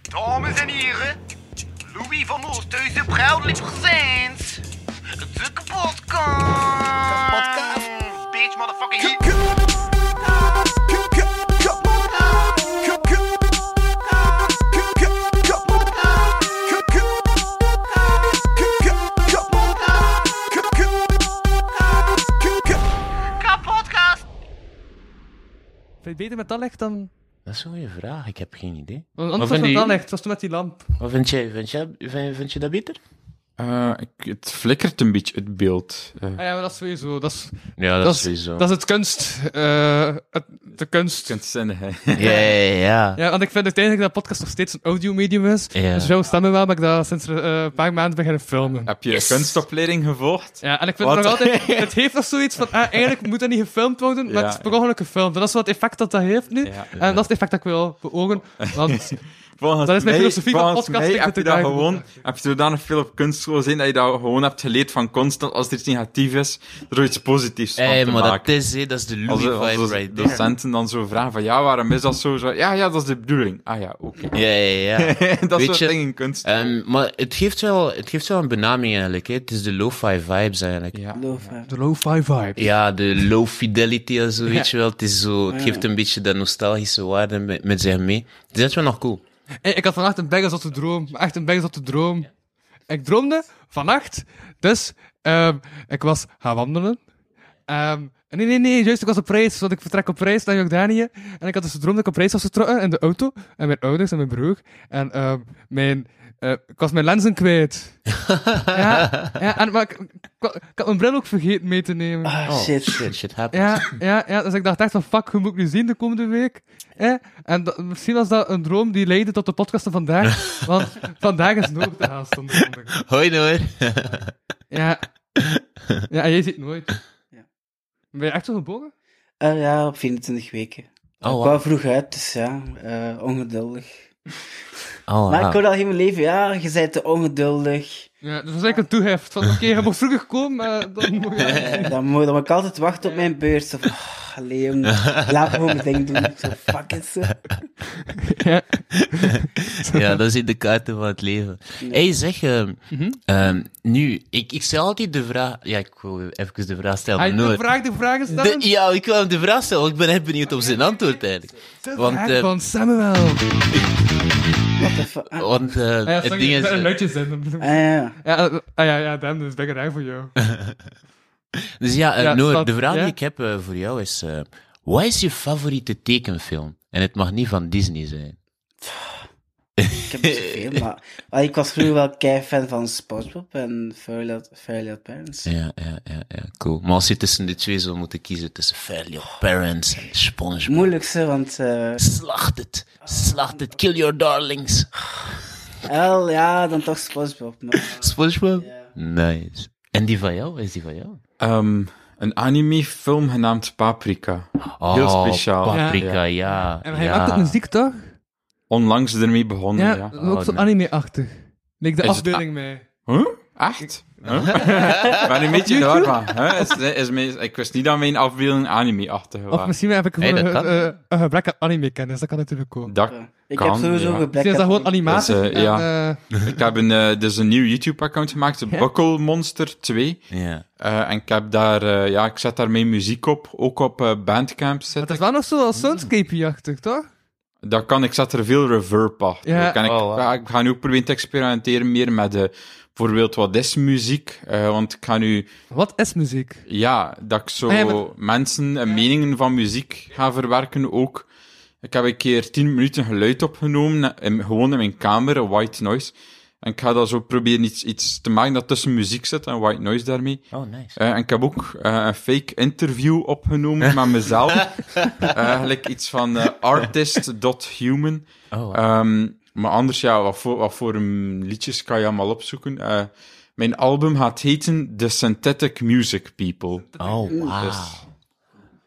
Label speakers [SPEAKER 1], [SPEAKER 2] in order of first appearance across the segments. [SPEAKER 1] Dames en heren, Louis van Oosthuizen, proudly presents de kapotkast.
[SPEAKER 2] Kapotkast.
[SPEAKER 1] Bitch, motherfucking hit. Kapotkast.
[SPEAKER 3] Vind je het beter met dat licht dan...
[SPEAKER 4] Dat is een goede vraag, ik heb geen idee.
[SPEAKER 3] Want
[SPEAKER 4] Wat
[SPEAKER 3] Anders was het met
[SPEAKER 4] vinden
[SPEAKER 3] dat
[SPEAKER 4] jullie?
[SPEAKER 3] licht, zoals toen met die lamp.
[SPEAKER 4] Wat vind jij? Vind je, vind, vind je dat beter?
[SPEAKER 2] Eh, ik, het flikkert een beetje, het beeld. Eh,
[SPEAKER 3] Ah ja, maar dat is sowieso. Dat is,
[SPEAKER 4] Ja, dat,
[SPEAKER 3] dat
[SPEAKER 4] is
[SPEAKER 3] is-
[SPEAKER 4] sowieso.
[SPEAKER 3] dat is het kunst. eh, het, de kunst.
[SPEAKER 2] kunstzinnig, hè.
[SPEAKER 4] Ja, ja, ja.
[SPEAKER 3] Ja, want ik vind uiteindelijk dat podcast nog steeds een audiomedium is.
[SPEAKER 4] Ja.
[SPEAKER 3] Dus jouw stemmen wel, maar ik dat sinds eh, een paar maanden beginnen filmen.
[SPEAKER 2] Heb je kunstopleiding gevolgd?
[SPEAKER 3] Ja, en ik vind het
[SPEAKER 2] Wat?
[SPEAKER 3] nog altijd... Het heeft nog zoiets van, ah, eigenlijk moet dat niet gefilmd worden, maar
[SPEAKER 2] Ja,
[SPEAKER 3] het is per ongeluk gefilmd. En dat is wat het effect dat dat heeft nu.
[SPEAKER 2] Ja.
[SPEAKER 3] En dat is het effect dat ik wil beogen. Want
[SPEAKER 2] Volgens
[SPEAKER 3] Dat is mijn
[SPEAKER 2] mij-
[SPEAKER 3] filosofie van
[SPEAKER 2] volgens
[SPEAKER 3] podcast,
[SPEAKER 2] mij
[SPEAKER 3] ik
[SPEAKER 2] heb
[SPEAKER 3] moet
[SPEAKER 2] je
[SPEAKER 3] er
[SPEAKER 2] dat
[SPEAKER 3] daarvoor
[SPEAKER 2] gewoon, heb je zodanig veel op kunstschool zijn dat je dat gewoon hebt geleerd van constant, als er iets negatief is, er iets positiefs van
[SPEAKER 3] Eh,
[SPEAKER 4] Hey,
[SPEAKER 2] te
[SPEAKER 4] maar dat
[SPEAKER 2] maken.
[SPEAKER 4] is, hè, dat is de
[SPEAKER 2] Als,
[SPEAKER 4] Louis
[SPEAKER 2] als
[SPEAKER 4] vibe
[SPEAKER 2] als
[SPEAKER 4] right there.
[SPEAKER 2] docenten dan zo vragen van, ja, waarom is dat zo? zo ja, ja, dat is de bedoeling. Ah ja, oké.
[SPEAKER 4] Ja, ja, ja.
[SPEAKER 2] dat
[SPEAKER 4] Weet
[SPEAKER 2] soort
[SPEAKER 4] je,
[SPEAKER 2] dingen in kunst.
[SPEAKER 3] Eh,
[SPEAKER 4] Ehm, maar het geeft, wel, het geeft wel een benaming eigenlijk. Hè. Het is de lo-fi vibes eigenlijk.
[SPEAKER 2] ja.
[SPEAKER 3] de low-fi vibe.
[SPEAKER 4] Ja, de low fidelity en zo, weet je wel. Het, is zo, het geeft een beetje dat nostalgische waarde met, met zich mee. Het is echt wel nog cool.
[SPEAKER 3] Hey, ik had vannacht een bengels tot de droom. Maar Echt een bengels tot de droom. Ik droomde vannacht. Dus ehm, ik was gaan wandelen. Ehm, nee, nee, nee. Juist, ik was op reis. Want ik vertrek op reis naar Jordanië. En ik had dus gedroomd dat ik op reis was vertrokken in de auto. En mijn ouders en mijn broer. En ehm, mijn, eh, ik was mijn lenzen kwijt. ja, ja en, maar ik, ik, ik had mijn bril ook vergeten mee te nemen.
[SPEAKER 5] Ah,
[SPEAKER 4] shit, shit, shit happens.
[SPEAKER 3] Ja, ja, ja, dus ik dacht echt van fuck, hoe moet ik nu zien de komende week? Eh? En dat- misschien was dat een droom die leidde tot de podcast van vandaag. Want vandaag is nooit de haast om te komen.
[SPEAKER 4] Hoi, Noor.
[SPEAKER 3] Ja. ja, en jij ziet nooit.
[SPEAKER 5] Ja.
[SPEAKER 3] Ben je echt zo gebogen?
[SPEAKER 5] Eh, ja, op 24 weken.
[SPEAKER 4] Oh,
[SPEAKER 5] Ik
[SPEAKER 4] wow.
[SPEAKER 5] kwam vroeg uit, dus ja, eh, ongeduldig.
[SPEAKER 4] Oh,
[SPEAKER 5] Maar ik
[SPEAKER 4] wow.
[SPEAKER 5] hoor al heel mijn leven, ja, je bent te ongeduldig.
[SPEAKER 3] Ja, dus dat is eigenlijk een toegift. Van oké, je moet vroeger komen, maar dan moet je...
[SPEAKER 5] Eh, Dan moet, dan moet ik altijd wachten op mijn beurt. Zo van, ah, Leon, laat me gewoon mijn ding doen. Zo, fuck it. zo.
[SPEAKER 3] Ja.
[SPEAKER 4] Ja, dat is de kaarten van het leven. hey, zeg, ehm,
[SPEAKER 3] Mhm.
[SPEAKER 4] ehm, nu, ik, ik stel altijd de vraag... Ja, ik wil even de vraag stellen
[SPEAKER 3] Hij
[SPEAKER 4] aan
[SPEAKER 3] de
[SPEAKER 4] Noor.
[SPEAKER 3] vraag de vragen
[SPEAKER 4] De-
[SPEAKER 3] stellen. Ah,
[SPEAKER 4] ja, ik wil hem de vraag stellen, want ik ben echt benieuwd op zijn antwoord eigenlijk.
[SPEAKER 3] De
[SPEAKER 4] want,
[SPEAKER 3] vraag
[SPEAKER 4] eh,
[SPEAKER 3] van Samuel.
[SPEAKER 5] What the fuck? Ah,
[SPEAKER 4] Want eh,
[SPEAKER 3] Ah, ja,
[SPEAKER 4] het
[SPEAKER 3] sorry,
[SPEAKER 4] ding is...
[SPEAKER 3] er zijn
[SPEAKER 4] eh,
[SPEAKER 3] luidjes in.
[SPEAKER 5] ah, ja.
[SPEAKER 3] Ja, eh, ah, ja, ja, dan, dus ben ik raar voor jou.
[SPEAKER 4] Dus ja, eh,
[SPEAKER 3] Ja,
[SPEAKER 4] Noor,
[SPEAKER 3] stap,
[SPEAKER 4] de vraag
[SPEAKER 3] ja?
[SPEAKER 4] die ik heb eh, voor jou is... eh, wat is je favoriete tekenfilm? En het mag niet van Disney zijn.
[SPEAKER 5] Ik heb niet zoveel, maar... Ah, ik was vroeger wel kei-fan van SpongeBob en Fairly Odd- Fairly Odd Parents.
[SPEAKER 4] Ja, ja, ja, ja, cool. Maar als je tussen de twee zou moeten kiezen, tussen Fairly Odd Parents en SpongeBob...
[SPEAKER 5] Moeilijkste, want... eh
[SPEAKER 4] Slacht het. Slacht het. Kill your darlings.
[SPEAKER 5] wel, ja, dan toch SpongeBob. Maar...
[SPEAKER 4] SpongeBob?
[SPEAKER 5] Ja.
[SPEAKER 4] Nice. En die van jou? Wat Is die van jou?
[SPEAKER 2] Ehm, een anime-film genaamd Paprika.
[SPEAKER 4] Oh,
[SPEAKER 2] Heel speciaal.
[SPEAKER 4] Paprika, ja.
[SPEAKER 2] Ja.
[SPEAKER 4] ja.
[SPEAKER 3] En hij maakt ook muziek, toch?
[SPEAKER 2] Onlangs ermee begonnen,
[SPEAKER 3] Ja,
[SPEAKER 2] ja.
[SPEAKER 3] ook
[SPEAKER 4] Oh,
[SPEAKER 3] zo
[SPEAKER 4] nee.
[SPEAKER 3] anime-achtig. Leek de
[SPEAKER 2] Is het
[SPEAKER 3] afbeelding mee.
[SPEAKER 2] Huh? Echt? Huh? Ik ben een beetje in de war van, hè? Is, is mijn, ik wist niet dat mijn afbeelding anime-achtig
[SPEAKER 3] Of
[SPEAKER 2] was.
[SPEAKER 3] misschien heb ik
[SPEAKER 4] Nee,
[SPEAKER 3] gewoon
[SPEAKER 4] dat
[SPEAKER 3] een,
[SPEAKER 4] kan.
[SPEAKER 3] eh, een gebrek aan anime-kennis, dat kan natuurlijk ook.
[SPEAKER 2] Dat
[SPEAKER 5] Ik
[SPEAKER 2] kan,
[SPEAKER 5] heb sowieso
[SPEAKER 2] ja.
[SPEAKER 5] gebrek
[SPEAKER 3] Misschien is dat
[SPEAKER 5] aan-
[SPEAKER 3] gewoon animatie.
[SPEAKER 2] Dat is, eh, ja.
[SPEAKER 3] en, eh,
[SPEAKER 2] Ik heb een, eh, dus een nieuw YouTube-account gemaakt, de Buckle Monster 2.
[SPEAKER 4] Ja.
[SPEAKER 2] Eh, en ik heb daar, eh, ja, ik zet daar mijn muziek op, ook op eh, Bandcamp
[SPEAKER 3] het
[SPEAKER 2] zit.
[SPEAKER 3] is wel nog zo als Soundscape-achtig, toch?
[SPEAKER 2] Dat kan, ik zet er veel reverb achter.
[SPEAKER 3] Ja.
[SPEAKER 2] Ook. En ik,
[SPEAKER 4] Oh, wow.
[SPEAKER 2] ga, ik ga nu ook proberen te experimenteren meer met eh, bijvoorbeeld wat is muziek. Eh, want ik ga nu,
[SPEAKER 3] Wat is muziek?
[SPEAKER 2] ja, dat ik zo
[SPEAKER 3] Ah, ja, maar-
[SPEAKER 2] mensen en meningen van muziek ga verwerken ook. Ik heb een keer 10 minuten geluid opgenomen, in, gewoon in mijn kamer, een white noise. En ik ga dat zo proberen iets, iets te maken dat tussen muziek zit en white noise daarmee.
[SPEAKER 4] Oh, nice.
[SPEAKER 2] Eh, en ik heb ook eh, een fake interview opgenomen met mezelf. Eigenlijk iets van eh, artist.human.
[SPEAKER 4] Oh, wow.
[SPEAKER 2] Ehm, maar anders, ja, wat voor, wat voor mm, liedjes kan je allemaal opzoeken? Eh, mijn album gaat heten The Synthetic Music People.
[SPEAKER 4] oh,
[SPEAKER 3] Ah.
[SPEAKER 4] wow.
[SPEAKER 2] Dus-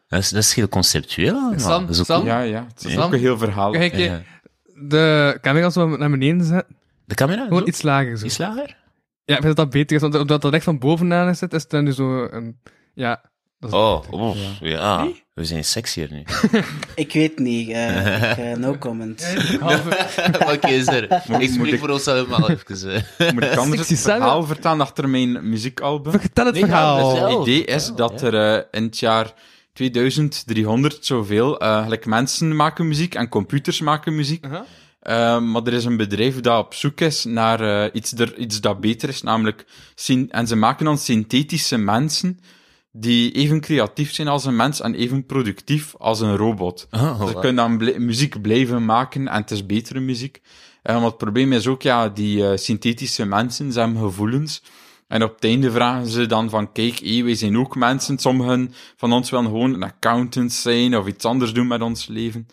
[SPEAKER 4] Dat, is, dat is heel conceptueel allemaal.
[SPEAKER 3] Sam-
[SPEAKER 4] dat is ook
[SPEAKER 3] Sam-
[SPEAKER 4] cool.
[SPEAKER 2] Ja, ja, het is
[SPEAKER 3] Ja.
[SPEAKER 2] ook een heel verhaal.
[SPEAKER 3] Kijk,
[SPEAKER 4] Ja.
[SPEAKER 3] je de camera zo naar beneden zetten.
[SPEAKER 4] De camera?
[SPEAKER 3] Gewoon
[SPEAKER 4] Zo?
[SPEAKER 3] iets lager. Zo.
[SPEAKER 4] Iets lager?
[SPEAKER 3] Ja, ik vind dat dat beter is, want omdat dat echt van bovenaan zit, is het dan nu zo een... Ja, Dat is-
[SPEAKER 4] Oh, oef, ja. We zijn sexier nu.
[SPEAKER 5] Ik weet niet. eh, ik, eh, no comment.
[SPEAKER 3] Halve-
[SPEAKER 4] Oké, is er. Ik
[SPEAKER 2] moet
[SPEAKER 4] spreek
[SPEAKER 2] ik-
[SPEAKER 4] voor ons allemaal even. eh.
[SPEAKER 2] Moet ik anders het
[SPEAKER 3] Sexy Sarah.
[SPEAKER 2] verhaal vertalen achter mijn muziekalbum?
[SPEAKER 3] Vertel het
[SPEAKER 4] Nee, ja,
[SPEAKER 3] verhaal.
[SPEAKER 4] dat is wel-
[SPEAKER 2] Het idee is dat er eh, in het jaar 2300 zoveel eh, gelijk mensen maken muziek en computers maken muziek.
[SPEAKER 3] Uh-huh.
[SPEAKER 2] Eh, maar er is een bedrijf dat op zoek is naar eh, iets, er, iets dat beter is, namelijk... syn- En ze maken dan synthetische mensen die even creatief zijn als een mens en even productief als een robot.
[SPEAKER 4] Oh,
[SPEAKER 2] Ze
[SPEAKER 4] wow.
[SPEAKER 2] kunnen dan bl- muziek blijven maken en het is betere muziek. Eh, want het probleem is ook, ja, die eh, synthetische mensen, ze hebben gevoelens. En op het einde vragen ze dan van, kijk, hé, wij zijn ook mensen. Sommigen van ons willen gewoon een accountant zijn of iets anders doen met ons leven.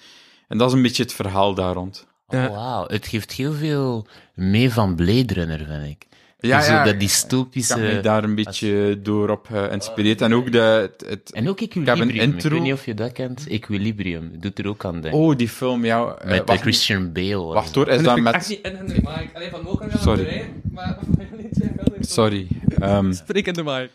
[SPEAKER 2] En dat is een beetje het verhaal daar rond.
[SPEAKER 3] Ja.
[SPEAKER 4] Oh, Wauw, het geeft heel veel mee van Blade Runner, vind ik.
[SPEAKER 2] Ja,
[SPEAKER 4] Zo
[SPEAKER 2] ja,
[SPEAKER 4] dat
[SPEAKER 2] Ik heb
[SPEAKER 4] dystopische...
[SPEAKER 2] mij daar een beetje door op eh, geïnspireerd. En ook de, het, het-
[SPEAKER 4] En ook
[SPEAKER 2] Ik heb
[SPEAKER 4] Equilibrium.
[SPEAKER 2] een
[SPEAKER 4] Ik,
[SPEAKER 2] intro.
[SPEAKER 4] weet niet of je dat kent. Equilibrium doet er ook aan denken.
[SPEAKER 2] oh, die film, ja. eh,
[SPEAKER 4] Met eh,
[SPEAKER 2] wacht,
[SPEAKER 4] Christian Bale. was
[SPEAKER 2] wacht
[SPEAKER 4] het.
[SPEAKER 2] hoor, is
[SPEAKER 3] En
[SPEAKER 2] dat
[SPEAKER 3] vind ik
[SPEAKER 2] met...
[SPEAKER 3] echt niet in de mic. Alleen van Mokan gaan
[SPEAKER 2] Sorry.
[SPEAKER 3] maar...
[SPEAKER 2] Sorry. ehm,
[SPEAKER 3] Spreek in de mic.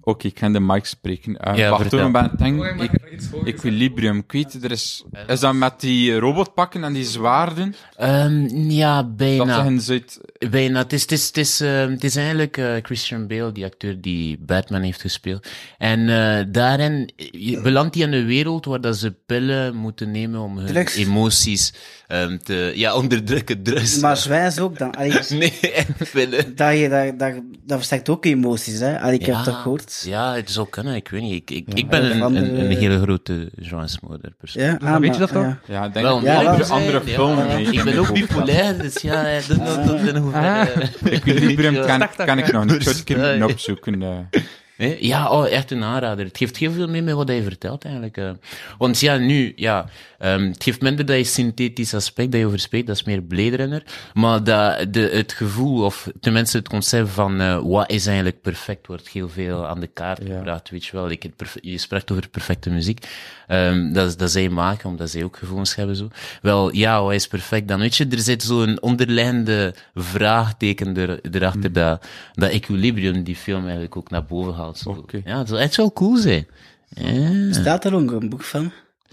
[SPEAKER 2] Oké, ik ga in de mic spreken. Eh,
[SPEAKER 4] Ja,
[SPEAKER 2] wacht,
[SPEAKER 4] vertel.
[SPEAKER 2] hoor, ik ben aan het
[SPEAKER 3] Mogen
[SPEAKER 2] denken.
[SPEAKER 3] wij
[SPEAKER 2] Ik-
[SPEAKER 3] maar iets horen?
[SPEAKER 2] Equilibrium, ik weet, er is... Is dat met die robotpakken en die zwaarden?
[SPEAKER 4] Ehm, ja,
[SPEAKER 2] Dat
[SPEAKER 4] bijna.
[SPEAKER 2] zeggen ze uit...
[SPEAKER 4] Bijna. Het is, het is, het is, ehm, het is eigenlijk eh, Christian Bale, die acteur die Batman heeft gespeeld. En eh, daarin eh, belandt hij in een wereld waar dat ze pillen moeten nemen om hun
[SPEAKER 5] Drugs.
[SPEAKER 4] emoties ehm, te... Ja, onderdrukken drugs.
[SPEAKER 5] Maar zwijs ook dan. Allee,
[SPEAKER 4] Nee, en pillen.
[SPEAKER 5] dat, je, dat, dat, dat versterkt ook emoties, hè? Allee, ik
[SPEAKER 4] Ja.
[SPEAKER 5] heb dat gehoord.
[SPEAKER 4] Ja, het zou kunnen, ik weet niet. Ik, ik, ik ben
[SPEAKER 5] of
[SPEAKER 4] een, een,
[SPEAKER 5] andere-
[SPEAKER 4] een hele grote Jean Smoder persoon.
[SPEAKER 5] Ja, ah,
[SPEAKER 3] weet je
[SPEAKER 5] maar-
[SPEAKER 3] dat toch?
[SPEAKER 5] ja.
[SPEAKER 2] Ja, ik denk
[SPEAKER 4] Wel,
[SPEAKER 2] dat
[SPEAKER 5] ja,
[SPEAKER 2] andere,
[SPEAKER 5] dat
[SPEAKER 4] zijn-
[SPEAKER 2] andere
[SPEAKER 4] ja.
[SPEAKER 2] filmen... mee
[SPEAKER 4] Ik ben
[SPEAKER 2] kunnen
[SPEAKER 4] ook
[SPEAKER 2] kopen.
[SPEAKER 4] bipolair, dus ja, eh, dat dat- dat- in hoeverre...
[SPEAKER 2] Equilibrium kan,
[SPEAKER 3] Start dat
[SPEAKER 2] kan ik nog niet. Ik zou het een keer
[SPEAKER 4] Nee.
[SPEAKER 2] moeten opzoeken. eh.
[SPEAKER 4] Nee? Ja, oh, echt een aanrader. Het geeft heel veel mee met wat hij vertelt eigenlijk. eh. Want ja, nu, ja, ehm, het geeft minder dat je synthetisch aspect dat je over spreekt, dat is meer Blade Runner. Maar dat, de, het gevoel, of tenminste het concept van eh, wat is eigenlijk perfect, wordt heel veel aan de kaart
[SPEAKER 2] Ja.
[SPEAKER 4] gebracht. Weet je wel, ik, het perf- je sprak over perfecte muziek. Ehm, dat, is- dat zij maken, omdat zij ook gevoelens hebben zo. Wel, ja, wat is perfect dan? Weet je, er zit zo'n onderliggende vraagteken er, erachter dat, dat equilibrium die film eigenlijk ook naar boven haalt. Zo.
[SPEAKER 2] Oké.
[SPEAKER 4] Ja, het zou echt wel cool zijn. Ja.
[SPEAKER 5] Staat er ook een boek van?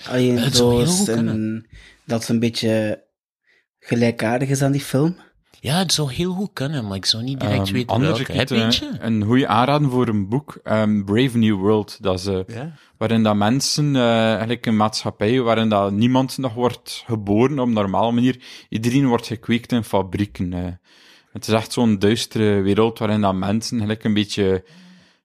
[SPEAKER 5] Alleen
[SPEAKER 4] Het zou heel
[SPEAKER 5] zoals
[SPEAKER 4] goed kunnen.
[SPEAKER 5] een- dat een beetje gelijkaardig is aan die film.
[SPEAKER 4] ja, het zou heel goed kunnen, maar ik zou niet direct
[SPEAKER 2] Ehm,
[SPEAKER 4] weten
[SPEAKER 2] anders,
[SPEAKER 4] welke.
[SPEAKER 2] ik
[SPEAKER 4] Heb
[SPEAKER 2] het,
[SPEAKER 4] je
[SPEAKER 2] eh,
[SPEAKER 4] eentje?
[SPEAKER 2] een goede aanraden voor een boek, ehm, Brave New World, dat is, eh, waarin dat mensen, eh, eigenlijk een maatschappij, waarin dat niemand nog wordt geboren op een normale manier, iedereen wordt gekweekt in fabrieken. eh. Het is echt zo'n duistere wereld waarin dat mensen eigenlijk een beetje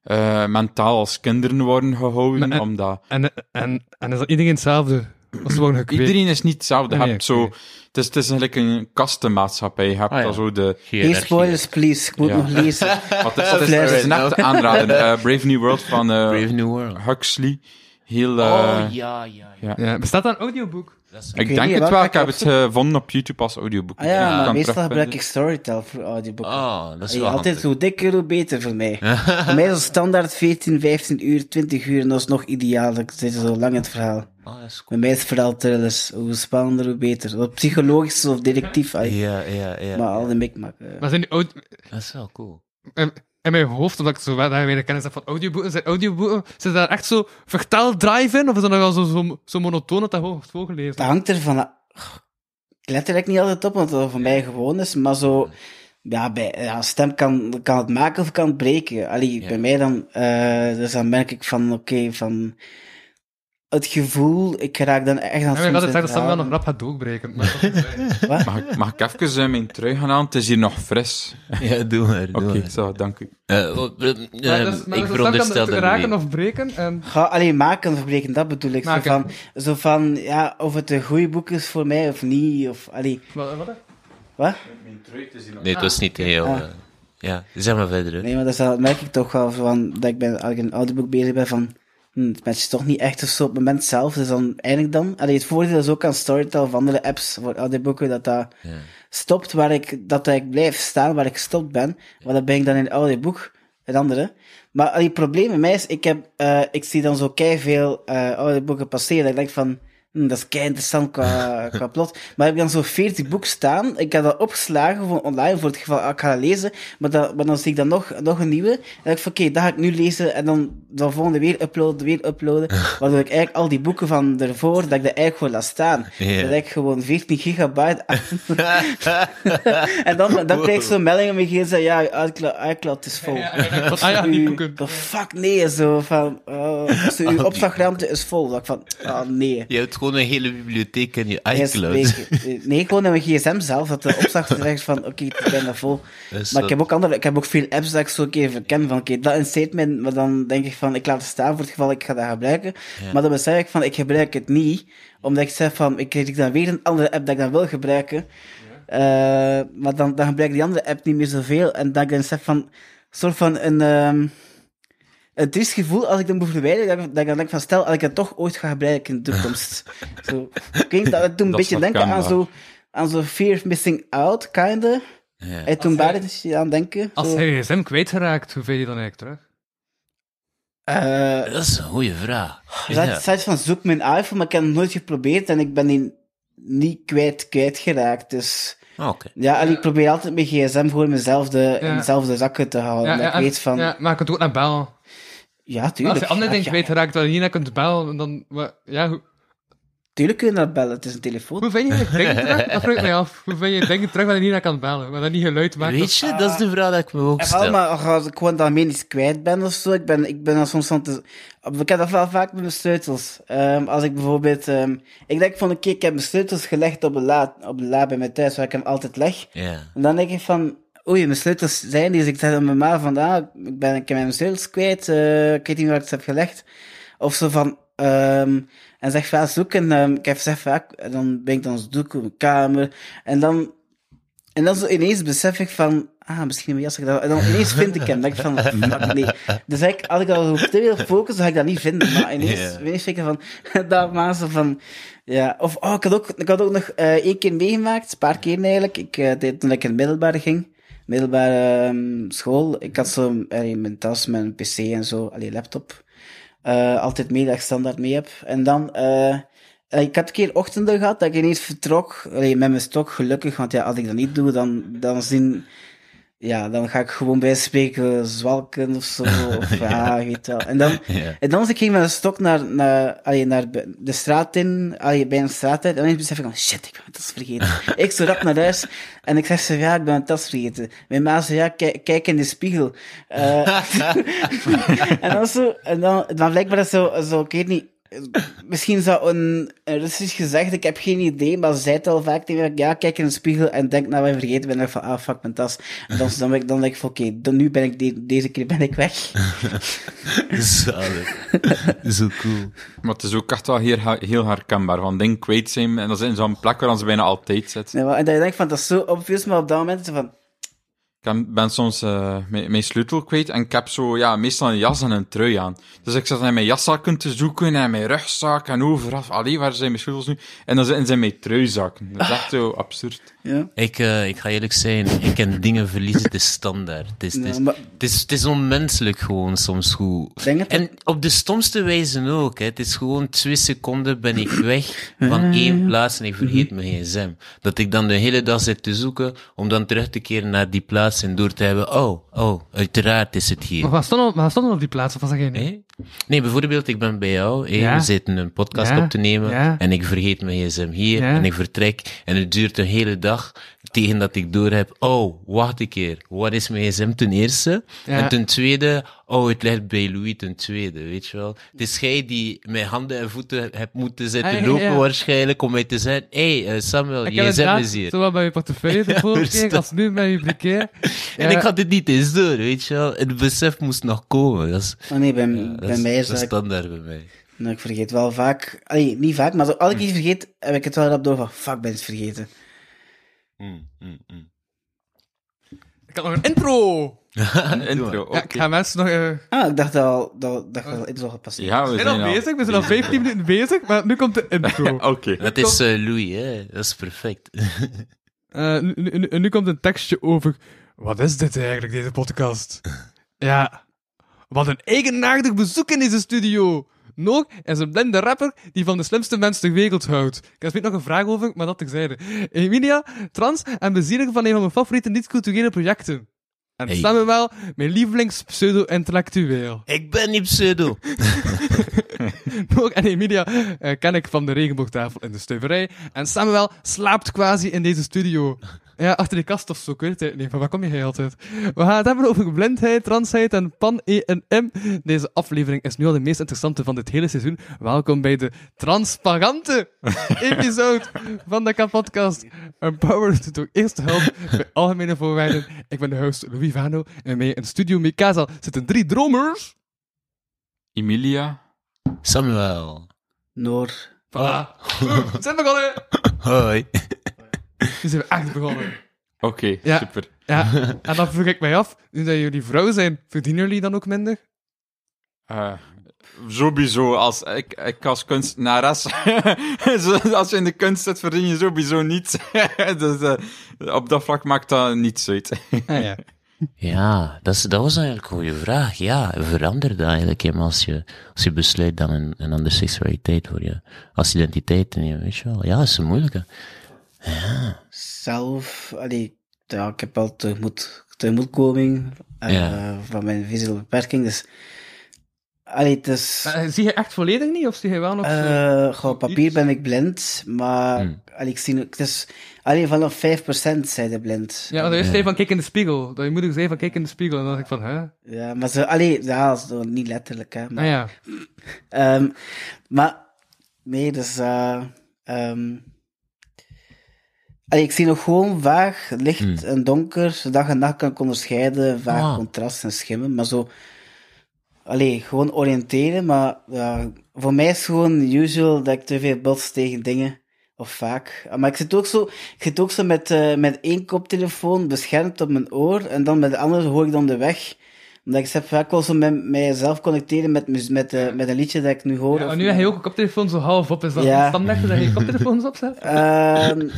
[SPEAKER 2] eh, mentaal als kinderen worden gehouden,
[SPEAKER 3] Maar-
[SPEAKER 2] omdat...
[SPEAKER 3] En, en, en is dat iedereen hetzelfde? Als ze worden gekweekt?
[SPEAKER 2] Iedereen is niet hetzelfde.
[SPEAKER 3] Nee,
[SPEAKER 2] Je hebt
[SPEAKER 3] nee,
[SPEAKER 2] zo, het, is, het is eigenlijk een kastenmaatschappij. Je hebt
[SPEAKER 4] Ah, ja.
[SPEAKER 2] dan zo de,
[SPEAKER 5] Geen
[SPEAKER 4] eh,
[SPEAKER 5] spoilers, please. Ik moet
[SPEAKER 2] Ja.
[SPEAKER 5] nog lezen. Ah
[SPEAKER 2] Wat is, dat is,
[SPEAKER 5] Flash.
[SPEAKER 2] dat is een echte aanrader. Eh, Brave New World van eh,
[SPEAKER 4] Brave New World.
[SPEAKER 2] Huxley. Heel, eh,
[SPEAKER 4] oh, ja, ja, ja.
[SPEAKER 3] Ja, bestaat dat een audioboek?
[SPEAKER 2] Ik
[SPEAKER 5] weet
[SPEAKER 2] denk
[SPEAKER 5] niet,
[SPEAKER 2] het wel.
[SPEAKER 5] welke ga
[SPEAKER 2] Ik
[SPEAKER 5] ik
[SPEAKER 2] heb het eh, gevonden op YouTube als audioboek.
[SPEAKER 5] Ah ja,
[SPEAKER 2] Ik
[SPEAKER 5] maar
[SPEAKER 2] kan
[SPEAKER 5] meestal
[SPEAKER 2] terugvinden.
[SPEAKER 5] gebruik ik Storytel voor audioboeken.
[SPEAKER 4] Oh, dat is
[SPEAKER 5] Allee,
[SPEAKER 4] wel
[SPEAKER 5] altijd
[SPEAKER 4] handig.
[SPEAKER 5] hoe dikker, hoe beter voor mij. voor mij is het standaard 14, 15 uur, 20 uur en dat is nog ideaal. Dan zit je zo lang in het verhaal.
[SPEAKER 4] Oh, dat is cool.
[SPEAKER 5] Bij mij is het verhaal thrillers. Hoe spannender, hoe beter. Wat psychologisch of detectief. allee.
[SPEAKER 4] Ja, ja, ja.
[SPEAKER 5] Maar al die mikmak. eh.
[SPEAKER 3] Maar zijn die aud-
[SPEAKER 4] Dat is wel cool.
[SPEAKER 3] in, in mijn hoofd, omdat ik zo wel weinig kennis heb van audioboeken, zijn audioboeken, zit daar echt zo verteldrive in? Of is dat nou wel zo, zo, zo monotoon dat dat gewoon wordt voorgelezen?
[SPEAKER 5] Dat hangt er van. ah, Ik let er eigenlijk niet altijd op, want dat voor mij gewoon is. Maar zo, ja, bij, ja stem kan, kan het maken of kan het breken. Allee, bij mij dan, eh, dus dan merk ik van, oké, van het gevoel, ik raak dan echt
[SPEAKER 3] En
[SPEAKER 5] aan
[SPEAKER 3] ik had
[SPEAKER 5] soms
[SPEAKER 3] het
[SPEAKER 5] in
[SPEAKER 3] zeggen dat ze wel
[SPEAKER 5] verhalen.
[SPEAKER 3] nog rap gaat doorbreken. maar dat is-
[SPEAKER 5] Wat?
[SPEAKER 2] Mag, ik- mag ik even eh, mijn trui gaan aan? Het is hier nog fris.
[SPEAKER 4] Ja, doe maar, doe
[SPEAKER 2] Oké,
[SPEAKER 4] maar.
[SPEAKER 2] zo, dank u.
[SPEAKER 4] Eh, oh, eh,
[SPEAKER 3] Maar
[SPEAKER 4] eh,
[SPEAKER 3] dat is- maar dus
[SPEAKER 4] ik
[SPEAKER 3] dat is- dat kan
[SPEAKER 4] veronderstel
[SPEAKER 3] het
[SPEAKER 4] dat
[SPEAKER 3] raken
[SPEAKER 4] niet.
[SPEAKER 3] of breken. En...
[SPEAKER 5] Ga alleen maken of breken, dat bedoel ik. Zo
[SPEAKER 3] Maken.
[SPEAKER 5] van, zo van, ja, of het een goed boek is voor mij of niet. Of, allee,
[SPEAKER 3] Wat, wat?
[SPEAKER 5] wat?
[SPEAKER 4] Nee, het was
[SPEAKER 3] Ah.
[SPEAKER 4] niet heel... eh, ja, zeg maar verder. hè.
[SPEAKER 5] Nee, maar dat, is, dat merk ik toch wel van, dat ik bij een- als ik een audioboek bezig ben van, hm, het matcht toch niet echt of zo op het moment zelf, dus dan eindelijk dan. Allee, het voordeel is ook aan Storytel of andere apps voor audioboeken, dat dat
[SPEAKER 4] Ja.
[SPEAKER 5] stopt waar ik, dat ik blijf staan waar ik gestopt ben, want dan ben ik dan in het audioboek, het andere. Maar allee, het probleem bij mij is, ik heb, eh, ik zie dan zo kei veel audioboeken eh, passeren, dat ik denk van, hm, Hm, dat is kei interessant qua, qua plot. Maar heb ik dan zo'n 40 boeken staan. Ik heb dat opgeslagen voor online voor het geval ah, ik ga dat lezen. Maar, dat, maar dan zie ik dan nog, nog een nieuwe. En dan denk ik van oké, dat ga ik nu lezen. En dan de volgende weer uploaden, weer uploaden. Waardoor ik eigenlijk al die boeken van daarvoor, dat ik dat eigenlijk gewoon laat staan.
[SPEAKER 4] Ja.
[SPEAKER 5] Dat ik gewoon 14 gigabyte achter- en dan, dan kreeg ik zo'n melding om je heen. Zei, ja, iCloud, iCloud is vol.
[SPEAKER 3] Ah ja, die boeken.
[SPEAKER 5] The fuck nee, zo van, eh, zo, uw opslagruimte is vol. Dat ik van, ah nee.
[SPEAKER 4] Je hebt gewoon een hele bibliotheek in je
[SPEAKER 5] Eerst
[SPEAKER 4] iCloud.
[SPEAKER 5] week- eh, Nee, gewoon in mijn gsm zelf, dat de opslag zegt van, oké, ik ben bijna vol.
[SPEAKER 4] is
[SPEAKER 5] Maar
[SPEAKER 4] dat-
[SPEAKER 5] ik heb ook andere, ik heb ook veel apps dat ik zo een keer verken van, oké, dat een statement, maar dan denk ik van, ik laat het staan voor het geval ik ga dat gebruiken. Maar dan besef ik van, ik gebruik het niet, omdat ik zeg van, ik krijg dan weer een andere app dat ik dan wil gebruiken. Eh, maar dan, dan gebruik ik die andere app niet meer zoveel. En dat ik dan zeg van, soort van een, ehm een triest gevoel als ik hem moet verwijderen, dat ik, dat ik dan denk van, stel, als ik het toch ooit ga gebruiken in de toekomst. zo, ik denk dat het toen een
[SPEAKER 2] Dat
[SPEAKER 5] beetje
[SPEAKER 2] snap
[SPEAKER 5] denken
[SPEAKER 2] ik
[SPEAKER 5] aan
[SPEAKER 2] aan,
[SPEAKER 5] zo, aan zo fear of missing out, kinda. En toen daar is je aan denken.
[SPEAKER 3] Als
[SPEAKER 5] zo,
[SPEAKER 3] hij gsm kwijtgeraakt, hoe vind je dan eigenlijk terug?
[SPEAKER 5] eh,
[SPEAKER 4] Dat is een goede vraag.
[SPEAKER 5] Dus hij
[SPEAKER 4] Ja.
[SPEAKER 5] zei van zoek mijn iPhone, maar ik heb het nooit geprobeerd en ik ben die niet kwijt, kwijtgeraakt. Dus
[SPEAKER 4] Ah, Oké.
[SPEAKER 5] ja, en ik probeer altijd mijn gsm gewoon in dezelfde,
[SPEAKER 3] Ja.
[SPEAKER 5] in dezelfde zakken te houden. dat
[SPEAKER 3] en-
[SPEAKER 5] ik weet van,
[SPEAKER 3] ja,
[SPEAKER 5] ja,
[SPEAKER 3] maar je kunt ook naar bellen.
[SPEAKER 5] tuurlijk.
[SPEAKER 3] als je andere
[SPEAKER 5] ja,
[SPEAKER 3] dingen
[SPEAKER 5] ja,
[SPEAKER 3] kwijtgeraakt waar je niet naar kunt bellen, dan... maar- Ja, hoe,
[SPEAKER 5] Tuurlijk kun je naar bellen, het is een telefoon.
[SPEAKER 3] hoe vind je dingen terug? Dat vraag ik mij af. Hoe vind je dingen terug waar je niet naar kan bellen? Waar dat niet geluid maakt?
[SPEAKER 4] Weet je, dat is de vraag die ik me ook
[SPEAKER 5] Ja, wel,
[SPEAKER 4] stel.
[SPEAKER 5] maar als ik gewoon daarmee niet kwijt ben of zo, ik ben, ik ben dan soms aan het... Ik heb dat wel vaak met mijn sleutels. Ehm, als ik bijvoorbeeld... ehm, ik denk van, oké, ik heb mijn sleutels gelegd op de la, op de la bij mij thuis, waar ik hem altijd leg.
[SPEAKER 4] Ja.
[SPEAKER 5] En dan denk ik van, oei, mijn sleutels zijn die. Dus ik zeg aan mijn ma van, ah, ik, ben, ik heb mijn sleutels kwijt, eh, ik weet niet waar ik ze heb gelegd. Of zo van, ehm, en zeg vaak zoeken, ehm, ik heb gezegd vaak, en dan ben ik dan zoeken, mijn kamer. En dan, en dan zo ineens besef ik van, ah, misschien mijn jas. ik dat- En dan ineens vind ik hem. Dan denk ik van, fuck nee. Dus eigenlijk, als ik al op te veel focus, dan ga ik dat niet vinden. Maar ineens,
[SPEAKER 4] Ja.
[SPEAKER 5] ineens vind ik van, dat mazen van, ja. Of, oh, ik had ook, ik had ook nog eh één keer meegemaakt, een paar keer eigenlijk. Ik, eh, deed, toen ik in het middelbare ging, middelbare ehm, school, ik had zo allee, mijn tas, mijn pc en zo, allee, laptop. Eh, altijd mee, dat ik standaard mee heb. En dan, eh, eh, ik heb een keer ochtenden gehad dat ik ineens vertrok. Allee, met mijn stok, gelukkig. Want ja, als ik dat niet doe, dan, dan zien... Ja, dan ga ik gewoon bij spreken zwalken of zo. Of ja, weet wel. En dan,
[SPEAKER 4] Ja.
[SPEAKER 5] en dan ging ik met een stok naar, naar, allee, naar bu- de straat in. Allee, bij een straat uit. En ineens besef ik van, shit, ik ben mijn tas vergeten. ik zo rap naar huis. En ik zeg ze, ja, ik ben mijn tas vergeten. Mijn ma zei, ja, kijk, kijk in de spiegel. Eh, en dan zo, en dan, dan blijkbaar is zo, zo, ik weet niet, eh, misschien zou een, een Russisch gezegd, ik heb geen idee, maar ze zei het al vaak tegen mij, ja, kijk in de spiegel en denk nou, wat je vergeten bent, en dan van, ah, fuck, mijn tas. En dan, dan, ben ik, dan denk ik van, oké, dan- nu ben ik, de- deze keer ben ik weg.
[SPEAKER 4] Zalig. Zo cool.
[SPEAKER 2] Maar het is ook echt wel heel, heel herkenbaar. Van ding kwijt zijn, en dat is in zo'n plek waar ze bijna altijd zit.
[SPEAKER 5] Nee, maar- En dan denk ik van, dat is zo obvious, maar op dat moment is het van,
[SPEAKER 2] Ik heb- ben soms eh, mijn, mijn sleutel kwijt en ik heb zo, ja, meestal een jas en een trui aan. Dus ik zat in mijn jaszakken te zoeken en mijn rugzak en overal. Allee, waar zijn mijn sleutels nu? En dan zitten ze in mijn truizakken. Dat is echt zo absurd.
[SPEAKER 5] ja.
[SPEAKER 4] Ik, eh, ik ga eerlijk zijn, ik ken dingen verliezen, het is standaard. Het is, het, is,
[SPEAKER 5] Ja, maar-
[SPEAKER 4] het, is, het is onmenselijk gewoon soms hoe.
[SPEAKER 5] Denk het-
[SPEAKER 4] En op de stomste wijze ook. Hè. Het is gewoon twee seconden ben ik weg van één plaats en ik vergeet mijn gsm. Dat ik dan de hele dag zit te zoeken om dan terug te keren naar die plaats en door te hebben, oh, oh, uiteraard is het hier.
[SPEAKER 3] Maar wat stond, maar wat stond er op die plaats? Of was dat geen...
[SPEAKER 4] Hé? Nee, bijvoorbeeld, ik ben bij jou. hé,
[SPEAKER 3] Ja.
[SPEAKER 4] We zitten een podcast
[SPEAKER 3] Ja.
[SPEAKER 4] op te nemen.
[SPEAKER 3] Ja.
[SPEAKER 4] En ik vergeet mijn gsm hier.
[SPEAKER 3] Ja.
[SPEAKER 4] En ik vertrek. En het duurt een hele dag tegen dat ik door heb. Oh, wacht een keer. Wat is mijn gsm ten eerste?
[SPEAKER 3] Ja.
[SPEAKER 4] En ten tweede, oh, het ligt bij Louis ten tweede. Weet je wel? Het is jij die mijn handen en voeten hebt moeten zetten
[SPEAKER 3] Ah, ja,
[SPEAKER 4] lopen
[SPEAKER 3] ja.
[SPEAKER 4] waarschijnlijk om mij te zeggen, hé, hey, eh, Samuel,
[SPEAKER 3] Ik
[SPEAKER 4] je
[SPEAKER 3] heb
[SPEAKER 4] gsm
[SPEAKER 3] inderdaad
[SPEAKER 4] is hier.
[SPEAKER 3] Zowel bij je portefeuille de vorige
[SPEAKER 4] verstaan.
[SPEAKER 3] keer als nu bij je blikkeer.
[SPEAKER 4] En ik had dit niet eens door, weet je wel? Het besef moest nog komen. Dat is,
[SPEAKER 5] Oh nee, bij,
[SPEAKER 4] dat
[SPEAKER 5] bij
[SPEAKER 4] is,
[SPEAKER 5] mij is
[SPEAKER 4] dat is
[SPEAKER 5] dat,
[SPEAKER 4] standaard bij mij.
[SPEAKER 5] nou, ik vergeet wel vaak, allee, niet vaak, maar zo, als ik iets
[SPEAKER 4] Hmm.
[SPEAKER 5] vergeet, heb ik het wel rap door van, fuck, ben ik het vergeten.
[SPEAKER 4] Mm, mm, mm.
[SPEAKER 3] Ik had nog een intro!
[SPEAKER 2] Een intro,
[SPEAKER 3] Ja, ik
[SPEAKER 2] oké.
[SPEAKER 3] ga mensen nog... eh,
[SPEAKER 5] Ah, ik dacht dat al, dat, dat,
[SPEAKER 4] Ah.
[SPEAKER 5] dat iets al gepasseerd
[SPEAKER 2] Ja, we
[SPEAKER 3] We
[SPEAKER 2] zijn
[SPEAKER 3] zijn al bezig, we zijn al 15 minuten bezig, maar nu komt de intro.
[SPEAKER 2] Oké.
[SPEAKER 4] Dat is eh, Louis, hè? Dat is perfect.
[SPEAKER 3] Eh, nu, nu- nu- nu komt een tekstje over. Wat is dit eigenlijk, deze podcast? Ja. Wat een eigenaardig bezoek in deze studio. Nog is een blinde rapper die van de slimste mensen ter wereld houdt. Ik heb er nog een vraag over, maar dat terzijde. Emilia, trans en bezieligen van een van mijn favoriete niet-culturele projecten. En
[SPEAKER 4] Hey.
[SPEAKER 3] samen wel mijn lievelings-pseudo-intellectueel.
[SPEAKER 4] Ik ben niet pseudo.
[SPEAKER 3] Ook en Emilia eh, ken ik van de regenboogtafel in de stuiverij. En Samuel slaapt quasi in deze studio. Ja, achter die kast of zo, ik weet het niet. Van waar kom je hier altijd? We gaan het hebben over blindheid, transheid en pan-E&M. Deze aflevering is nu al de meest interessante van dit hele seizoen. Welkom bij de transparante episode van de K-podcast. Empowered door eerste hulp bij algemene voorwaarden. Ik ben de host Louis Vano en mee in Studio Mikasa zitten drie dromers.
[SPEAKER 2] Emilia.
[SPEAKER 4] Samuel.
[SPEAKER 5] Noor.
[SPEAKER 3] Voilà. Zijn we begonnen?
[SPEAKER 4] Hoi.
[SPEAKER 3] Nu zijn we echt begonnen.
[SPEAKER 2] Oké,
[SPEAKER 3] Ja.
[SPEAKER 2] super.
[SPEAKER 3] Ja, en dan vroeg ik mij af, nu dat jullie vrouw zijn, verdienen jullie dan ook minder?
[SPEAKER 2] Eh, sowieso, als ik, ik als kunstenares, zo- als je in de kunst zit, verdien je sowieso niets. dus eh, op dat vlak maakt dat niets uit.
[SPEAKER 3] Ah, ja.
[SPEAKER 4] Ja, dat, is, dat was eigenlijk een goede vraag. Ja, verandert dat eigenlijk hem als je, als je besluit dan een, een andere seksualiteit voor je, als identiteit en je, weet je wel. Ja, dat is een moeilijke.
[SPEAKER 5] Zelf, allee, ja, ik heb wel tegemoet, tegemoetkoming eh,
[SPEAKER 4] Ja.
[SPEAKER 5] van mijn visuele beperking, dus... Allee, het is...
[SPEAKER 3] Eh, zie je echt volledig niet, of zie je wel nog
[SPEAKER 5] Eh, goh, op papier
[SPEAKER 3] iets?
[SPEAKER 5] ben ik blind, maar
[SPEAKER 4] Hmm.
[SPEAKER 5] allee, ik zie, nu- het is, allee, vanaf 5% zijn de blind.
[SPEAKER 3] Ja, want eerst zei van kijk in de spiegel. Dat je moeder zei van kijk in de spiegel. En dan dacht ik van, hè?
[SPEAKER 5] Ja, maar ze, allee, ja, zo, niet letterlijk, hè. Maar,
[SPEAKER 3] Nou ja.
[SPEAKER 5] ehm, maar nee, dus, eh, ehm, allee, ik zie nog gewoon vaag licht en donker, zodat je nacht kan onderscheiden, vaag
[SPEAKER 4] Ah.
[SPEAKER 5] contrast en schimmen, maar zo, allee, gewoon oriënteren, maar ja, voor mij is gewoon usual dat ik te veel bots tegen dingen. Of vaak. Oh, Ah, Maar ik zit ook zo, ik zit ook zo met, eh, met één koptelefoon beschermd op mijn oor. En dan met de andere hoor ik dan de weg. Omdat ik zelf vaak wel zo met mijzelf connecteren met, muzie- met, eh, met een liedje dat ik nu hoor.
[SPEAKER 3] Ja,
[SPEAKER 5] of
[SPEAKER 3] en nu heb je ook een koptelefoon zo half op. Is dat
[SPEAKER 5] Ja.
[SPEAKER 3] een standaard dat je je koptelefoons opzet?
[SPEAKER 5] Ehm,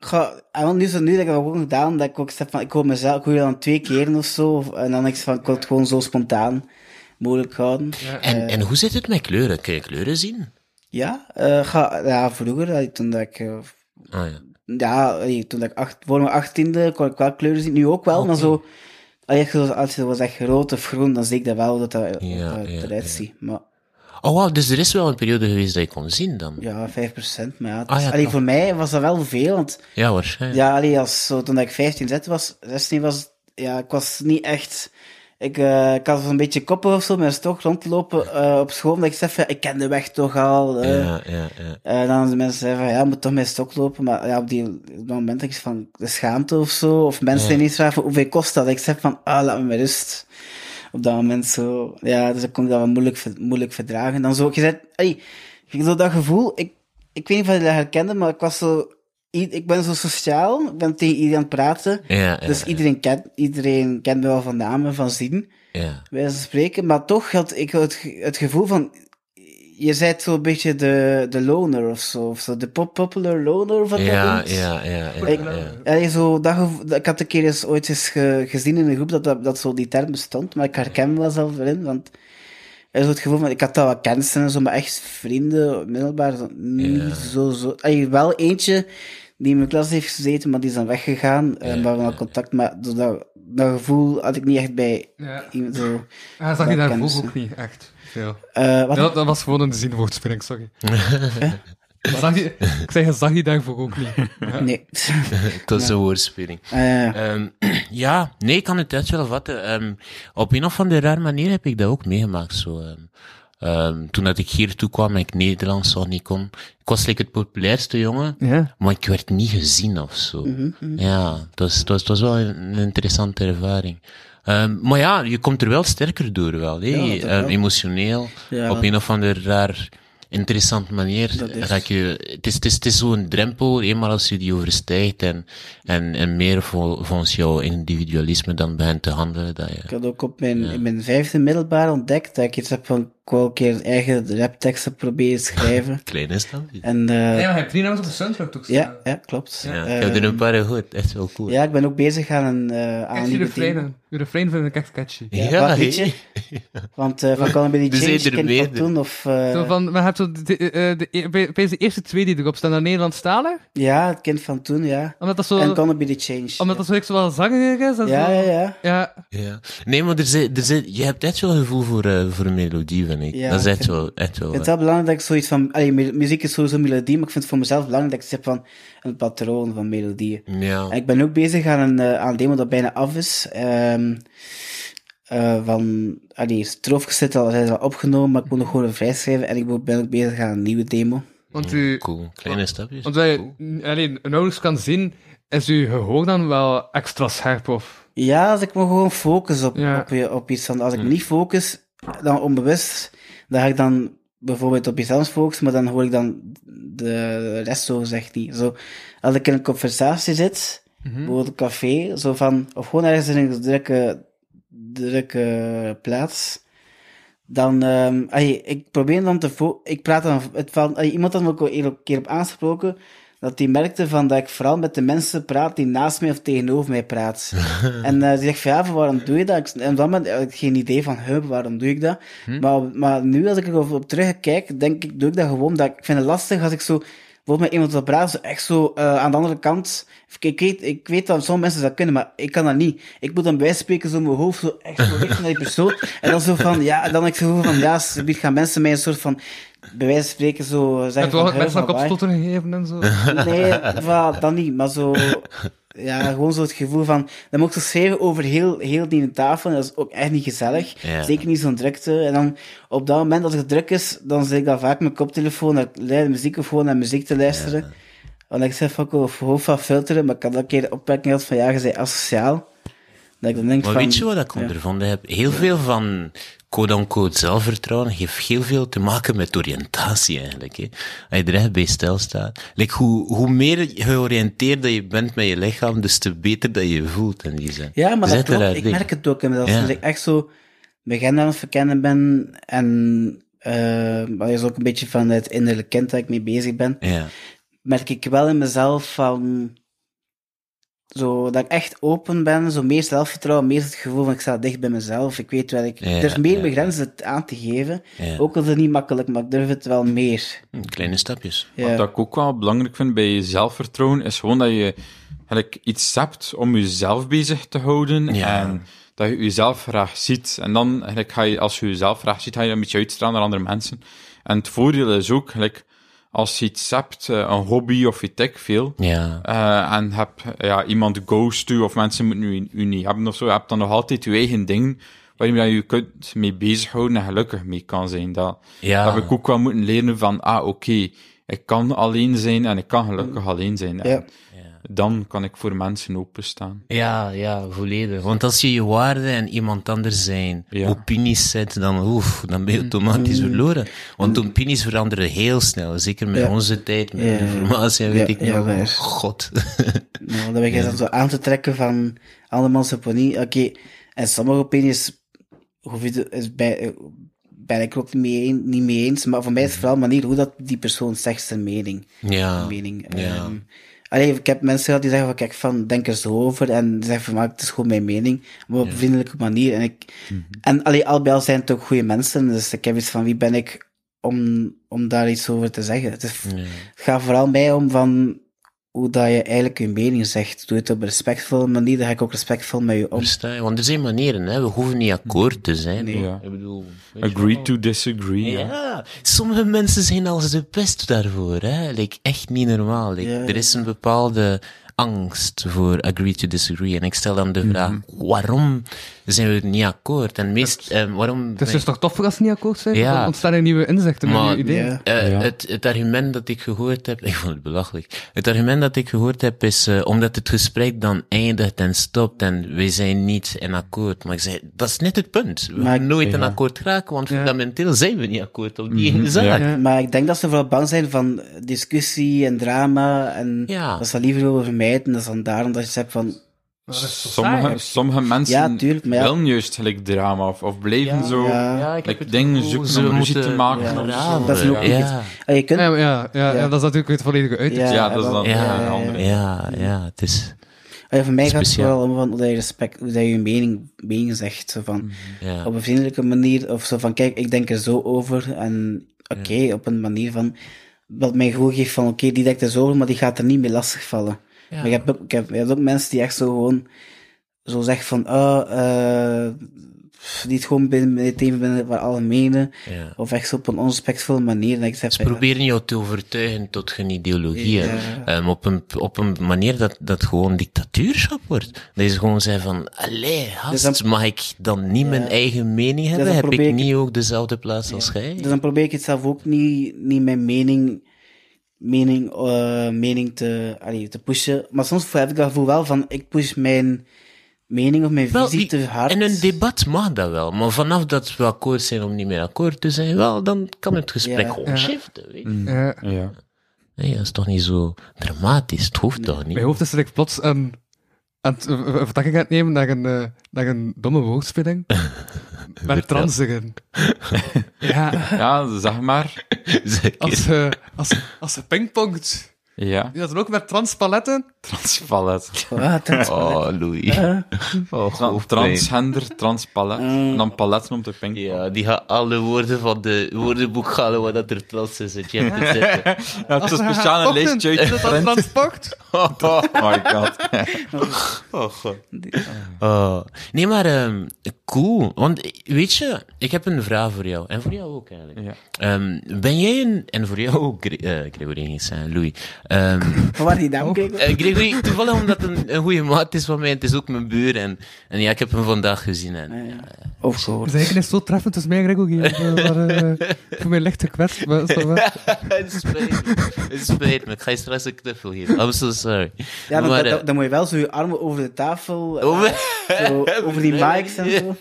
[SPEAKER 5] goh, en dan nu zo nu dat ik dat ook gedaan, dat ik ook zeg van, ik hoor mezelf, ik hoor je dan twee keren of zo. of- En dan ik zeg van, ik wil het gewoon zo spontaan mogelijk houden.
[SPEAKER 4] En, en hoe zit het met kleuren? Kun je kleuren zien?
[SPEAKER 5] Ja, eh, ga, ja vroeger, eh, toen dat ik, eh,
[SPEAKER 4] Ah ja.
[SPEAKER 5] ja, eh, toen dat ik acht, voor mijn achttiende kon ik wel kleuren zien, nu ook wel, maar zo, als je, als je was echt rood of groen, dan zie ik dat wel, dat dat eh,
[SPEAKER 4] Ja,
[SPEAKER 5] eh,
[SPEAKER 4] ja,
[SPEAKER 5] eruit
[SPEAKER 4] ja.
[SPEAKER 5] ziet. Maar
[SPEAKER 4] Oh wauw, dus er is wel een periode geweest dat je kon zien dan? Ja,
[SPEAKER 5] ja, 5%, maar ja, het
[SPEAKER 4] Ah,
[SPEAKER 5] is-
[SPEAKER 4] ja,
[SPEAKER 5] allee,
[SPEAKER 4] toch.
[SPEAKER 5] voor mij was dat wel veel, want
[SPEAKER 4] waarschijnlijk.
[SPEAKER 5] Ja, allee, als, zo, toen ik 15, zet was, 16 was, ja, ik was niet echt... Ik, eh, ik had zo'n beetje koppen of zo, maar is toch rondlopen eh, op school, omdat ik zei van, ik ken de weg toch al. eh.
[SPEAKER 4] ja, ja. ja.
[SPEAKER 5] En dan de mensen zeiden van, ja, je moet toch met stok lopen. Maar ja, op, die, op dat moment denk ik van, de schaamte of zo. Of mensen die niet vragen van, hoeveel kost dat? Ik zeg van, ah, laat me met rust. Op dat moment zo. Ja, dus ik kon dat wel moeilijk, ver- moeilijk verdragen. Dan zo, je zei, hey, zo dat gevoel, ik, ik weet niet of je dat herkende, maar ik was zo, i- ik ben zo sociaal, ik ben tegen iedereen aan het praten.
[SPEAKER 4] Ja, ja,
[SPEAKER 5] dus
[SPEAKER 4] ja.
[SPEAKER 5] iedereen kent, iedereen kent me wel van namen, van zien
[SPEAKER 4] ja.
[SPEAKER 5] wijze van spreken. Maar toch had ik het, ge- het gevoel van... Je bent zo'n beetje de, de loner of zo. Of zo de pop popular loner of wat
[SPEAKER 4] Ja,
[SPEAKER 5] dat is.
[SPEAKER 4] ja, ja, ja,
[SPEAKER 5] Ik,
[SPEAKER 4] ja.
[SPEAKER 5] allee, zo, dat gevo- dat- ik had een keer eens ooit eens ge- gezien in een groep dat, dat, dat zo die term bestond. Maar ik herken me wel zelf erin, want... Er is zo het gevoel van, ik had dat wel kennissen en zo, maar echt vrienden, middelbaar, zo, niet zo, zo. Allee, wel eentje die in mijn klas heeft gezeten, maar die is dan weggegaan. en we hadden wel contact, maar zo dat, dat gevoel had ik niet echt bij
[SPEAKER 3] Ja.
[SPEAKER 5] iemand zo.
[SPEAKER 3] Ja, dat zag je daarvoor
[SPEAKER 5] dat kennen ze.
[SPEAKER 3] ook niet echt veel.
[SPEAKER 5] Eh, wat?
[SPEAKER 3] Ja, dat was gewoon een zinwoordspeling, sorry. Zag je, ik zei, zag je daarvoor ook niet.
[SPEAKER 5] Nee.
[SPEAKER 4] Dat is een woordspeling.
[SPEAKER 5] Eh,
[SPEAKER 4] Ehm, ja, nee, ik kan het echt wel vatten. Ehm, op een of andere raar manier heb ik dat ook meegemaakt. Zo, ehm. Ehm, toen dat ik hier toe kwam en ik Nederlands nog niet kon. Ik was like, het populairste jongen,
[SPEAKER 3] Ja.
[SPEAKER 4] maar ik werd niet gezien of zo.
[SPEAKER 5] Mhm,
[SPEAKER 4] Ja, het was, het was, het was wel een, een interessante ervaring. Ehm, maar ja, je komt er wel sterker door wel. hè.
[SPEAKER 5] Ja, dat wel.
[SPEAKER 4] Ehm, emotioneel,
[SPEAKER 5] Ja.
[SPEAKER 4] op een of andere raar interessante manier.
[SPEAKER 5] Dat is-
[SPEAKER 4] ga ik je, het is, het is, het is zo'n drempel, eenmaal als je die overstijgt en, en, en meer vol- volgens jouw individualisme dan begint te handelen. Dat je,
[SPEAKER 5] ik had ook op mijn, in mijn vijfde middelbaar ontdekt dat ik iets heb van, ook wel een keer eigen rapteksten proberen te schrijven.
[SPEAKER 4] Klein is dat. niet.
[SPEAKER 5] En, eh,
[SPEAKER 3] Nee, maar je hebt drie nummers op de soundtrack toch?
[SPEAKER 5] ja, ja, klopt.
[SPEAKER 4] Ja,
[SPEAKER 5] Eh,
[SPEAKER 4] ik heb er een paar gehoord. Echt wel cool.
[SPEAKER 5] ja, ik ben ook bezig aan een, eh, aan
[SPEAKER 3] Catchy
[SPEAKER 5] een nieuwe ding.
[SPEAKER 3] refreinen. Uw refrein vind ik echt catchy.
[SPEAKER 5] Ja,
[SPEAKER 4] Ja,
[SPEAKER 5] wat
[SPEAKER 4] hè.
[SPEAKER 5] liedje? Want eh van Call Me
[SPEAKER 4] Er
[SPEAKER 5] Change
[SPEAKER 4] zijn er
[SPEAKER 5] kan ik dat
[SPEAKER 4] meerdere.
[SPEAKER 5] doen, of... eh,
[SPEAKER 3] Zo van, maar heb je hebt zo de, eh, de, eh, bij- bij de eerste twee die erop staan, dat Nederlandstalig?
[SPEAKER 5] Ja, het kind van toen, ja.
[SPEAKER 3] Omdat dat zo,
[SPEAKER 5] En Gonna Be The Change.
[SPEAKER 3] omdat dat zo, echt zo wel zangerig is. En
[SPEAKER 5] ja,
[SPEAKER 3] zo.
[SPEAKER 5] ja, ja.
[SPEAKER 3] Ja,
[SPEAKER 4] Ja. Nee, maar er zit, er zit, je hebt echt wel een gevoel voor, eh, voor een melodie, vind ik.
[SPEAKER 5] Ja,
[SPEAKER 4] dat is
[SPEAKER 5] ik
[SPEAKER 4] echt
[SPEAKER 5] vind-
[SPEAKER 4] wel... Echt wel eh,
[SPEAKER 5] Ik vind het wel belangrijk dat ik zoiets van... Allee, mu- muziek is sowieso melodie, maar ik vind het voor mezelf belangrijk dat ik zeg van een patroon van melodieën.
[SPEAKER 4] ja.
[SPEAKER 5] En ik ben ook bezig aan een, eh, aan een demo dat bijna af is. ehm, eh, van, allee, stroofjes zitten al, zijn al opgenomen, maar ik moet nog gewoon een vrijschrijven. En ik ben ook bezig aan een nieuwe demo.
[SPEAKER 3] want u...
[SPEAKER 4] Cool. Kleine stapjes.
[SPEAKER 3] Want wij alleen nauwelijks kan zien, is uw gehoor dan wel extra scherp of...
[SPEAKER 5] Ja, als ik me gewoon focus op,
[SPEAKER 3] Ja.
[SPEAKER 5] op, je- op iets. Want als ik me niet focus, dan onbewust, dan ga ik dan bijvoorbeeld op iets anders focussen, maar dan hoor ik dan de rest zo zegt niet. Zo, als ik in een conversatie zit, bijvoorbeeld een café, zo van, of gewoon ergens in een drukke, drukke plaats, dan, ehm allee, ik probeer dan te fo- ik praat dan, het van, allee, iemand had me ook al een keer op aangesproken, dat die merkte van dat ik vooral met de mensen praat die naast mij of tegenover mij praat. en eh, die zegt van, ja, van waarom doe je dat? Ik, en op dat moment had ik geen idee van, huh, waarom doe ik dat? Maar, maar nu als ik erover op terugkijk, denk ik, doe ik dat gewoon, dat ik vind het lastig als ik zo, bijvoorbeeld met iemand wil praten, zo echt zo, eh, aan de andere kant, ik, ik, weet, ik weet dat sommige mensen dat kunnen, maar ik kan dat niet. Ik moet dan bijspreken zo in mijn hoofd, zo echt zo richting naar die persoon. En dan zo van, ja, en dan ik zo van, ja, subiet gaan mensen mij een soort van, bij wijze van spreken zo zeggen
[SPEAKER 3] Heb je wel
[SPEAKER 5] van, huh,
[SPEAKER 3] mensen een
[SPEAKER 5] van waar?
[SPEAKER 3] kopstotter gegeven en zo?
[SPEAKER 4] Eh,
[SPEAKER 5] Nee, va, dat niet. Maar zo... Ja, gewoon zo het gevoel van... Dan moet ik zo schrijven over heel, heel die tafel. En dat is ook echt niet gezellig.
[SPEAKER 4] Ja.
[SPEAKER 5] Zeker niet zo'n drukte. En dan op dat moment, als het druk is, dan zet ik dan vaak mijn koptelefoon naar luide muziek of gewoon naar muziek te luisteren. Want ik zeg van, ik wil op hoofd van filteren, maar ik had dat een keer de opmerking gehad van, ja, je bent asociaal. Dat ik dan denk
[SPEAKER 4] Maar
[SPEAKER 5] van...
[SPEAKER 4] weet je wat ik ondervonden heb? Heel veel van quote-unquote zelfvertrouwen heeft heel veel te maken met oriëntatie eigenlijk. Hè? Als je er echt bij stilstaat. Like, hoe, hoe meer georiënteerd je bent met je lichaam, dus te beter dat je je voelt in die zin.
[SPEAKER 5] Ja,
[SPEAKER 4] is
[SPEAKER 5] maar dat
[SPEAKER 4] echt een
[SPEAKER 5] klopt.
[SPEAKER 4] raar
[SPEAKER 5] Ik
[SPEAKER 4] ding.
[SPEAKER 5] merk het ook inmiddels.
[SPEAKER 4] Ja.
[SPEAKER 5] Als ik echt zo begin aan het verkennen ben en... eh maar dat is ook een beetje van het innerlijke kind dat ik mee bezig ben.
[SPEAKER 4] Ja,
[SPEAKER 5] merk ik wel in mezelf van. Zo, dat ik echt open ben, zo meer zelfvertrouwen, meer het gevoel van ik sta dicht bij mezelf. Ik weet waar ik.
[SPEAKER 4] Ja,
[SPEAKER 5] er is meer
[SPEAKER 4] ja.
[SPEAKER 5] begrenzen het aan te geven.
[SPEAKER 4] Ja.
[SPEAKER 5] Ook al is het niet makkelijk, maar ik durf het wel meer.
[SPEAKER 4] Hm, kleine stapjes.
[SPEAKER 5] Ja,
[SPEAKER 2] Wat ik ook wel belangrijk vind bij je zelfvertrouwen, is gewoon dat je eigenlijk iets hebt om jezelf bezig te houden.
[SPEAKER 4] Ja.
[SPEAKER 2] En dat je jezelf graag ziet. En dan eigenlijk ga je, als je jezelf graag ziet, ga je dat een beetje uitstralen naar andere mensen. En het voordeel is ook, eigenlijk, als je iets hebt, eh, een hobby of je ik veel,
[SPEAKER 4] Ja.
[SPEAKER 2] eh, en heb ja, iemand ghost u of mensen moeten u, u niet hebben of zo, je hebt dan nog altijd je eigen ding waarin je je kunt mee bezighouden en gelukkig mee kan zijn. Dat,
[SPEAKER 4] Ja.
[SPEAKER 2] dat heb ik ook wel moeten leren van, ah, oké, ik kan alleen zijn en ik kan gelukkig alleen zijn. En
[SPEAKER 5] Ja.
[SPEAKER 2] Dan kan ik voor mensen openstaan.
[SPEAKER 4] Ja, ja, volledig. Want als je je waarde en iemand anders zijn
[SPEAKER 2] Ja.
[SPEAKER 4] opinies zet, dan, oef, dan ben
[SPEAKER 5] Mm.
[SPEAKER 4] je automatisch verloren. Want opinies veranderen heel snel. Zeker met
[SPEAKER 5] Ja.
[SPEAKER 4] onze tijd, met
[SPEAKER 5] Ja, ja, ja.
[SPEAKER 4] informatie en weet
[SPEAKER 5] Ja,
[SPEAKER 4] ik
[SPEAKER 5] ja,
[SPEAKER 4] nog.
[SPEAKER 5] waar.
[SPEAKER 4] Oh, God.
[SPEAKER 5] nou, dat begint dan zo aan te trekken van andermans opinie. Oké, en sommige opinies hoef je de- is bij, eh, ben ik ook niet mee, een- niet mee eens. Maar voor mij is het vooral de manier hoe dat die persoon zegt zijn mening.
[SPEAKER 4] ja.
[SPEAKER 5] mening.
[SPEAKER 4] Ah, Ja.
[SPEAKER 5] Ehm, allee, ik heb mensen gehad die zeggen van, kijk, van, denk er zo over. En die zeggen van, maar het is gewoon mijn mening. Maar op een vriendelijke manier. En, ik, en allee, al bij al zijn het ook goede mensen. Dus ik heb iets van, wie ben ik om, om daar iets over te zeggen? Het, is,
[SPEAKER 4] Ja.
[SPEAKER 5] het gaat vooral mij om van hoe dat je eigenlijk je mening zegt. Doe het op een respectvolle manier, dan ga ik ook respectvol met je om.
[SPEAKER 4] Versta je? Want er zijn manieren, hè. we hoeven niet akkoord te zijn.
[SPEAKER 5] Nee.
[SPEAKER 2] Ja.
[SPEAKER 4] Ik bedoel, weet je
[SPEAKER 2] Agree
[SPEAKER 4] wel.
[SPEAKER 2] to disagree.
[SPEAKER 4] Ja.
[SPEAKER 2] ja.
[SPEAKER 4] sommige mensen zijn als de pest daarvoor. Hè? Like, echt niet normaal. Like,
[SPEAKER 5] Ja, ja.
[SPEAKER 4] Er is een bepaalde angst voor agree to disagree. En ik stel dan
[SPEAKER 2] Mhm.
[SPEAKER 4] de vraag, waarom zijn we het niet akkoord? En meest, eh, waarom...
[SPEAKER 3] Het is dus toch toffer als ze niet akkoord zijn?
[SPEAKER 4] Ja.
[SPEAKER 3] Dan ontstaan er nieuwe inzichten,
[SPEAKER 4] Maar-
[SPEAKER 3] nieuwe ideeën.
[SPEAKER 5] Ja.
[SPEAKER 4] Eh,
[SPEAKER 2] Ja.
[SPEAKER 4] het, het argument dat ik gehoord heb, ik vond het belachelijk. Het argument dat ik gehoord heb is, eh, omdat het gesprek dan eindigt en stopt en we zijn niet in akkoord. Maar ik zei, dat is net het punt. We
[SPEAKER 5] Maar
[SPEAKER 4] gaan
[SPEAKER 5] ik-
[SPEAKER 4] nooit in akkoord geraken, want fundamenteel zijn we niet akkoord op die ene zaak.
[SPEAKER 2] Mhm. Ja.
[SPEAKER 5] Maar ik denk dat ze vooral bang zijn van discussie en drama. En
[SPEAKER 4] Ja.
[SPEAKER 5] dat ze dat liever willen vermijden. Dat is dan daarom dat je zegt van,
[SPEAKER 3] dat is zo saai,
[SPEAKER 2] Sommige,
[SPEAKER 3] eigenlijk.
[SPEAKER 2] sommige mensen
[SPEAKER 5] Ja, tuurlijk, maar ja.
[SPEAKER 2] willen juist gelijk drama of, of blijven zo
[SPEAKER 5] Ja.
[SPEAKER 4] ik heb
[SPEAKER 2] like,
[SPEAKER 4] het
[SPEAKER 2] dingen
[SPEAKER 4] gevoel,
[SPEAKER 2] zoeken
[SPEAKER 4] ze
[SPEAKER 2] om ruzie
[SPEAKER 4] moeten
[SPEAKER 2] te maken.
[SPEAKER 5] Ja,
[SPEAKER 2] of zo.
[SPEAKER 4] raven.
[SPEAKER 5] dat is ook niet
[SPEAKER 4] ja.
[SPEAKER 5] Ah, je kunt...
[SPEAKER 3] Ja, maar ja, ja, ja, dat is natuurlijk het volledige uit.
[SPEAKER 5] Ja,
[SPEAKER 2] Ja, dat is
[SPEAKER 5] wel.
[SPEAKER 2] dan
[SPEAKER 4] Ja,
[SPEAKER 2] eh, een
[SPEAKER 5] ja,
[SPEAKER 2] andere.
[SPEAKER 4] ja, ja, het is...
[SPEAKER 5] Ah, ja, voor mij gaat het
[SPEAKER 4] Speciaal.
[SPEAKER 5] vooral om van hoe dat je respect, hoe dat je je mening, mening zegt. Zo van,
[SPEAKER 4] Mhm. Ja.
[SPEAKER 5] Op een vriendelijke manier, of zo van, kijk, ik denk er zo over, en oké, op een manier van, wat mij gevoel geeft van, oké, die denkt er zo over, maar die gaat er niet mee lastigvallen. Maar je hebt, ook- ik heb, je hebt ook mensen die echt zo gewoon, zo zeggen van, ah, eh, pff, die het gewoon binnen, meteen binnen het algemene,
[SPEAKER 4] Ja.
[SPEAKER 5] of echt zo op een onrespectvolle manier, dat ik zeg,
[SPEAKER 4] Ze proberen jou te overtuigen tot hun ideologie. hè.
[SPEAKER 5] Ja.
[SPEAKER 4] Ehm, op, een, op een manier dat, dat gewoon dictatuurschap wordt. Dat ze gewoon zeggen van, allee,
[SPEAKER 5] Dus
[SPEAKER 4] gast,
[SPEAKER 5] dan- Dus
[SPEAKER 4] mag ik dan niet mijn eigen mening hebben?
[SPEAKER 5] dan
[SPEAKER 4] Heb ik
[SPEAKER 5] probeer ik-
[SPEAKER 4] niet ook dezelfde plaats als jij?
[SPEAKER 5] Dus dan probeer ik het zelf ook niet, niet mijn mening, mening, eh, mening te, allee, te pushen. Maar soms heb ik dat gevoel wel van, ik push mijn mening of mijn
[SPEAKER 4] Wel, die-
[SPEAKER 5] visie te hard.
[SPEAKER 4] In een debat mag dat wel, maar vanaf dat we akkoord zijn om niet meer akkoord te zijn, wel, dan kan het gesprek
[SPEAKER 5] Ja. Mhm.
[SPEAKER 4] gewoon
[SPEAKER 3] Ja.
[SPEAKER 4] shiften. Weet je.
[SPEAKER 3] Ja.
[SPEAKER 2] Ja.
[SPEAKER 4] Nee, dat is toch niet zo dramatisch, het hoeft toch niet.
[SPEAKER 3] Mijn hoofd is dat ik plots een, aan het, een vertakking aan het nemen naar een, eh, naar een domme woordspeling. Met transigen. ja,
[SPEAKER 2] ja, zeg maar.
[SPEAKER 4] Zeker.
[SPEAKER 3] als ze, als, als ze pingpongt.
[SPEAKER 2] Ja,
[SPEAKER 3] Die dat dan ook met transpaletten.
[SPEAKER 2] transpalet.
[SPEAKER 5] Ah, dat-
[SPEAKER 4] Oh, Louis.
[SPEAKER 2] Eh?
[SPEAKER 4] Oh,
[SPEAKER 2] Tra-
[SPEAKER 4] hoofdpijn.
[SPEAKER 2] Transhender, transpalet. En dan paletten om te pinken.
[SPEAKER 4] Ja, die gaat alle woorden van de woordenboek halen waar dat er plots in zit. Je hebt het zitten.
[SPEAKER 2] Ja, het is een speciale lijstje
[SPEAKER 3] Is dat dan
[SPEAKER 2] uit
[SPEAKER 3] transport?
[SPEAKER 2] Oh my god.
[SPEAKER 4] Oh. Nee, maar ehm, cool. Want eh, weet je, ik heb een vraag voor jou. En voor jou ook eigenlijk.
[SPEAKER 2] Ja.
[SPEAKER 4] Ehm, ben jij een... En voor jou ook, Gre- eh, Gregory, niet zijn, Louis. Ehm,
[SPEAKER 5] Van waar die naam kijkt?
[SPEAKER 4] Eh, Gregory, toevallig omdat het een, een goede maat is van mij. Het is ook mijn buur. En, en ja, ik heb hem vandaag gezien. En, ja, ja.
[SPEAKER 5] Of gehoord.
[SPEAKER 3] Zijn eigen is zo treffend tussen mij en Gregor. Maar eh, ik voel mij licht gekwetst. Maar, is dat wel-
[SPEAKER 4] het spijt me. Het spijt me. Ik ga je straks een knuffel geven. I'm so sorry.
[SPEAKER 5] Ja, dan,
[SPEAKER 4] maar,
[SPEAKER 5] dan,
[SPEAKER 4] eh, Oh,
[SPEAKER 5] dan moet je wel zo je armen over de tafel, eh,
[SPEAKER 4] Over-
[SPEAKER 5] zo, over die mics en zo.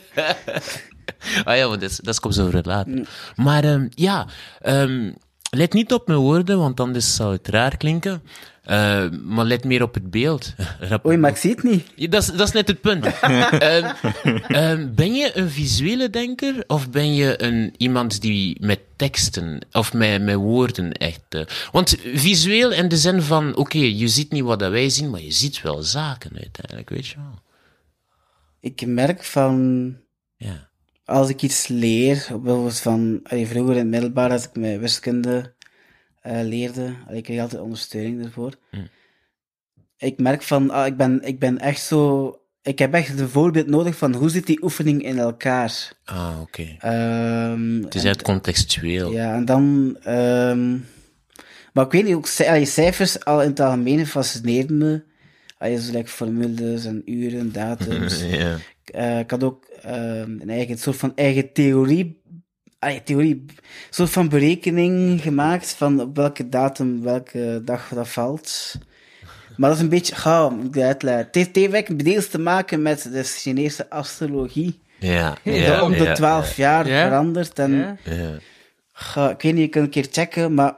[SPEAKER 4] Ah ja, want dat, is- dat komt zo over later. Maar ehm, ja, ehm, let niet op mijn woorden, want anders zou het raar klinken. Eh, maar let meer op het beeld. Rap-
[SPEAKER 5] Oei, maar ik zie het niet.
[SPEAKER 4] Ja, dat, is, dat is net het punt. Ehm, ehm, ben je een visuele denker of ben je een, iemand die met teksten of met, met woorden echt. eh, want visueel in de zin van: oké, je ziet niet wat dat wij zien, maar je ziet wel zaken uiteindelijk, weet je wel.
[SPEAKER 5] Ik merk van,
[SPEAKER 4] Ja.
[SPEAKER 5] als ik iets leer, bijvoorbeeld van allee, vroeger in het middelbaar, als ik mijn wiskunde eh, leerde, allee, ik kreeg altijd ondersteuning ervoor.
[SPEAKER 4] Mm.
[SPEAKER 5] Ik merk van, ah, ik, ben, ik ben echt zo, ik heb echt een voorbeeld nodig van hoe zit die oefening in elkaar.
[SPEAKER 4] Ah, oké.
[SPEAKER 5] Ehm,
[SPEAKER 4] Het is
[SPEAKER 5] en-
[SPEAKER 4] echt contextueel.
[SPEAKER 5] ja, en dan, ehm, maar ik weet niet, ook ci- allee, cijfers al in het algemeen fascineren me. Allee, zo like formules en uren, datums.
[SPEAKER 4] Ja.
[SPEAKER 5] Eh, ik had ook ehm, een eigen een soort van eigen theorie, ah, ja, theorie, een soort van berekening gemaakt van op welke datum, welke dag dat valt. Maar dat is een beetje gauw, moet ik dat uitleggen. Het heeft- het heeft eigenlijk deels te maken met de Chinese astrologie.
[SPEAKER 4] Ja, ja,
[SPEAKER 5] dat om de
[SPEAKER 4] ja,
[SPEAKER 5] 12 jaar
[SPEAKER 3] Ja.
[SPEAKER 5] verandert. En,
[SPEAKER 3] Ja.
[SPEAKER 4] ja.
[SPEAKER 5] Goh, ik weet niet, je kunt een keer checken, maar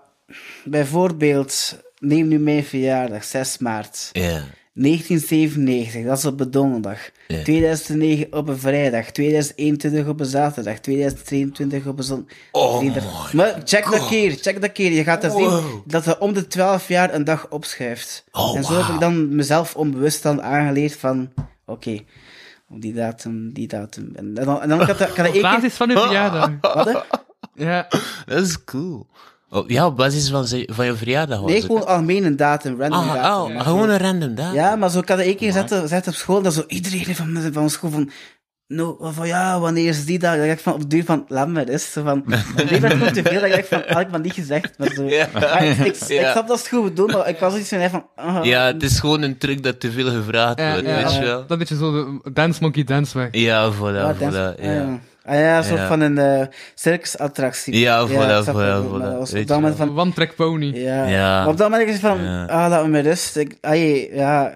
[SPEAKER 5] bijvoorbeeld, neem nu mijn verjaardag, 6 maart.
[SPEAKER 4] Ja,
[SPEAKER 5] 1997, dat is op een donderdag. 2009 op een vrijdag. 2021 op een zaterdag. 2023 op een zondag. maar check dat keer, check dat keer. Je gaat dan zien dat er om de 12 jaar een dag opschuift. en zo heb ik dan mezelf onbewust dan aangeleerd van, oké, op die datum, die datum. En dan, en dan kan dat, kan dat
[SPEAKER 3] Op
[SPEAKER 5] één keer...
[SPEAKER 3] basis van uw verjaardag.
[SPEAKER 5] Wat, hè?
[SPEAKER 3] Ja.
[SPEAKER 4] Dat is cool. Oh, ja, op basis van, ze- van je verjaardag was
[SPEAKER 5] Nee,
[SPEAKER 4] het.
[SPEAKER 5] gewoon algemeen een datum, random
[SPEAKER 4] Ah,
[SPEAKER 5] datum.
[SPEAKER 4] oh, gewoon een random dag.
[SPEAKER 5] Ja, maar zo kan ik één keer zetten, zetten op school, dat zo iedereen van, van onze school van, no, van ja, wanneer is die dag? Dat ik echt van, op de duur van, laat me rust. Zo Van, op die moment te veel, dat ik echt van, had ik maar niet gezegd. Maar zo. Ah, ik, ik, ik
[SPEAKER 4] Ja.
[SPEAKER 5] snap dat ze het goed bedoelen, maar ik was zoiets van, van ah,
[SPEAKER 4] Ja, het is gewoon een truc dat te veel gevraagd
[SPEAKER 3] Ja,
[SPEAKER 4] wordt,
[SPEAKER 3] ja.
[SPEAKER 4] weet je wel?
[SPEAKER 3] Dat een beetje zo de Dance Monkey Dance weg.
[SPEAKER 4] Ja,
[SPEAKER 5] ah,
[SPEAKER 4] voilà,
[SPEAKER 5] dans-
[SPEAKER 4] voilà,
[SPEAKER 5] ah,
[SPEAKER 4] ja.
[SPEAKER 5] ja. Ah ja, zo
[SPEAKER 4] Ja.
[SPEAKER 5] van een eh, circusattractie.
[SPEAKER 4] Ja, voilà,
[SPEAKER 5] ik snap
[SPEAKER 4] voilà,
[SPEAKER 5] dat goed,
[SPEAKER 4] voilà.
[SPEAKER 5] maar dat was
[SPEAKER 4] Weet
[SPEAKER 5] Op dat
[SPEAKER 4] je
[SPEAKER 5] moment van,
[SPEAKER 3] One Track Pony.
[SPEAKER 5] Ja.
[SPEAKER 4] Ja.
[SPEAKER 5] Maar op dat moment is het van,
[SPEAKER 4] Ja.
[SPEAKER 5] ah, laat me met rust. Ik, ah, jee, ja,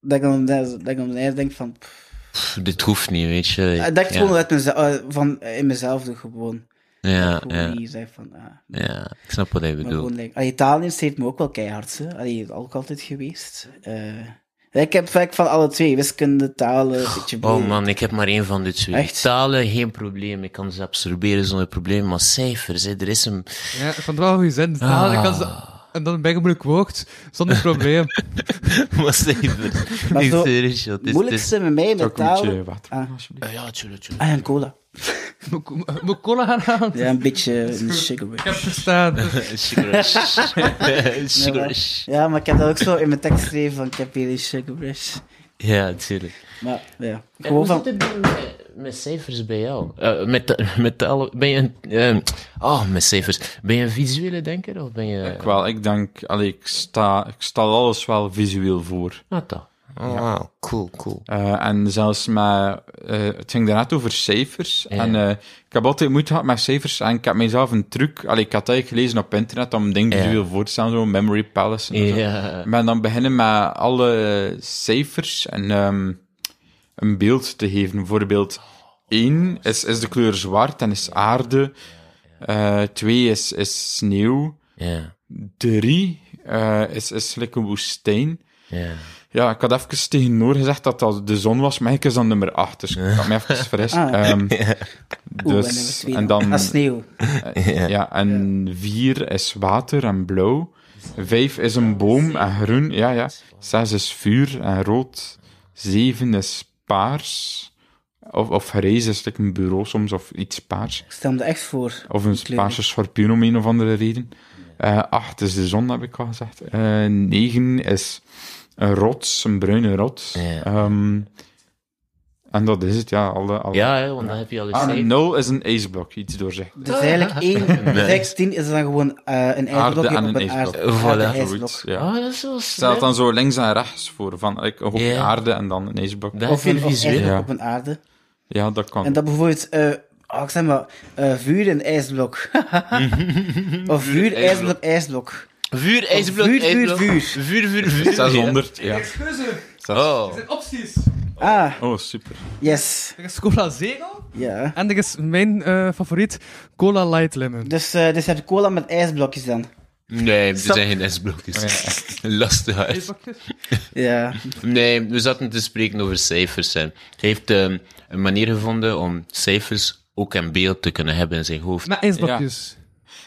[SPEAKER 5] dat ik om dat ik om denk van, pff.
[SPEAKER 4] Pff, dit hoeft niet, weet je.
[SPEAKER 5] Ah, dat ik het
[SPEAKER 4] ja.
[SPEAKER 5] gewoon uit mezelf, eh, van, eh, in mezelf doe gewoon.
[SPEAKER 4] Ja,
[SPEAKER 5] Gewoon
[SPEAKER 4] ja,
[SPEAKER 5] niet zeg van, ah,
[SPEAKER 4] ja. Ik snap wat hij
[SPEAKER 5] maar
[SPEAKER 4] bedoelt.
[SPEAKER 5] gewoon like, allee, Italië heeft me ook wel keihard, hè. Allee, dat is ook altijd geweest. Eh, Ik heb vaak van alle twee, wiskunde, talen, een beetje
[SPEAKER 4] Oh
[SPEAKER 5] boeien.
[SPEAKER 4] man, ik heb maar één van de twee.
[SPEAKER 5] Echt?
[SPEAKER 4] Talen, geen probleem. Ik kan ze absorberen zonder probleem. Maar cijfers, hè, er is een...
[SPEAKER 3] Ja, ik vond het wel een goede zin. Taal, ik kan ze- En dan een bijgemoeilijk woord, zonder probleem.
[SPEAKER 4] maar cijfers.
[SPEAKER 5] Maar
[SPEAKER 4] Niet
[SPEAKER 5] zo-
[SPEAKER 4] serieus, joh. Het is- het is-
[SPEAKER 5] Moeilijkste met mij met
[SPEAKER 2] Ook een
[SPEAKER 5] taal.
[SPEAKER 2] beetje water.
[SPEAKER 5] Ah.
[SPEAKER 2] alsjeblieft.
[SPEAKER 4] Ja, Ja, tuurlijk, tuurlijk.
[SPEAKER 5] Ah, en cola.
[SPEAKER 3] Moet ik- moet ik cola gaan halen?
[SPEAKER 5] Ja, een beetje een sugar rush.
[SPEAKER 3] Ik heb verstaan.
[SPEAKER 4] Cigarettes. Cigarettes.
[SPEAKER 5] Ja, maar ik heb dat ook zo in mijn tekst geschreven van ik heb hier een sugar rush.
[SPEAKER 4] Ja, tuurlijk.
[SPEAKER 5] Maar ja, gewoon van...
[SPEAKER 4] met, cijfers bij jou? Eh, met, met alle, ben je een... ehm, oh, met cijfers. Ben je een visuele denker of ben je...
[SPEAKER 2] Ik wel, ik denk, allee, ik, sta, ik sta alles wel visueel voor.
[SPEAKER 4] Wat dan? Oh, wauw. Cool, cool.
[SPEAKER 2] Eh, en zelfs met, eh, het ging daarnet over cijfers.
[SPEAKER 4] Ja.
[SPEAKER 2] En eh, ik heb altijd moeite gehad met cijfers. En ik heb mezelf een truc, allee, ik had dat eigenlijk gelezen op internet om dingen
[SPEAKER 4] Ja.
[SPEAKER 2] visueel voor te stellen, zo'n memory palace. En zo.
[SPEAKER 4] Ja.
[SPEAKER 2] Ik ben dan beginnen met alle cijfers en ehm, een beeld te geven. Bijvoorbeeld 1 is, is de kleur zwart en is aarde. 2 is, is sneeuw.
[SPEAKER 4] Ja.
[SPEAKER 2] 3 is, is like een woestijn.
[SPEAKER 4] Ja.
[SPEAKER 2] Ja, ik had even tegen Noor gezegd dat dat de zon was, maar ik is dan nummer 8, dus ik had me even verrist.
[SPEAKER 5] Ah.
[SPEAKER 2] Ehm,
[SPEAKER 5] Oeh, en nummer
[SPEAKER 2] dus,
[SPEAKER 5] twee
[SPEAKER 2] en dan...
[SPEAKER 5] Ah, sneeuw.
[SPEAKER 2] Ja, en vier is water en blauw. Vijf is een boom en groen. Ja, ja. Zes is vuur en rood. Zeven is paars. Of, of grijs is like een bureau soms, of iets paars.
[SPEAKER 5] Ik stel me dat echt voor.
[SPEAKER 2] Of een
[SPEAKER 5] Kleuren.
[SPEAKER 2] paarse schorpioen om een of andere reden. Eh acht is de zon, heb ik al gezegd. Eh negen is een rots, een bruine rots.
[SPEAKER 4] Ja.
[SPEAKER 2] Ehm, en dat is het, ja. Alle, alle...
[SPEAKER 4] Ja, hè, want dan heb je al eens
[SPEAKER 2] Ah,
[SPEAKER 4] cijfers.
[SPEAKER 2] en nul is een ijsblok, iets doorzicht.
[SPEAKER 5] Dus eigenlijk één, nee. 16 is dan gewoon eh, een
[SPEAKER 2] Aarde
[SPEAKER 5] ijsblokje
[SPEAKER 2] en
[SPEAKER 5] op
[SPEAKER 2] een
[SPEAKER 5] een aard-
[SPEAKER 2] ijsblok.
[SPEAKER 4] Voilà.
[SPEAKER 5] aarde
[SPEAKER 2] Zoiets,
[SPEAKER 5] ijsblok.
[SPEAKER 2] ja.
[SPEAKER 4] Oh, dat is wel
[SPEAKER 2] Staat
[SPEAKER 4] snel.
[SPEAKER 2] dan zo links en rechts voor, van ik, een hoop
[SPEAKER 4] Ja.
[SPEAKER 2] aarde en dan een ijsblok.
[SPEAKER 4] Dat
[SPEAKER 5] Of
[SPEAKER 4] heb
[SPEAKER 5] een
[SPEAKER 4] je
[SPEAKER 5] of ijsblok
[SPEAKER 4] visueel.
[SPEAKER 2] Ja.
[SPEAKER 5] op een aarde.
[SPEAKER 2] Ja, dat kan.
[SPEAKER 5] En dat bijvoorbeeld, eh oh, ik zeg maar, eh, vuur en ijsblok. of vuur, ijsblok, ijsblok.
[SPEAKER 4] Oh, Vuur, ijsblok,
[SPEAKER 5] Vuur, vuur,
[SPEAKER 4] ijsblok.
[SPEAKER 5] vuur.
[SPEAKER 4] Vuur, vuur, vuur.
[SPEAKER 2] 600, ja.
[SPEAKER 3] Excuses,
[SPEAKER 2] Zes.
[SPEAKER 4] Oh.
[SPEAKER 3] zijn opties.
[SPEAKER 5] Ah,
[SPEAKER 2] Oh, super.
[SPEAKER 5] yes.
[SPEAKER 3] Er is cola zero.
[SPEAKER 5] Ja.
[SPEAKER 3] En er is mijn eh, favoriet, cola light lemon.
[SPEAKER 5] Dus, eh dus heb je cola met ijsblokjes dan.
[SPEAKER 4] Nee, er
[SPEAKER 5] Stop.
[SPEAKER 4] zijn geen ijsblokjes. Lastig uit.
[SPEAKER 5] Ja.
[SPEAKER 4] Nee, we zaten te spreken over cijfers. Hè. Hij heeft ehm, een manier gevonden om cijfers ook in beeld te kunnen hebben in zijn hoofd.
[SPEAKER 3] Met ijsblokjes.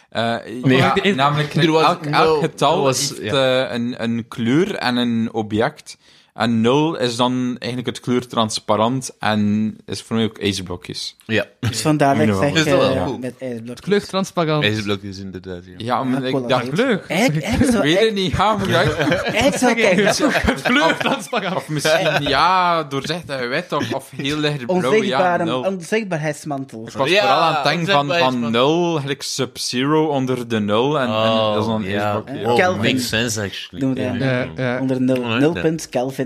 [SPEAKER 2] Eh,
[SPEAKER 4] Nee.
[SPEAKER 2] ja,
[SPEAKER 3] Er was-
[SPEAKER 2] namelijk,
[SPEAKER 4] er was
[SPEAKER 2] elk, elk
[SPEAKER 4] nul.
[SPEAKER 2] getal
[SPEAKER 4] Er was-
[SPEAKER 2] heeft
[SPEAKER 4] ja.
[SPEAKER 2] eh, een, een kleur en een object. En nul is dan eigenlijk het kleur transparant en is voor mij ook ijsblokjes.
[SPEAKER 4] Ja,
[SPEAKER 5] Dus vandaar dat ik
[SPEAKER 2] Minder
[SPEAKER 5] zeg
[SPEAKER 4] wel. Is dat wel
[SPEAKER 5] eh,
[SPEAKER 4] goed?
[SPEAKER 5] met ijsblokjes.
[SPEAKER 3] Kleurtransparant.
[SPEAKER 4] ijsblokjes inderdaad. Ja.
[SPEAKER 2] Ja, maar
[SPEAKER 5] Ja,
[SPEAKER 2] ik
[SPEAKER 5] cola.
[SPEAKER 2] dacht,
[SPEAKER 5] Ja.
[SPEAKER 3] Leuk.
[SPEAKER 5] Eigenlijk, eigenlijk
[SPEAKER 2] ik
[SPEAKER 5] zou
[SPEAKER 2] weet
[SPEAKER 5] ik,
[SPEAKER 2] het niet, ga maar uit.
[SPEAKER 5] eigenlijk zou ik eigenlijk
[SPEAKER 3] Kleurtransparant.
[SPEAKER 2] Of misschien, ja, doorzichtig wit of, of heel licht blauw. Ja,
[SPEAKER 5] onzichtbare,
[SPEAKER 2] nul.
[SPEAKER 5] onzichtbaarheidsmantel.
[SPEAKER 2] Ik was
[SPEAKER 4] Ja,
[SPEAKER 2] vooral aan het denken van,
[SPEAKER 4] onzichtbaar is
[SPEAKER 2] van
[SPEAKER 4] man.
[SPEAKER 2] nul, gelijk sub-zero onder de nul. En, en
[SPEAKER 3] Oh,
[SPEAKER 2] dat is dan een
[SPEAKER 4] ja.
[SPEAKER 2] ijsblokje.
[SPEAKER 4] Oh,
[SPEAKER 5] Kelvin.
[SPEAKER 4] makes sense, actually.
[SPEAKER 5] Doen we dat.
[SPEAKER 3] Ja,
[SPEAKER 4] Ja.
[SPEAKER 3] ja.
[SPEAKER 5] Onder nul,
[SPEAKER 4] Oh,
[SPEAKER 5] nul
[SPEAKER 4] ja.
[SPEAKER 5] punt, Kelvin.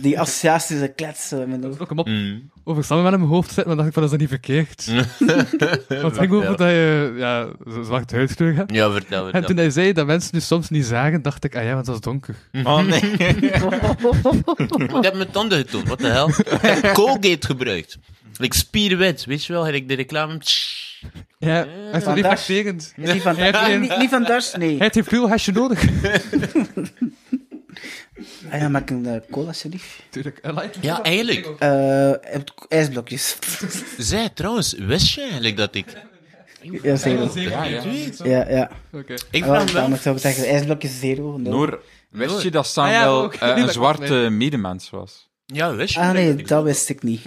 [SPEAKER 5] Die associaties ze kletsen eh, in mijn hoofd.
[SPEAKER 3] Ook hem op.
[SPEAKER 4] Mm.
[SPEAKER 3] Over samen met in mijn hoofd zitten, maar dacht ik van, dat is dat niet verkeerd? Want ik hoop
[SPEAKER 4] Ja.
[SPEAKER 3] dat je ja, zo- zwart huidskleur hebt.
[SPEAKER 4] Ja, vertel het
[SPEAKER 3] En toen
[SPEAKER 4] dan.
[SPEAKER 3] hij zei dat mensen nu soms niet zagen, dacht ik, ah ja, want dat is donker.
[SPEAKER 2] Oh nee.
[SPEAKER 4] Ik heb mijn tanden getoond, wat de hel. Ik heb Colgate gebruikt. Ik spierwit, weet je wel, ik de reclame. Tsch.
[SPEAKER 3] Ja, echt zo
[SPEAKER 5] Vandaag-
[SPEAKER 3] reflecterend.
[SPEAKER 5] Is die van
[SPEAKER 3] Hij heeft
[SPEAKER 5] Dars? Nee,
[SPEAKER 3] een-
[SPEAKER 5] niet, niet van Dars, nee.
[SPEAKER 3] Het heeft veel hesje nodig.
[SPEAKER 5] Ah ja, maak een eh, cola, alsjeblieft.
[SPEAKER 3] Tuurlijk. eh, light-
[SPEAKER 4] Ja, eigenlijk.
[SPEAKER 5] Eh, het- ijsblokjes.
[SPEAKER 4] Zij, trouwens, wist je eigenlijk dat ik...
[SPEAKER 5] ja, zero.
[SPEAKER 2] Ja, ja.
[SPEAKER 5] Ja, ja.
[SPEAKER 3] Oké.
[SPEAKER 4] Ik
[SPEAKER 5] Ah,
[SPEAKER 4] vraag me
[SPEAKER 5] dan
[SPEAKER 4] af-
[SPEAKER 5] moet ik zeggen, ijsblokjes zero. nul.
[SPEAKER 2] Noor, wist
[SPEAKER 4] Noor.
[SPEAKER 2] je dat Sam
[SPEAKER 3] Ah ja,
[SPEAKER 2] wel
[SPEAKER 3] ook.
[SPEAKER 2] eh,
[SPEAKER 3] Nee,
[SPEAKER 2] een
[SPEAKER 3] dat klopt,
[SPEAKER 2] zwarte medemens was?
[SPEAKER 4] Ja, wist je
[SPEAKER 5] Ah
[SPEAKER 4] eigenlijk
[SPEAKER 5] nee,
[SPEAKER 4] dat ik-
[SPEAKER 5] dat wist ik niet.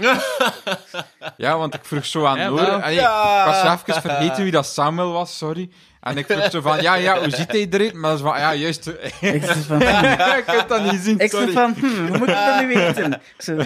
[SPEAKER 2] Ja, want ik vroeg zo aan
[SPEAKER 3] Ja,
[SPEAKER 2] Noor...
[SPEAKER 3] maar-
[SPEAKER 2] allee, Ik was even vergeten wie dat Samuel was, sorry. En ik vroeg zo van, ja, ja, hoe ziet hij erin? Maar dat is van, ja, juist...
[SPEAKER 5] Ik zei van, hm.
[SPEAKER 2] ik heb dat niet zien,
[SPEAKER 5] ik zei
[SPEAKER 2] sorry.
[SPEAKER 5] van, hm, hoe moet ik dat nu weten? Ik Zo,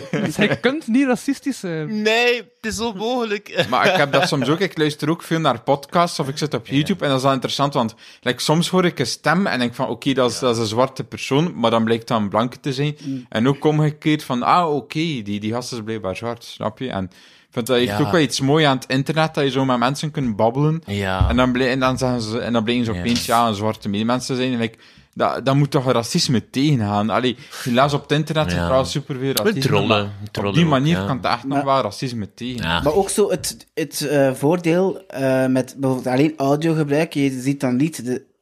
[SPEAKER 3] Je kunt niet racistisch zijn.
[SPEAKER 4] Nee, het is onmogelijk.
[SPEAKER 2] Maar ik heb dat soms ook. Ik luister ook veel naar podcasts of ik zit op YouTube. En dat is wel interessant, want like, soms hoor ik een stem en denk van, oké, dat, is dat is een zwarte persoon, maar dan blijkt dat een blanke te zijn.
[SPEAKER 4] Mm.
[SPEAKER 2] En ook omgekeerd van, ah, oké, die, die gast is blijkbaar zwart, snap je? En ik vind dat echt
[SPEAKER 4] Ja.
[SPEAKER 2] ook wel iets moois aan het internet, dat je zo met mensen kunt babbelen.
[SPEAKER 4] Ja.
[SPEAKER 2] En dan, blij- en dan, zeggen ze, en dan blijken ze
[SPEAKER 4] Ja.
[SPEAKER 2] opeens, ja, een zwarte medemens te zijn. En like, dat, dat moet toch racisme tegengaan? Allee, helaas op het internet zijn
[SPEAKER 4] Ja.
[SPEAKER 2] trouwens superveel racisme.
[SPEAKER 4] trollen,
[SPEAKER 2] maar op
[SPEAKER 4] trollen
[SPEAKER 2] die
[SPEAKER 4] ook,
[SPEAKER 2] manier
[SPEAKER 4] ja.
[SPEAKER 2] kan het echt nog
[SPEAKER 5] Maar-
[SPEAKER 2] wel racisme tegen.
[SPEAKER 4] Ja.
[SPEAKER 5] Maar ook zo het, het eh, voordeel eh, met bijvoorbeeld alleen audio gebruiken. Je ziet dan niet de,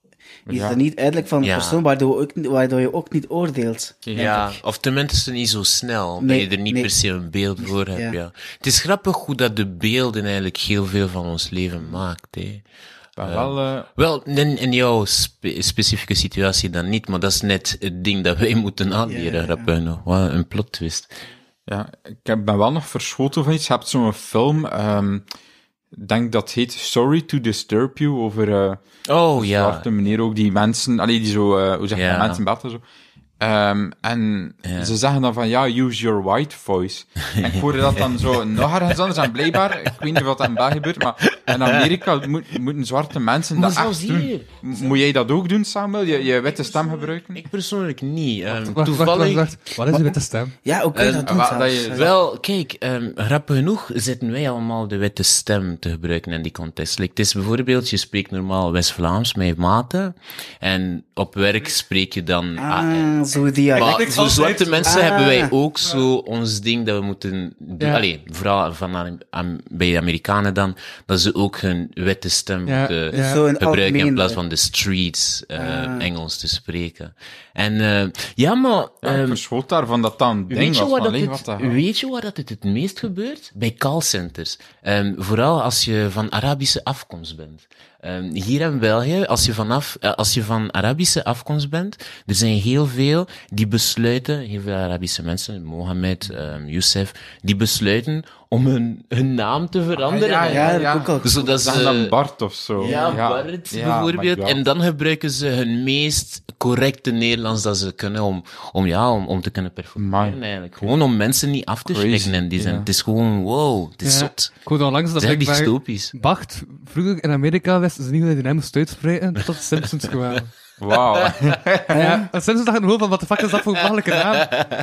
[SPEAKER 5] Je
[SPEAKER 2] Ja.
[SPEAKER 5] is er niet duidelijk van de
[SPEAKER 4] Ja.
[SPEAKER 5] persoon, waardoor, ook, niet- waardoor je ook niet oordeelt.
[SPEAKER 4] Ja, of tenminste niet zo snel, omdat
[SPEAKER 5] Nee,
[SPEAKER 4] je er niet
[SPEAKER 5] nee.
[SPEAKER 4] per se een beeld voor hebt. Ja.
[SPEAKER 5] Ja.
[SPEAKER 4] Het is grappig hoe dat de beelden eigenlijk heel veel van ons leven maakt. Hè.
[SPEAKER 2] ben wel... eh,
[SPEAKER 4] Wel, in, in jouw spe- specifieke situatie dan niet, maar dat is net het ding dat wij moeten aanleren, grappig nog. Wat een plot twist.
[SPEAKER 2] Ja, ik heb- ben wel nog verschoten van iets. Je hebt zo'n film, ehm, ik denk dat heet Sorry to Disturb You, over eh
[SPEAKER 4] Oh
[SPEAKER 2] een
[SPEAKER 4] ja,
[SPEAKER 2] zwarte meneer ook, die mensen, allee, die zo, eh, hoe zeg je,
[SPEAKER 4] Ja.
[SPEAKER 2] mensen in bed en zo. Ehm, en ze zeggen dan van, ja, use your white voice. En ik hoorde dat dan zo nog ergens anders, en blijkbaar, ik weet niet wat dat in België gebeurt, maar in Amerika moet- moeten zwarte mensen
[SPEAKER 4] Maar
[SPEAKER 2] dat
[SPEAKER 4] zelfs
[SPEAKER 2] echt doen.
[SPEAKER 4] hier.
[SPEAKER 2] M- Moet jij dat ook doen, Samuel? Je, je witte stem gebruiken?
[SPEAKER 4] ik persoonlijk niet. Ehm,
[SPEAKER 3] Wacht, wacht,
[SPEAKER 4] toevallig... Eh,
[SPEAKER 3] wacht, wacht. Wat is er met de stem?
[SPEAKER 5] Ja, ook kun je dat doen
[SPEAKER 2] Eh, wa- dat
[SPEAKER 5] zelfs.
[SPEAKER 2] je-
[SPEAKER 4] Wel, kijk, ehm grappig genoeg zitten wij allemaal de witte stem te gebruiken in die context. Like, het is bijvoorbeeld, je spreekt normaal West-Vlaams met maten, en op werk spreek je dan AR.
[SPEAKER 5] Ah, zo dialect.
[SPEAKER 4] Maar voor zwarte mensen
[SPEAKER 5] Ah.
[SPEAKER 4] hebben wij ook zo ons ding dat we moeten doen.
[SPEAKER 3] Ja.
[SPEAKER 4] Allee, vooral van aan- aan- bij de Amerikanen dan, dat ze ook hun witte stem
[SPEAKER 3] Ja,
[SPEAKER 4] moeten
[SPEAKER 3] ja.
[SPEAKER 5] Zo in
[SPEAKER 4] gebruiken in
[SPEAKER 5] algemeen,
[SPEAKER 4] plaats
[SPEAKER 5] hè. Ah.
[SPEAKER 4] van de streets eh, Engels te spreken. En eh, ja, maar...
[SPEAKER 2] Ja, ik
[SPEAKER 4] ehm,
[SPEAKER 2] verschoot daarvan dat dat een ding
[SPEAKER 4] Weet je,
[SPEAKER 2] was.
[SPEAKER 4] waar
[SPEAKER 2] van,
[SPEAKER 4] dat
[SPEAKER 2] allee,
[SPEAKER 4] het,
[SPEAKER 2] wat de hel.
[SPEAKER 4] weet je waar dat het het meest gebeurt? Bij callcenters. Ehm, vooral als je van Arabische afkomst bent. Ehm, hier in België, als je, vanaf, eh, als je van Arabische afkomst bent, er zijn heel veel die besluiten, heel veel Arabische mensen, Mohammed, ehm Youssef, die besluiten om hun, hun naam te veranderen. Dus
[SPEAKER 2] Ah,
[SPEAKER 5] Ja, dat heb ik
[SPEAKER 2] Ja.
[SPEAKER 5] ook al gezien.
[SPEAKER 4] Zodat ze...
[SPEAKER 2] Zeg dan Bart of zo.
[SPEAKER 4] eh, Ja, Bart
[SPEAKER 2] Ja,
[SPEAKER 4] bijvoorbeeld.
[SPEAKER 2] maar ja.
[SPEAKER 4] En dan gebruiken ze hun meest correcte Nederlands dat ze kunnen om, om, ja, om, om te kunnen performeren
[SPEAKER 2] Amai.
[SPEAKER 4] eigenlijk. Gewoon om mensen niet af te
[SPEAKER 2] Crazy,
[SPEAKER 4] schrikken in die zin.
[SPEAKER 2] ja.
[SPEAKER 4] Het is gewoon, wow, het is
[SPEAKER 3] Ja.
[SPEAKER 4] zot.
[SPEAKER 3] Ik hoorde onlangs dat
[SPEAKER 4] Het is echt
[SPEAKER 3] blijkbaar
[SPEAKER 4] dystopisch.
[SPEAKER 3] Bacht vroeger in Amerika wist ze niet hoe hij die naam moest uitspreken tot de Simpsons kwamen.
[SPEAKER 2] Wauw.
[SPEAKER 3] Ja, de Simpsons dachten gewoon van, wat de fuck is dat voor een belachelijke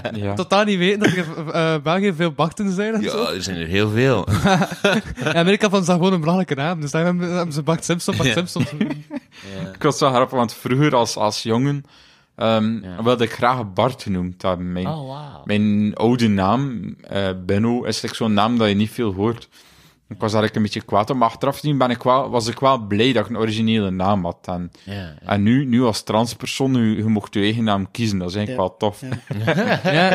[SPEAKER 3] naam?
[SPEAKER 2] ja.
[SPEAKER 3] Totaal niet weten dat er in eh, België veel Bachten zijn en zo.
[SPEAKER 4] Ja, er zijn er heel veel.
[SPEAKER 3] In Amerika vonden ze dat gewoon een belachelijke naam, dus daar hebben hebben ze Bacht Simpson, Bacht
[SPEAKER 4] Ja.
[SPEAKER 3] Simpson.
[SPEAKER 2] Ik was wel grappig, want vroeger als, als jongen ehm,
[SPEAKER 4] Ja.
[SPEAKER 2] wilde ik graag Bart genoemd hebben. Mijn,
[SPEAKER 4] Oh, wow.
[SPEAKER 2] mijn oude naam, eh Benno, is like zo'n naam dat je niet veel hoort. Ik was eigenlijk een beetje kwaad op, maar achteraf gezien ben ik wel, was ik wel blij dat ik een originele naam had. En,
[SPEAKER 4] Ja.
[SPEAKER 2] en nu, nu als transpersoon, je, je mocht je eigen naam kiezen, dat is eigenlijk wel tof.
[SPEAKER 3] Ja,
[SPEAKER 2] Ja,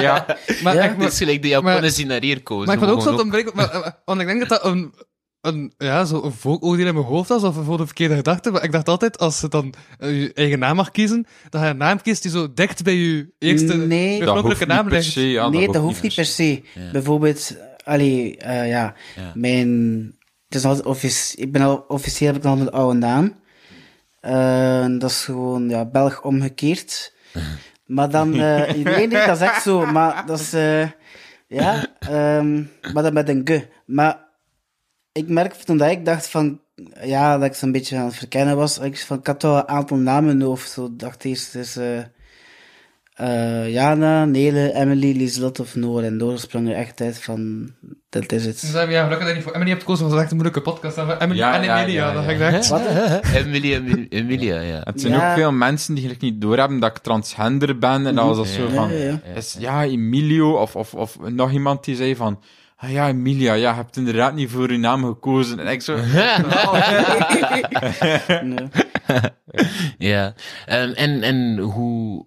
[SPEAKER 2] ja.
[SPEAKER 3] Maar, echt,
[SPEAKER 4] Het
[SPEAKER 3] maar,
[SPEAKER 4] is gelijk de
[SPEAKER 3] maar-
[SPEAKER 4] Japanen die naar hier komen.
[SPEAKER 3] maar
[SPEAKER 2] Dus
[SPEAKER 3] ik
[SPEAKER 4] Ze
[SPEAKER 3] vond ook zo dat
[SPEAKER 4] mogen
[SPEAKER 3] een break, maar, eh, want ik denk dat dat een, een, ja, zo een vooroordeel in mijn hoofd was, of voor de verkeerde gedachte, maar ik dacht altijd, als ze dan eh, je eigen naam mag kiezen, dat je een naam kiest die zo dicht bij je eerste
[SPEAKER 5] Nee.
[SPEAKER 2] Dat hoeft
[SPEAKER 3] oorspronkelijke
[SPEAKER 2] niet
[SPEAKER 3] naam
[SPEAKER 2] per
[SPEAKER 3] ligt.
[SPEAKER 2] se. Ja,
[SPEAKER 5] nee, dat hoeft niet per se. Bijvoorbeeld, allee, eh, ja, mijn... Het is nog altijd offici- ik ben al, officieel heb ik nog mijn oude naam. Eh, dat is gewoon, ja, Belg omgekeerd. Maar dan, eh, nee, nee, dat is echt zo, maar dat is, eh, ja, ehm, maar dan met een ge. Maar ik merk toen dat ik dacht van, ja, dat ik zo'n beetje aan het verkennen was. Ik, van, ik had wel een aantal namen in mijn hoofd. Zo Ik dacht eerst, het is eh, eh, Jana, Nele, Emily, Lieslot of Noor. En Noor sprong er echt uit van, dat is
[SPEAKER 3] Dus
[SPEAKER 5] het.
[SPEAKER 3] hebben ja, gelukkig dat je niet voor Emily hebt gekozen, want dat is echt een moeilijke podcast. En we- Emily
[SPEAKER 2] Ja,
[SPEAKER 3] en
[SPEAKER 2] ja,
[SPEAKER 3] Emilia,
[SPEAKER 2] ja,
[SPEAKER 3] dat
[SPEAKER 2] ja.
[SPEAKER 3] heb ik dacht.
[SPEAKER 5] Wat?
[SPEAKER 4] Emilia, Emi- Emilia, ja.
[SPEAKER 2] Het zijn
[SPEAKER 5] Ja.
[SPEAKER 2] ook veel mensen die eigenlijk niet doorhebben dat ik transgender ben. En dat was dat zo van...
[SPEAKER 5] ja, ja.
[SPEAKER 2] Is, ja, Emilio, of, of, of nog iemand die zei van... Ah ja, Emilia, ja, je hebt inderdaad niet voor je naam gekozen. En ik zo...
[SPEAKER 5] Nee.
[SPEAKER 4] Ja, Ehm, en, en hoe,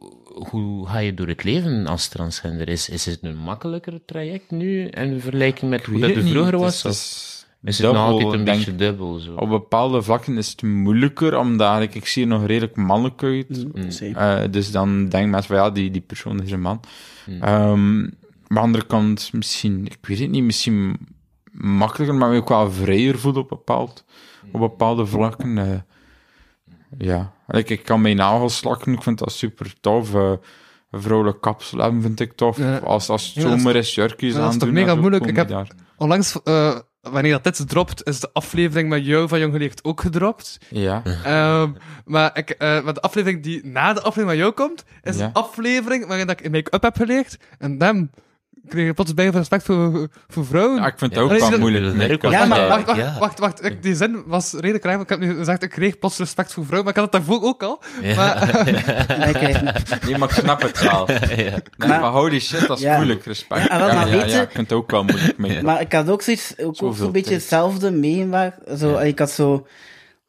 [SPEAKER 4] hoe ga je door het leven als transgender? Is, is het een makkelijker traject nu in vergelijking met hoe dat het vroeger was? of
[SPEAKER 2] dus
[SPEAKER 4] is het nog altijd een beetje dubbel? Zo?
[SPEAKER 2] Op bepaalde vlakken is het moeilijker, omdat eigenlijk- ik zie er nog redelijk mannelijk uit.
[SPEAKER 5] Zeker.
[SPEAKER 2] Eh, dus dan denken mensen van ja, die, die persoon is een man. Ehm, maar aan de andere kant, misschien, ik weet het niet, misschien makkelijker, maar ook wel vrijer voelen op, bepaald, op bepaalde vlakken. eh. ja, Like, ik kan mijn nagels lakken, ik vind dat super tof. eh, een vrouwelijke kapsel hebben vind ik tof.
[SPEAKER 3] Ja.
[SPEAKER 2] Als, als het
[SPEAKER 3] Ja, dat is
[SPEAKER 2] zomer is, jurkjes
[SPEAKER 3] maar dat is
[SPEAKER 2] aan
[SPEAKER 3] toch mega moeilijk? Ik heb-
[SPEAKER 2] Daar.
[SPEAKER 3] Onlangs, eh, wanneer dat dit dropt, is de aflevering met jou van Jong Geleerd ook gedropt.
[SPEAKER 2] Ja.
[SPEAKER 3] Ehm, maar, ik, eh, maar de aflevering die na de aflevering van jou komt, is
[SPEAKER 2] Ja.
[SPEAKER 3] een aflevering waarin dat ik in make-up heb geleerd. En dan kreeg ik plots bij respect voor, voor vrouwen.
[SPEAKER 2] Ja, Ah, ik vind
[SPEAKER 4] Ja.
[SPEAKER 2] het ook
[SPEAKER 3] Allee,
[SPEAKER 2] wel
[SPEAKER 3] zie dat-
[SPEAKER 2] moeilijk.
[SPEAKER 4] Merk
[SPEAKER 2] Ik-
[SPEAKER 4] wat
[SPEAKER 5] Ja, maar
[SPEAKER 4] jij-
[SPEAKER 3] Wacht, wacht,
[SPEAKER 4] ja.
[SPEAKER 3] wacht, wacht. Ik, die zin was redelijk raar, want ik heb nu gezegd, ik kreeg plots respect voor vrouwen, maar ik had dat daarvoor ook al.
[SPEAKER 4] Ja.
[SPEAKER 3] Maar,
[SPEAKER 5] Nee, kijk.
[SPEAKER 2] Nee, maar ik snap het wel.
[SPEAKER 4] Ja.
[SPEAKER 2] Nee,
[SPEAKER 5] Maar-
[SPEAKER 2] maar holy shit, dat is
[SPEAKER 5] Ja.
[SPEAKER 2] moeilijk, respect.
[SPEAKER 5] Ja, wel, maar
[SPEAKER 2] ja,
[SPEAKER 5] weet je-
[SPEAKER 2] ik vind het ook wel moeilijk. mee.
[SPEAKER 5] Maar ik had ook zoiets, ook, ook
[SPEAKER 2] Zoveel
[SPEAKER 5] zo'n beetje
[SPEAKER 2] tijd.
[SPEAKER 5] hetzelfde meegemaakt. Zo, Ik had zo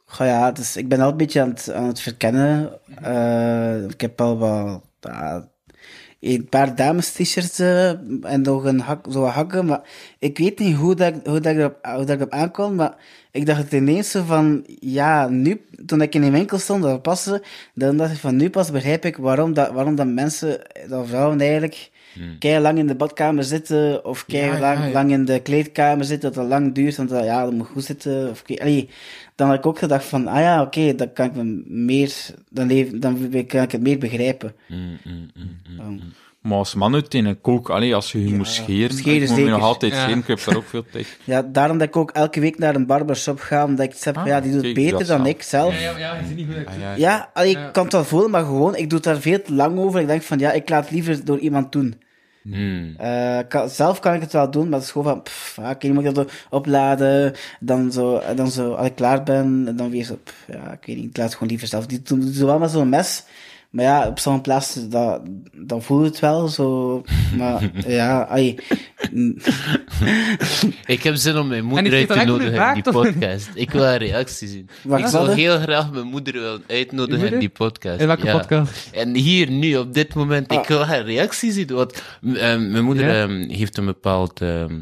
[SPEAKER 5] Goh ja, dus ik ben al een beetje aan het, aan het verkennen. Eh, ik heb al wel ah, een paar dames t-shirts eh, en nog een hak, zo wat hakken, maar ik weet niet hoe dat, ik- hoe dat ik erop, hoe dat ik erop aankwam, maar ik dacht ineens zo van, ja, nu, toen ik in een winkel stond, dat passen, dan dacht ik van, nu pas begrijp ik waarom dat, waarom dat mensen, dat vrouwen eigenlijk, kei lang in de badkamer zitten, of kei lang, lang in de kleedkamer zitten, dat dat lang duurt, want dat, ja, dat moet goed zitten, of kei- allee, dan had ik ook gedacht van, ah ja, oké, dan kan ik me meer, dan, leef, dan kan ik het meer begrijpen.
[SPEAKER 2] Maar als man uiteindelijk ook, allee, als je je moest scheren,
[SPEAKER 5] scheren
[SPEAKER 2] ik moet me nog
[SPEAKER 5] zeker.
[SPEAKER 2] altijd
[SPEAKER 3] Ja.
[SPEAKER 2] scheren, ik heb daar ook veel tijd.
[SPEAKER 5] Ja, daarom dat ik ook elke week naar een barbershop ga, omdat ik zeg, van, ja, die doet
[SPEAKER 2] kijk,
[SPEAKER 5] beter
[SPEAKER 2] dat
[SPEAKER 5] dan
[SPEAKER 2] snap
[SPEAKER 5] ik zelf.
[SPEAKER 3] Ja, Ah, ja, je ziet niet hoe ik...
[SPEAKER 2] ja.
[SPEAKER 5] Ja, allee, ik kan het wel voelen, maar gewoon, ik doe het daar veel te lang over. Ik denk van, ja, ik laat het liever door iemand doen. Eh, kan- zelf kan ik het wel doen, maar het is gewoon van, pff, oké, nu moet ik dat opladen, dan zo, en dan zo, als ik klaar ben, dan weer zo, pff, ja, ik weet niet, ik laat het gewoon liever zelf. Die doen zo wel met zo'n mes, maar ja, op zo'n plaats, dat, dan voel je het wel, zo, maar ja, allee,
[SPEAKER 4] Ik heb zin om mijn
[SPEAKER 3] En
[SPEAKER 4] moeder
[SPEAKER 3] die
[SPEAKER 4] uit
[SPEAKER 3] zit
[SPEAKER 4] te
[SPEAKER 3] dan echt
[SPEAKER 4] nodigen in die
[SPEAKER 3] in de baak, toch?
[SPEAKER 4] podcast. Ik wil haar reactie zien.
[SPEAKER 5] Wacht,
[SPEAKER 4] ik
[SPEAKER 5] wat,
[SPEAKER 4] zou
[SPEAKER 5] hè?
[SPEAKER 4] heel graag mijn moeder willen
[SPEAKER 3] Je
[SPEAKER 4] uitnodigen in
[SPEAKER 3] moeder?
[SPEAKER 4] die podcast.
[SPEAKER 3] In welke
[SPEAKER 4] ja.
[SPEAKER 3] podcast?
[SPEAKER 4] En hier, nu, op dit moment,
[SPEAKER 5] Ah.
[SPEAKER 4] ik wil haar reactie zien. Want m, ehm, mijn moeder
[SPEAKER 3] Ja?
[SPEAKER 4] ehm, heeft een bepaald... ehm,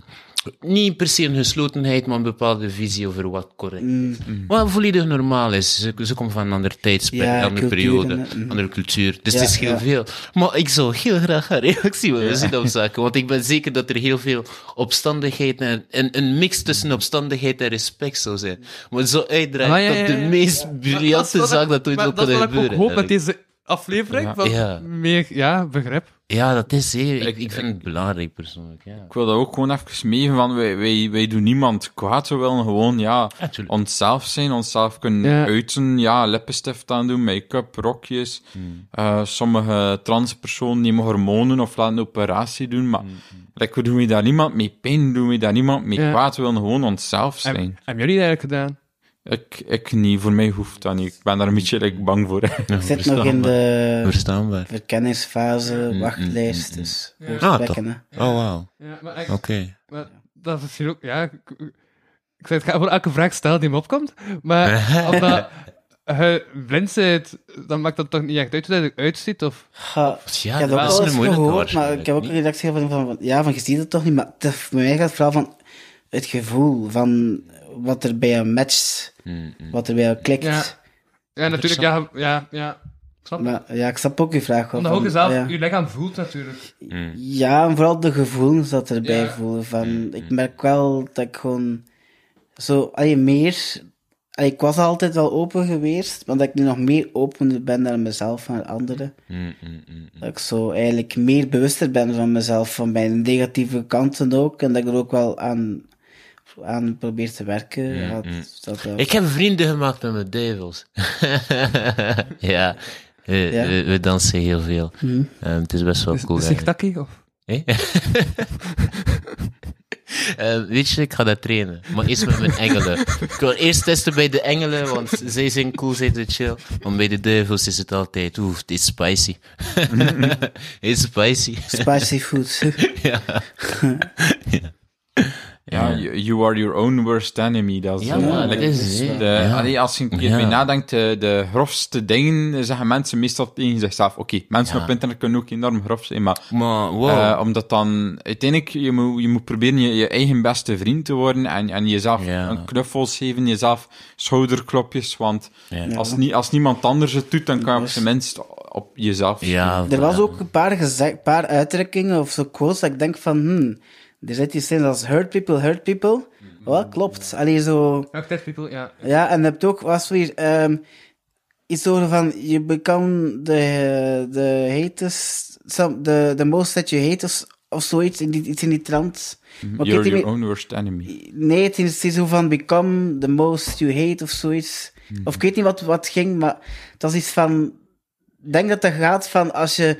[SPEAKER 4] niet per se een geslotenheid, maar een bepaalde visie over wat correct is. Wat volledig normaal is. Ze, ze komt van een ander tijdspel,
[SPEAKER 5] Mm. Ja,
[SPEAKER 4] een andere
[SPEAKER 5] cultuur
[SPEAKER 4] periode,
[SPEAKER 5] en, eh, mm.
[SPEAKER 4] andere cultuur. Dus
[SPEAKER 5] Ja,
[SPEAKER 4] het is heel
[SPEAKER 5] ja.
[SPEAKER 4] veel. Maar ik zou heel graag haar reactie willen zien op zaken. Want ik ben zeker dat er heel veel opstandigheid en, en een mix tussen opstandigheid en respect zou zijn. Maar zo uitdraait
[SPEAKER 3] Ah, ja, ja,
[SPEAKER 4] tot
[SPEAKER 3] ja,
[SPEAKER 4] de
[SPEAKER 3] ja.
[SPEAKER 4] meest briljante zaak dat ooit
[SPEAKER 3] maar
[SPEAKER 4] zou kunnen
[SPEAKER 3] Dat is wat
[SPEAKER 4] gebeuren.
[SPEAKER 3] ik ook hoop met
[SPEAKER 4] eigenlijk.
[SPEAKER 3] deze aflevering,
[SPEAKER 2] Ja.
[SPEAKER 3] van
[SPEAKER 4] Ja.
[SPEAKER 3] meer ja, begrip.
[SPEAKER 4] Ja, dat is zeer. Ik,
[SPEAKER 2] Ik-
[SPEAKER 4] ik vind het belangrijk persoonlijk. Ja.
[SPEAKER 2] Ik wil dat ook gewoon even meegeven van, wij, wij, wij doen niemand kwaad, we willen gewoon, ja,
[SPEAKER 4] Ja, tuurlijk.
[SPEAKER 2] onszelf zijn, onszelf kunnen
[SPEAKER 3] Ja.
[SPEAKER 2] uiten, ja, lippenstift aandoen, make-up, rokjes. Eh, sommige transpersonen nemen hormonen of laten een operatie doen, maar like, doen we daar niemand mee pijn, doen we daar niemand mee
[SPEAKER 3] Ja.
[SPEAKER 2] kwaad, we willen gewoon onszelf zijn.
[SPEAKER 3] Hebben hebben jullie dat eigenlijk gedaan?
[SPEAKER 2] Ik, ik niet, voor mij hoeft dat niet, ik ben daar een beetje like, bang voor.
[SPEAKER 5] ik zit nog in de...
[SPEAKER 4] Verstaanbaar.
[SPEAKER 5] verkenningsfase, wachtlijst, dus
[SPEAKER 4] Ah,
[SPEAKER 5] gesprekken. hè.
[SPEAKER 4] Oh, wauw.
[SPEAKER 3] Ja, maar
[SPEAKER 4] Oké.
[SPEAKER 3] Maar dat is misschien ook, ja. Ik, ik zei, het gaat voor elke vraag stellen die me opkomt. Maar omdat je blind bent, dan maakt dat toch niet echt uit hoe dat je uitziet? Of...
[SPEAKER 5] Ga-
[SPEAKER 4] Ja,
[SPEAKER 5] ik heb
[SPEAKER 4] dat
[SPEAKER 5] ook
[SPEAKER 4] is
[SPEAKER 5] al
[SPEAKER 4] een
[SPEAKER 5] eens
[SPEAKER 4] moeilijke
[SPEAKER 5] gehoord, maar
[SPEAKER 4] waarschijnlijk,
[SPEAKER 5] ik heb ook een
[SPEAKER 4] niet?
[SPEAKER 5] reactie gehad van, van, ja, van je ziet het toch niet, maar het, voor mij gaat het vooral van het gevoel van wat er bij jou matcht,
[SPEAKER 4] Mm, Hmm.
[SPEAKER 5] wat er bij jou klikt.
[SPEAKER 3] Ja. Ja, natuurlijk, ja, ja, ja. Snap je?
[SPEAKER 5] Maar, ja, ik snap ook je vraag. wel
[SPEAKER 3] Omdat
[SPEAKER 5] van,
[SPEAKER 3] ook je zelf
[SPEAKER 5] ja.
[SPEAKER 3] je lichaam voelt, natuurlijk.
[SPEAKER 5] Ja, en vooral de gevoelens dat erbij
[SPEAKER 3] Ja.
[SPEAKER 5] voelen.
[SPEAKER 4] Hmm,
[SPEAKER 5] Van, ik merk wel dat ik gewoon zo, allee, meer. allee, ik was altijd wel open geweest, maar dat ik nu nog meer open ben naar mezelf en naar anderen.
[SPEAKER 4] mm,
[SPEAKER 5] Dat ik zo eigenlijk meer bewuster ben van mezelf, van mijn negatieve kanten ook. En dat ik er ook wel aan, aan probeer te werken. Ja, dat- dat, eh,
[SPEAKER 4] Ik heb vrienden gemaakt met mijn duivels. ja. We,
[SPEAKER 5] Ja. Mhm.
[SPEAKER 4] we- we dansen heel veel. Ehm, het is best wel cool.
[SPEAKER 3] Zeg
[SPEAKER 4] eigenlijk.
[SPEAKER 3] takkie? Of...
[SPEAKER 4] Ehm, weet je, ik ga dat trainen. Maar eerst met mijn engelen. ik wil eerst testen bij de engelen, want zij zijn cool, zij zijn chill. Maar bij de duivels is het altijd, oeh, dit is spicy. It's spicy.
[SPEAKER 5] Spicy food.
[SPEAKER 4] ja.
[SPEAKER 2] Ja, you, you are your own worst enemy. Dat is,
[SPEAKER 4] Ja,
[SPEAKER 2] eh,
[SPEAKER 4] maar dat
[SPEAKER 2] like,
[SPEAKER 4] is-
[SPEAKER 2] de,
[SPEAKER 4] ja.
[SPEAKER 2] allee, als je een keer
[SPEAKER 4] Ja.
[SPEAKER 2] mee nadenkt, eh, de grofste dingen zeggen mensen meestal tegen zichzelf. Oké, mensen op internet kunnen ook enorm grof zijn, maar
[SPEAKER 4] Maar wow.
[SPEAKER 2] eh, omdat dan uiteindelijk, je moet, je moet proberen je, je eigen beste vriend te worden en, en jezelf
[SPEAKER 4] Ja.
[SPEAKER 2] een knuffels geven, jezelf schouderklopjes, want
[SPEAKER 4] Ja.
[SPEAKER 2] als, nie- als niemand anders het doet, dan kan je op
[SPEAKER 5] Dus-
[SPEAKER 2] zijn minst op jezelf.
[SPEAKER 4] ja,
[SPEAKER 5] Er was
[SPEAKER 4] voilà.
[SPEAKER 5] ook een paar, geze- paar uitdrukkingen of zo quotes dat ik denk van, hmm, er zit iets in als hurt people, hurt people. Wel, klopt. Allee, zo...
[SPEAKER 3] Ja, test people, ja.
[SPEAKER 5] Ja, en je hebt ook, was weer ehm, iets over van, you become the, the haters, some, the, the most that you hate us, of zoiets, in die, iets in die trant. Maar ik weet
[SPEAKER 2] Mm-hmm. You're
[SPEAKER 5] niet
[SPEAKER 2] your
[SPEAKER 5] meer-
[SPEAKER 2] own worst enemy.
[SPEAKER 5] Nee, het is, het is zo van, become the most you hate, of zoiets.
[SPEAKER 2] Mhm.
[SPEAKER 5] Of ik weet niet wat, wat ging, maar dat is iets van, ik denk dat dat gaat van als je,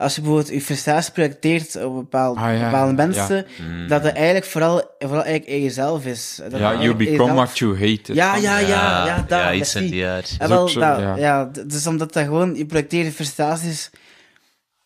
[SPEAKER 5] als je bijvoorbeeld je frustratie projecteert op bepaalde,
[SPEAKER 2] Ah, ja,
[SPEAKER 5] bepaalde
[SPEAKER 2] ja.
[SPEAKER 5] mensen,
[SPEAKER 4] Mhm.
[SPEAKER 5] dat het eigenlijk vooral, vooral eigenlijk in jezelf is. Dat het
[SPEAKER 2] Ja, you
[SPEAKER 5] eigenlijk in
[SPEAKER 2] become
[SPEAKER 5] jezelf-
[SPEAKER 2] what you hate.
[SPEAKER 5] Ja, ja, ja, ja,
[SPEAKER 4] ja,
[SPEAKER 5] dat.
[SPEAKER 4] ja,
[SPEAKER 5] dat
[SPEAKER 4] iets in
[SPEAKER 5] zie.
[SPEAKER 4] die aard.
[SPEAKER 5] En
[SPEAKER 2] is
[SPEAKER 5] wel,
[SPEAKER 2] ook zo,
[SPEAKER 5] dat-
[SPEAKER 2] ja.
[SPEAKER 5] ja. d- dus omdat dat gewoon, je projecteert je frustraties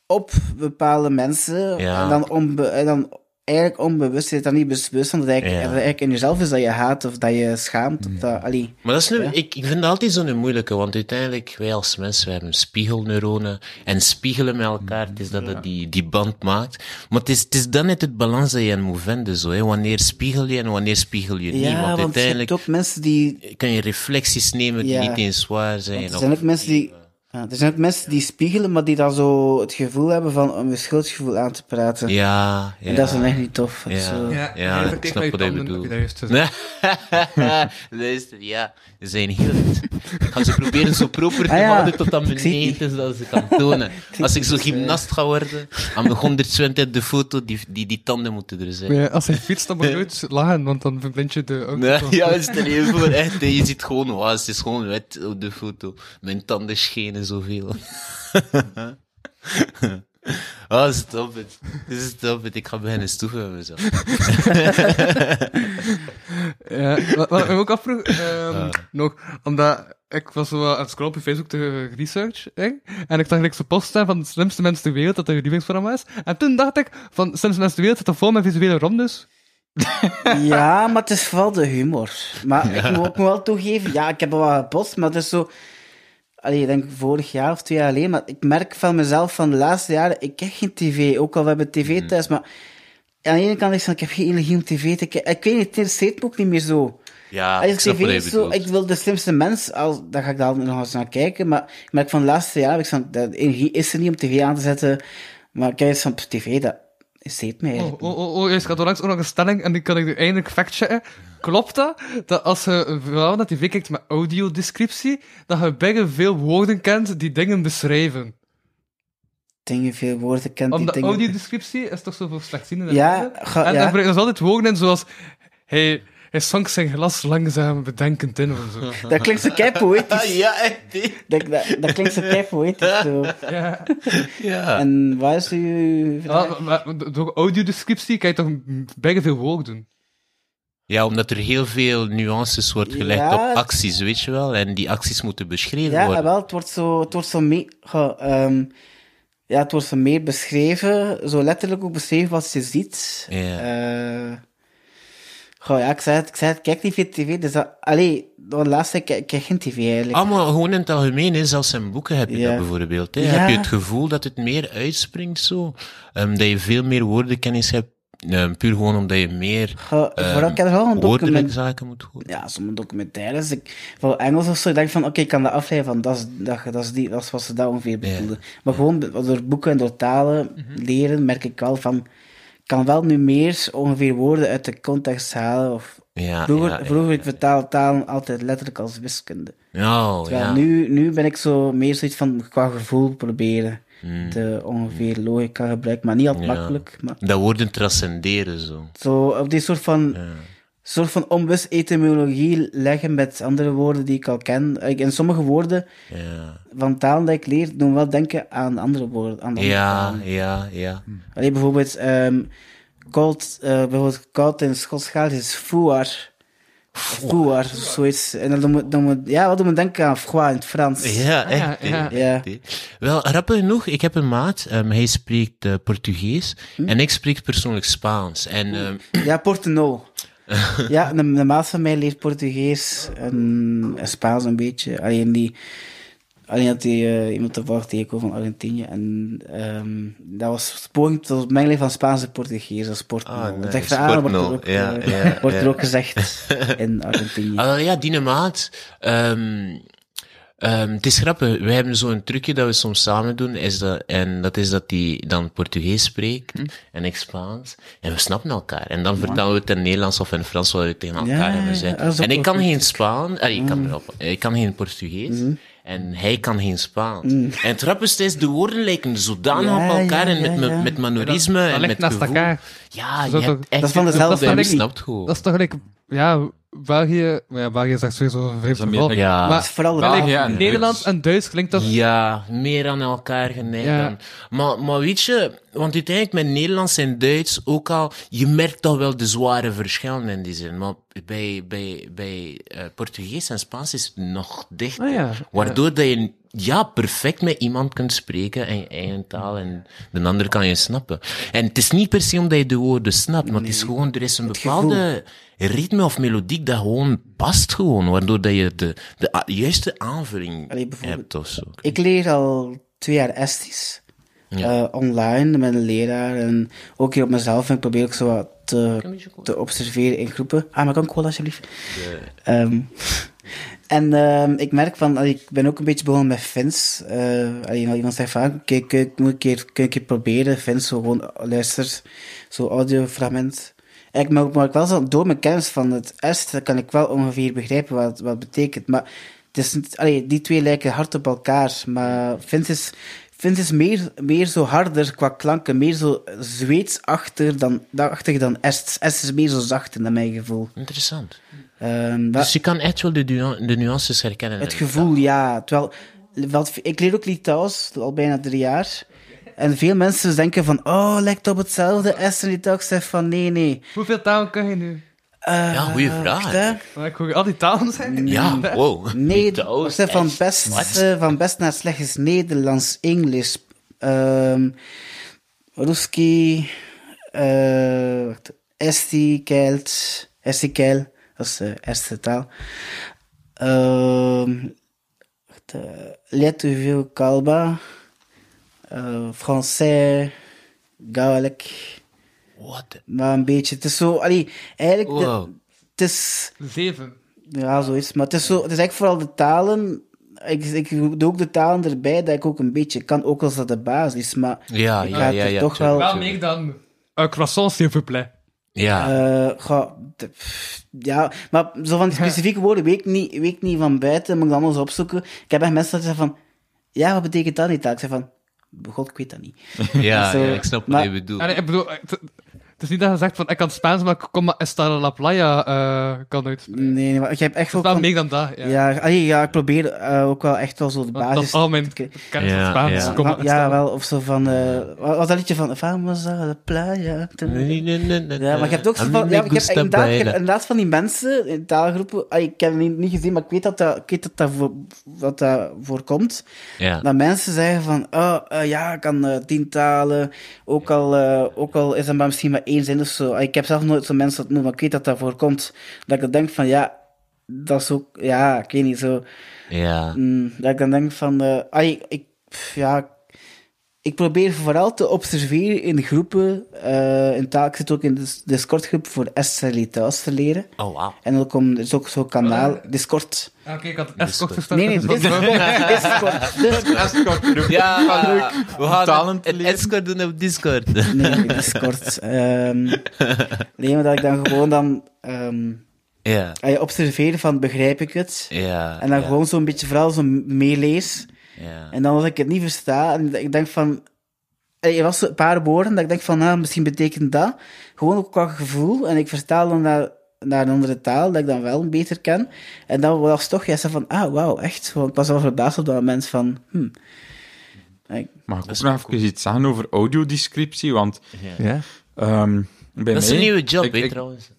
[SPEAKER 5] op bepaalde mensen,
[SPEAKER 4] Ja.
[SPEAKER 5] en dan, onbe- en dan eigenlijk onbewust is, dat niet bewust van dat eigenlijk,
[SPEAKER 4] Ja.
[SPEAKER 5] dat eigenlijk in jezelf is dat je haat of dat je schaamt. Of dat, allee,
[SPEAKER 4] Maar dat is nu,
[SPEAKER 5] Ja.
[SPEAKER 4] ik, ik vind dat altijd zo'n moeilijke, want uiteindelijk, wij als mensen, wij hebben spiegelneuronen en spiegelen met elkaar, het is dat het die, die band maakt. Maar het is, het is dan net het balans dat je moet vinden, zo, hè. Wanneer spiegel je en wanneer spiegel je niet?
[SPEAKER 5] ja,
[SPEAKER 4] Want,
[SPEAKER 5] want, je
[SPEAKER 4] uiteindelijk
[SPEAKER 5] hebt ook mensen die
[SPEAKER 4] kan je reflecties nemen die
[SPEAKER 5] Ja.
[SPEAKER 4] niet eens waar zijn.
[SPEAKER 5] Want
[SPEAKER 4] of-
[SPEAKER 5] Er zijn ook mensen die. ja, er zijn ook mensen die spiegelen, maar die dan zo het gevoel hebben van om je schuldgevoel aan te praten.
[SPEAKER 4] Ja, ja.
[SPEAKER 5] En dat is dan echt niet tof.
[SPEAKER 4] Ja.
[SPEAKER 5] Zo.
[SPEAKER 4] Ja. ik snap wat hij bedoelt.
[SPEAKER 3] bedoelt.
[SPEAKER 4] Nee. Luister, ja, ze zijn heel goed. Ik ga ze proberen zo proper te
[SPEAKER 5] Ah, ja.
[SPEAKER 4] houden tot aan
[SPEAKER 5] Ik zie
[SPEAKER 4] beneden, zodat ze kan tonen. Als ik zo gymnast ga worden, aan mijn 120 de foto, die, die, die tanden moeten er zijn.
[SPEAKER 3] Ja, als hij fietst, dan moet je nooit lachen, want dan verblind je de auto.
[SPEAKER 4] Nee, ja, stel je voor, echt, hè, je ziet gewoon, wauw, het is gewoon wet op de foto. Mijn tanden schenen zoveel. Ah, stop het. Stop het. Ik ga beginnen stoeven met mezelf.
[SPEAKER 3] Ja, wat, wat ik me ook afvroeg, ehm, nog, omdat ik was zo aan het scrollen op je Facebook te research, hè, en ik zag gelijk zo'n post staan van de slimste mensen ter wereld, dat dat je lievelingsprogramma is. En toen dacht ik, van de slimste mensen ter wereld, dat dat vol met visuele rondes.
[SPEAKER 5] Ja, maar het is vooral de humor. Maar ik moet ook wel toegeven, ja, ik heb al wat gepost, maar het is zo... Allee, ik denk vorig jaar of twee jaar geleden, maar ik merk van mezelf van de laatste jaren, ik kijk geen tv, ook al we hebben
[SPEAKER 4] Hmm.
[SPEAKER 5] tv thuis, maar aan de ene kant is van, ik heb geen energie om tv te kijken. Ik weet niet, het interesseert me ook niet meer zo.
[SPEAKER 4] Ja,
[SPEAKER 5] Als
[SPEAKER 4] ik snap
[SPEAKER 5] tv
[SPEAKER 4] wat je
[SPEAKER 5] is zo,
[SPEAKER 4] bedoelt.
[SPEAKER 5] ik wil de slimste mens, al, daar ga ik daar nog eens naar kijken. Maar ik merk van de laatste jaren, ik van, de energie is er niet om tv aan te zetten. Maar ik kijk eens van, pff, tv, dat zit mij
[SPEAKER 3] Oh,
[SPEAKER 5] eigenlijk
[SPEAKER 3] oh, oh, oh, juist, ik had onlangs ook nog een stelling, en die kan ik nu eindelijk factchecken. Klopt dat, dat als je een vrouw naar tv kijkt met audiodescriptie, dat je bijna veel woorden kent die dingen beschrijven?
[SPEAKER 5] dingen, veel woorden kent die
[SPEAKER 3] Omdat
[SPEAKER 5] dingen.
[SPEAKER 3] audiodescriptie is toch zo voor slechtzienden?
[SPEAKER 5] Ja, ga-
[SPEAKER 3] en
[SPEAKER 5] ja.
[SPEAKER 3] daar brengen ze altijd woorden in, zoals... Hij, hij zonk zijn glas langzaam bedenkend in, of zo.
[SPEAKER 5] Dat klinkt zo kei
[SPEAKER 4] Ah,
[SPEAKER 5] poëtisch.
[SPEAKER 4] ja, echt. hè?
[SPEAKER 5] dat, dat, dat klinkt zo kei poëtisch. Zo.
[SPEAKER 3] ja.
[SPEAKER 4] Ja.
[SPEAKER 5] En waar is uw...
[SPEAKER 3] Ja, maar- maar door audiodescriptie kan je toch bijna veel woorden.
[SPEAKER 4] Ja, omdat er heel veel nuances wordt gelegd
[SPEAKER 5] Ja.
[SPEAKER 4] op acties, weet je wel. En die acties moeten beschreven
[SPEAKER 5] Ja,
[SPEAKER 4] worden.
[SPEAKER 5] wel, het wordt zo, het wordt zo mee, ge- ehm, ja, het wordt zo meer beschreven, zo letterlijk ook beschreven wat je ziet.
[SPEAKER 4] Ja.
[SPEAKER 5] Eh, goh, ja, ik zei het, ik zei het, ik kijk niet veel tv, dus dat, allee, de laatste tijd kijk ik kijk geen tv eigenlijk.
[SPEAKER 4] Ah, maar gewoon in het algemeen, hè, zelfs in boeken heb je
[SPEAKER 5] Ja.
[SPEAKER 4] dat bijvoorbeeld. Hè.
[SPEAKER 5] Ja.
[SPEAKER 4] Heb je het gevoel dat het meer uitspringt zo? Ehm, dat je veel meer woordenkennis hebt, ehm, puur gewoon omdat je meer
[SPEAKER 5] Ge-
[SPEAKER 4] ehm,
[SPEAKER 5] vooral, ik heb wel een
[SPEAKER 4] woordelijke
[SPEAKER 5] document,
[SPEAKER 4] zaken moet horen.
[SPEAKER 5] ja, sommige documentaires, ik, voor Engels of zo, ik denk van, oké, ik kan dat afleiden van, dat is, dat, dat is die, dat is wat ze daar ongeveer bedoelden. Maar gewoon door boeken en door talen leren, merk ik wel van, ik kan wel nu meer ongeveer woorden uit de context halen, of
[SPEAKER 4] Ja,
[SPEAKER 5] Vroeger,
[SPEAKER 4] ja, ja.
[SPEAKER 5] vroeger ik vertaal talen altijd letterlijk als wiskunde.
[SPEAKER 4] Oh,
[SPEAKER 5] Terwijl
[SPEAKER 4] ja.
[SPEAKER 5] nu, nu ben ik zo meer zoiets van qua gevoel proberen. De ongeveer logica gebruiken, maar niet altijd
[SPEAKER 4] Mm. Ja.
[SPEAKER 5] makkelijk. Maar
[SPEAKER 4] Dat woorden transcenderen zo.
[SPEAKER 5] zo op die soort van, soort van onbewust etymologie leggen met andere woorden die ik al ken. Ik- En sommige woorden
[SPEAKER 4] Ja,
[SPEAKER 5] van talen die ik leer, doen wel denken aan andere woorden. Aan andere
[SPEAKER 4] ja,
[SPEAKER 5] talen.
[SPEAKER 4] ja. ja.
[SPEAKER 5] Allee, bijvoorbeeld, ehm koud, eh, bijvoorbeeld koud in Schotschaals is fouar. Fouar, zoiets. En dan doen we, doen we, ja, wat doen we denken aan froid in het Frans.
[SPEAKER 4] Ja, echt.
[SPEAKER 3] Ah, ja,
[SPEAKER 4] hè.
[SPEAKER 3] ja.
[SPEAKER 5] Ja.
[SPEAKER 4] Echt, hè. Wel, grappig genoeg, ik heb een maat, ehm, hij spreekt eh, Portugees en ik spreek persoonlijk Spaans. En ehm,
[SPEAKER 5] Ja, Porto ja, de, de maat van mij leert Portugees en, en Spaans een beetje. Alleen die... Alleen had die, eh, iemand toevallig tegenkomen van Argentinië. En ehm, dat was poging tot mengeling van Spaans en Portugees. Dat is Porto
[SPEAKER 4] Ah,
[SPEAKER 5] Dat
[SPEAKER 4] nice.
[SPEAKER 5] zegt aan, wordt er
[SPEAKER 4] Porto,
[SPEAKER 5] ook,
[SPEAKER 4] ja,
[SPEAKER 5] eh,
[SPEAKER 4] ja,
[SPEAKER 5] wordt er
[SPEAKER 4] ja.
[SPEAKER 5] ook gezegd in Argentinië.
[SPEAKER 4] Ah, wel, ja, die maat. ehm, ehm, het is grappig. We hebben zo'n trucje dat we soms samen doen. Is dat, en dat is dat die dan Portugees spreekt
[SPEAKER 5] Hm.
[SPEAKER 4] en ik Spaans. En we snappen elkaar. En dan vertalen we het in Nederlands of in Frans wat we tegen elkaar
[SPEAKER 5] Ja,
[SPEAKER 4] hebben
[SPEAKER 5] ja,
[SPEAKER 4] gezegd.
[SPEAKER 5] dat is ook
[SPEAKER 4] en ik
[SPEAKER 5] wel
[SPEAKER 4] kan
[SPEAKER 5] goed. Hm.
[SPEAKER 4] geen Spaans. eh, ik, kan, wel- ik kan geen Portugees. En hij kan geen Spaans. En het grappigste is, de woorden lijken zodanig
[SPEAKER 5] Hm. Ja,
[SPEAKER 4] op elkaar.
[SPEAKER 5] ja,
[SPEAKER 4] en met,
[SPEAKER 5] ja,
[SPEAKER 4] me-
[SPEAKER 5] ja.
[SPEAKER 4] met manorisme
[SPEAKER 3] Dat
[SPEAKER 4] en
[SPEAKER 3] ligt
[SPEAKER 4] met
[SPEAKER 3] naast
[SPEAKER 4] gevoel.
[SPEAKER 3] elkaar.
[SPEAKER 4] Ja,
[SPEAKER 3] Dat
[SPEAKER 4] je
[SPEAKER 3] is ook-
[SPEAKER 4] hebt echt...
[SPEAKER 5] Dat is van
[SPEAKER 3] dat
[SPEAKER 5] dezelfde
[SPEAKER 3] is van
[SPEAKER 4] Je
[SPEAKER 5] familie.
[SPEAKER 4] snapt gewoon.
[SPEAKER 3] Dat is toch gelijk... Ja, België... Maar ja, België is echt sowieso een vreemd
[SPEAKER 2] Dat is
[SPEAKER 3] geval.
[SPEAKER 2] meer-
[SPEAKER 4] Ja.
[SPEAKER 5] Dat is vooral
[SPEAKER 2] België
[SPEAKER 5] raar.
[SPEAKER 2] en
[SPEAKER 3] Nederlands en Duits klinkt dat...
[SPEAKER 4] Ja, meer aan elkaar geneigd
[SPEAKER 3] Ja.
[SPEAKER 4] dan. Maar, maar weet je, want uiteindelijk met Nederlands en Duits ook al, je merkt toch wel de zware verschillen in die zin. Maar bij, bij, bij eh, Portugees en Spaans is het nog dichter.
[SPEAKER 3] Ah ja, ja.
[SPEAKER 4] Waardoor dat je ja, perfect met iemand kunt spreken en je eigen taal en de ander kan je snappen. En het is niet per se omdat je de woorden snapt, maar het is gewoon, er is een bepaalde ritme of melodiek dat gewoon past gewoon, waardoor dat je de, de a- juiste aanvulling
[SPEAKER 5] Allee, bijvoorbeeld-
[SPEAKER 4] hebt of zo.
[SPEAKER 5] Ik leer al twee jaar Estisch.
[SPEAKER 4] Ja.
[SPEAKER 5] Eh, online met een leraar en ook hier op mezelf. En ik probeer ook zo wat te, te observeren in groepen. Ah, maar kan cola alsjeblieft? Ehm, en ehm, ik merk van, allee, ik ben ook een beetje begonnen met Fins. Eh allee, nou, iemand zei van, kijk, kijk, moet ik een keer, kun je een keer proberen? Fins, zo gewoon luister, zo'n audiofragment. En ik merk, merk wel zo, door mijn kennis van het Est, kan ik wel ongeveer begrijpen wat, wat het betekent. Maar het is, niet- allee, die twee lijken hard op elkaar, maar Fins is, Fins is meer, meer zo harder qua klanken, meer zo Zweedsachtig dan, achtig dan Est. Est is meer zo zacht, in mijn gevoel.
[SPEAKER 4] Interessant.
[SPEAKER 5] Ehm, dat-
[SPEAKER 4] Dus je kan echt wel de, nuan- de nuances herkennen.
[SPEAKER 5] het
[SPEAKER 4] en-
[SPEAKER 5] gevoel, ja. Terwijl, wat, ik leer ook Litouws, al bijna drie jaar. En veel mensen denken van, oh, lijkt op hetzelfde als en Litouws. Ik zeg van, nee, nee.
[SPEAKER 3] Hoeveel talen kan je nu?
[SPEAKER 5] Eh,
[SPEAKER 4] Ja, goeie vraag.
[SPEAKER 5] wacht, hè.
[SPEAKER 3] Maar ik hoor al die talen zijn.
[SPEAKER 4] Ja, wow.
[SPEAKER 5] Nee,
[SPEAKER 4] Niet
[SPEAKER 5] ik zeg van
[SPEAKER 4] echt.
[SPEAKER 5] best,
[SPEAKER 4] Wat?
[SPEAKER 5] eh, van best naar slecht is Nederlands, Engels, ehm Ruski, eh, wacht, Esti, Kelt, Esti, Kel, dat is de eerste taal. Ehm wacht, eh, Lietuvio, Kalba, eh Français, Gaelic,
[SPEAKER 4] What the-
[SPEAKER 5] maar een beetje. Het is zo, allee, eigenlijk, de-
[SPEAKER 4] Wow.
[SPEAKER 5] het is...
[SPEAKER 3] Zeven.
[SPEAKER 5] Ja, zoiets. Maar het is, zo, het is eigenlijk vooral de talen. Ik, ik doe ook de talen erbij dat ik ook een beetje kan, ook als dat de basis is. Maar
[SPEAKER 4] Ja,
[SPEAKER 5] ik
[SPEAKER 4] ja,
[SPEAKER 5] ga het
[SPEAKER 4] ja,
[SPEAKER 5] er
[SPEAKER 4] ja,
[SPEAKER 5] toch
[SPEAKER 4] tuurlijk.
[SPEAKER 5] wel.
[SPEAKER 3] Wel meer dan een croissant, s'il vous plaît.
[SPEAKER 4] Ja.
[SPEAKER 5] eh, ga- de- pff, ja, maar zo van die specifieke woorden weet ik niet, weet ik niet van buiten, moet ik allemaal eens opzoeken. Ik heb echt mensen dat zeggen van, ja, wat betekent dat niet? Ik zeg van, god, ik weet dat niet.
[SPEAKER 4] Ja,
[SPEAKER 5] Zo,
[SPEAKER 4] ja, ik snap
[SPEAKER 5] Eh, dus, maar-
[SPEAKER 4] wat je bedoelt.
[SPEAKER 3] Allee, Ah, ik bedoel, het, het is niet dat je zegt van ik kan Spaans, maar ik kom maar Estara La Playa eh, kan uit. Het
[SPEAKER 5] Nee, nee, maar ik heb echt
[SPEAKER 3] is
[SPEAKER 5] ook
[SPEAKER 3] wel
[SPEAKER 5] van-
[SPEAKER 3] meer dan dat. Ja.
[SPEAKER 5] ja, allee, ja, ik probeer eh, ook wel echt wel zo de
[SPEAKER 3] Want dat
[SPEAKER 5] basis
[SPEAKER 3] is al mijn
[SPEAKER 5] te-
[SPEAKER 3] kennis van
[SPEAKER 4] Ja,
[SPEAKER 3] Spaans.
[SPEAKER 4] ja.
[SPEAKER 3] Kom maar
[SPEAKER 5] ja,
[SPEAKER 3] Estella.
[SPEAKER 5] wel, of zo van, eh, wat was dat liedje van, Vamos a la playa.
[SPEAKER 4] Nee, nee, nee, nee,
[SPEAKER 5] Ja, maar je hebt ook zo
[SPEAKER 4] nee.
[SPEAKER 5] van,
[SPEAKER 4] A mí
[SPEAKER 5] ja,
[SPEAKER 4] me
[SPEAKER 5] ik heb
[SPEAKER 4] gusta
[SPEAKER 5] inderdaad, ik heb
[SPEAKER 4] bailar.
[SPEAKER 5] inderdaad van die mensen in taalgroepen, ah, ik heb het niet, niet gezien, maar ik weet dat dat, ik weet dat, dat, voor, dat dat voorkomt.
[SPEAKER 4] Ja.
[SPEAKER 5] Dat mensen zeggen van, oh, eh, ja, ik kan eh, tien talen, ook al, eh, ook al is dat maar misschien maar één zin of zo. Ah, ik heb zelf nooit zo'n mensen ontmoet, maar ik weet dat dat voorkomt. Dat ik dan denk van, ja, dat is ook, ja, ik weet niet, zo...
[SPEAKER 4] Ja.
[SPEAKER 5] Mm, dat ik dan denk van, eh, ai, ik, pff, ja, ik probeer vooral te observeren in groepen. eh, in taal, ik zit ook in de Discord-groep voor SLE thuis te leren.
[SPEAKER 4] Oh, wauw.
[SPEAKER 5] En ook om, er is ook zo'n kanaal, Discord.
[SPEAKER 3] Ah, Oké, ik had het S-kort verstaan.
[SPEAKER 5] Nee, nee,
[SPEAKER 3] Dat is
[SPEAKER 5] Discord.
[SPEAKER 3] wel-
[SPEAKER 5] Discord. Discord.
[SPEAKER 4] Ja, We gaan
[SPEAKER 2] talen
[SPEAKER 4] het-
[SPEAKER 2] te
[SPEAKER 4] het
[SPEAKER 2] leren.
[SPEAKER 4] Discord doen op Discord.
[SPEAKER 5] Nee, nee, Discord. Ehm, nee, maar dat ik dan gewoon dan ehm
[SPEAKER 4] Ja,
[SPEAKER 5] ai, observeer van begrijp ik het.
[SPEAKER 4] ja.
[SPEAKER 5] En dan
[SPEAKER 4] ja,
[SPEAKER 5] gewoon zo'n beetje vooral zo meelees.
[SPEAKER 4] Ja.
[SPEAKER 5] En dan als ik het niet versta, en ik denk van... eh, Er was een paar woorden dat ik denk van, ah, misschien betekent dat. Gewoon ook qua gevoel. En ik vertaal dan naar, naar een andere taal, dat ik dan wel beter ken. En dan was toch juist van, ah, wauw, echt. Want ik was wel verbaasd op dat moment van, hm. Ik-
[SPEAKER 2] Mag ik ook nog even iets zeggen over audiodescriptie? Want
[SPEAKER 3] Ja.
[SPEAKER 2] ehm, bij
[SPEAKER 4] Dat is
[SPEAKER 2] mij-
[SPEAKER 4] een nieuwe job,
[SPEAKER 2] ik-
[SPEAKER 4] hè,
[SPEAKER 2] ik-
[SPEAKER 4] trouwens.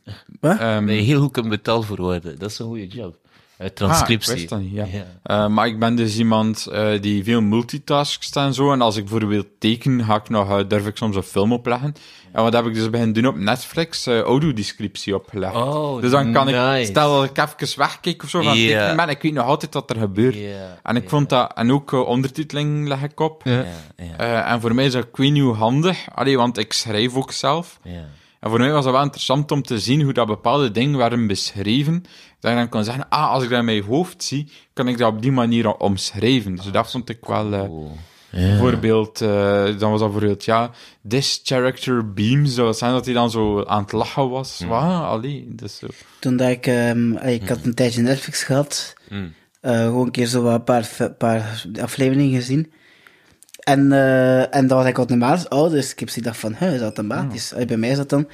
[SPEAKER 2] ehm,
[SPEAKER 4] Nee, heel goed kunt betaald voor worden. Dat is een goede job. Eh, transcriptie.
[SPEAKER 2] Ah, ik wist dat niet, ja.
[SPEAKER 4] Ja.
[SPEAKER 2] Eh, maar ik ben dus iemand eh, die veel multitaskt en zo. En als ik bijvoorbeeld teken, ga ik nog, eh, durf ik soms een film opleggen. En wat heb ik dus beginnen doen op Netflix? eh audiodescriptie opgelegd.
[SPEAKER 4] Oh,
[SPEAKER 2] dus dan kan
[SPEAKER 4] nice.
[SPEAKER 2] ik, stel dat ik even wegkijk of zo van
[SPEAKER 4] Ja.
[SPEAKER 2] tekenen ben, ik weet nog altijd wat er gebeurt.
[SPEAKER 4] Ja,
[SPEAKER 2] En ik vond dat, en ook eh, ondertiteling leg ik op.
[SPEAKER 4] Ja, ja,
[SPEAKER 2] Eh, en voor mij is dat ik weet niet hoe handig, Allee, want ik schrijf ook zelf.
[SPEAKER 4] ja.
[SPEAKER 2] En voor mij was dat wel interessant om te zien hoe dat bepaalde dingen werden beschreven. Dat ik dan kon zeggen, ah, als ik dat in mijn hoofd zie, kan ik dat op die manier al omschrijven. Dus dat vond ik wel... eh,
[SPEAKER 4] Cool.
[SPEAKER 2] Bijvoorbeeld, eh, dan was dat bijvoorbeeld, ja, this character beams, dat zijn dat hij dan zo aan het lachen was.
[SPEAKER 5] Hm.
[SPEAKER 2] Wauw, allee, dus zo.
[SPEAKER 5] Toen dat ik, ehm, allee, ik had een tijdje Netflix gehad, eh, gewoon een keer zo wat een paar, fi- paar afleveringen gezien. En, eh, en dat was ik automatisch ouders. dus Ik heb zoiets dacht van, huh, is dat automatisch? Allee, Bij mij is dat dan.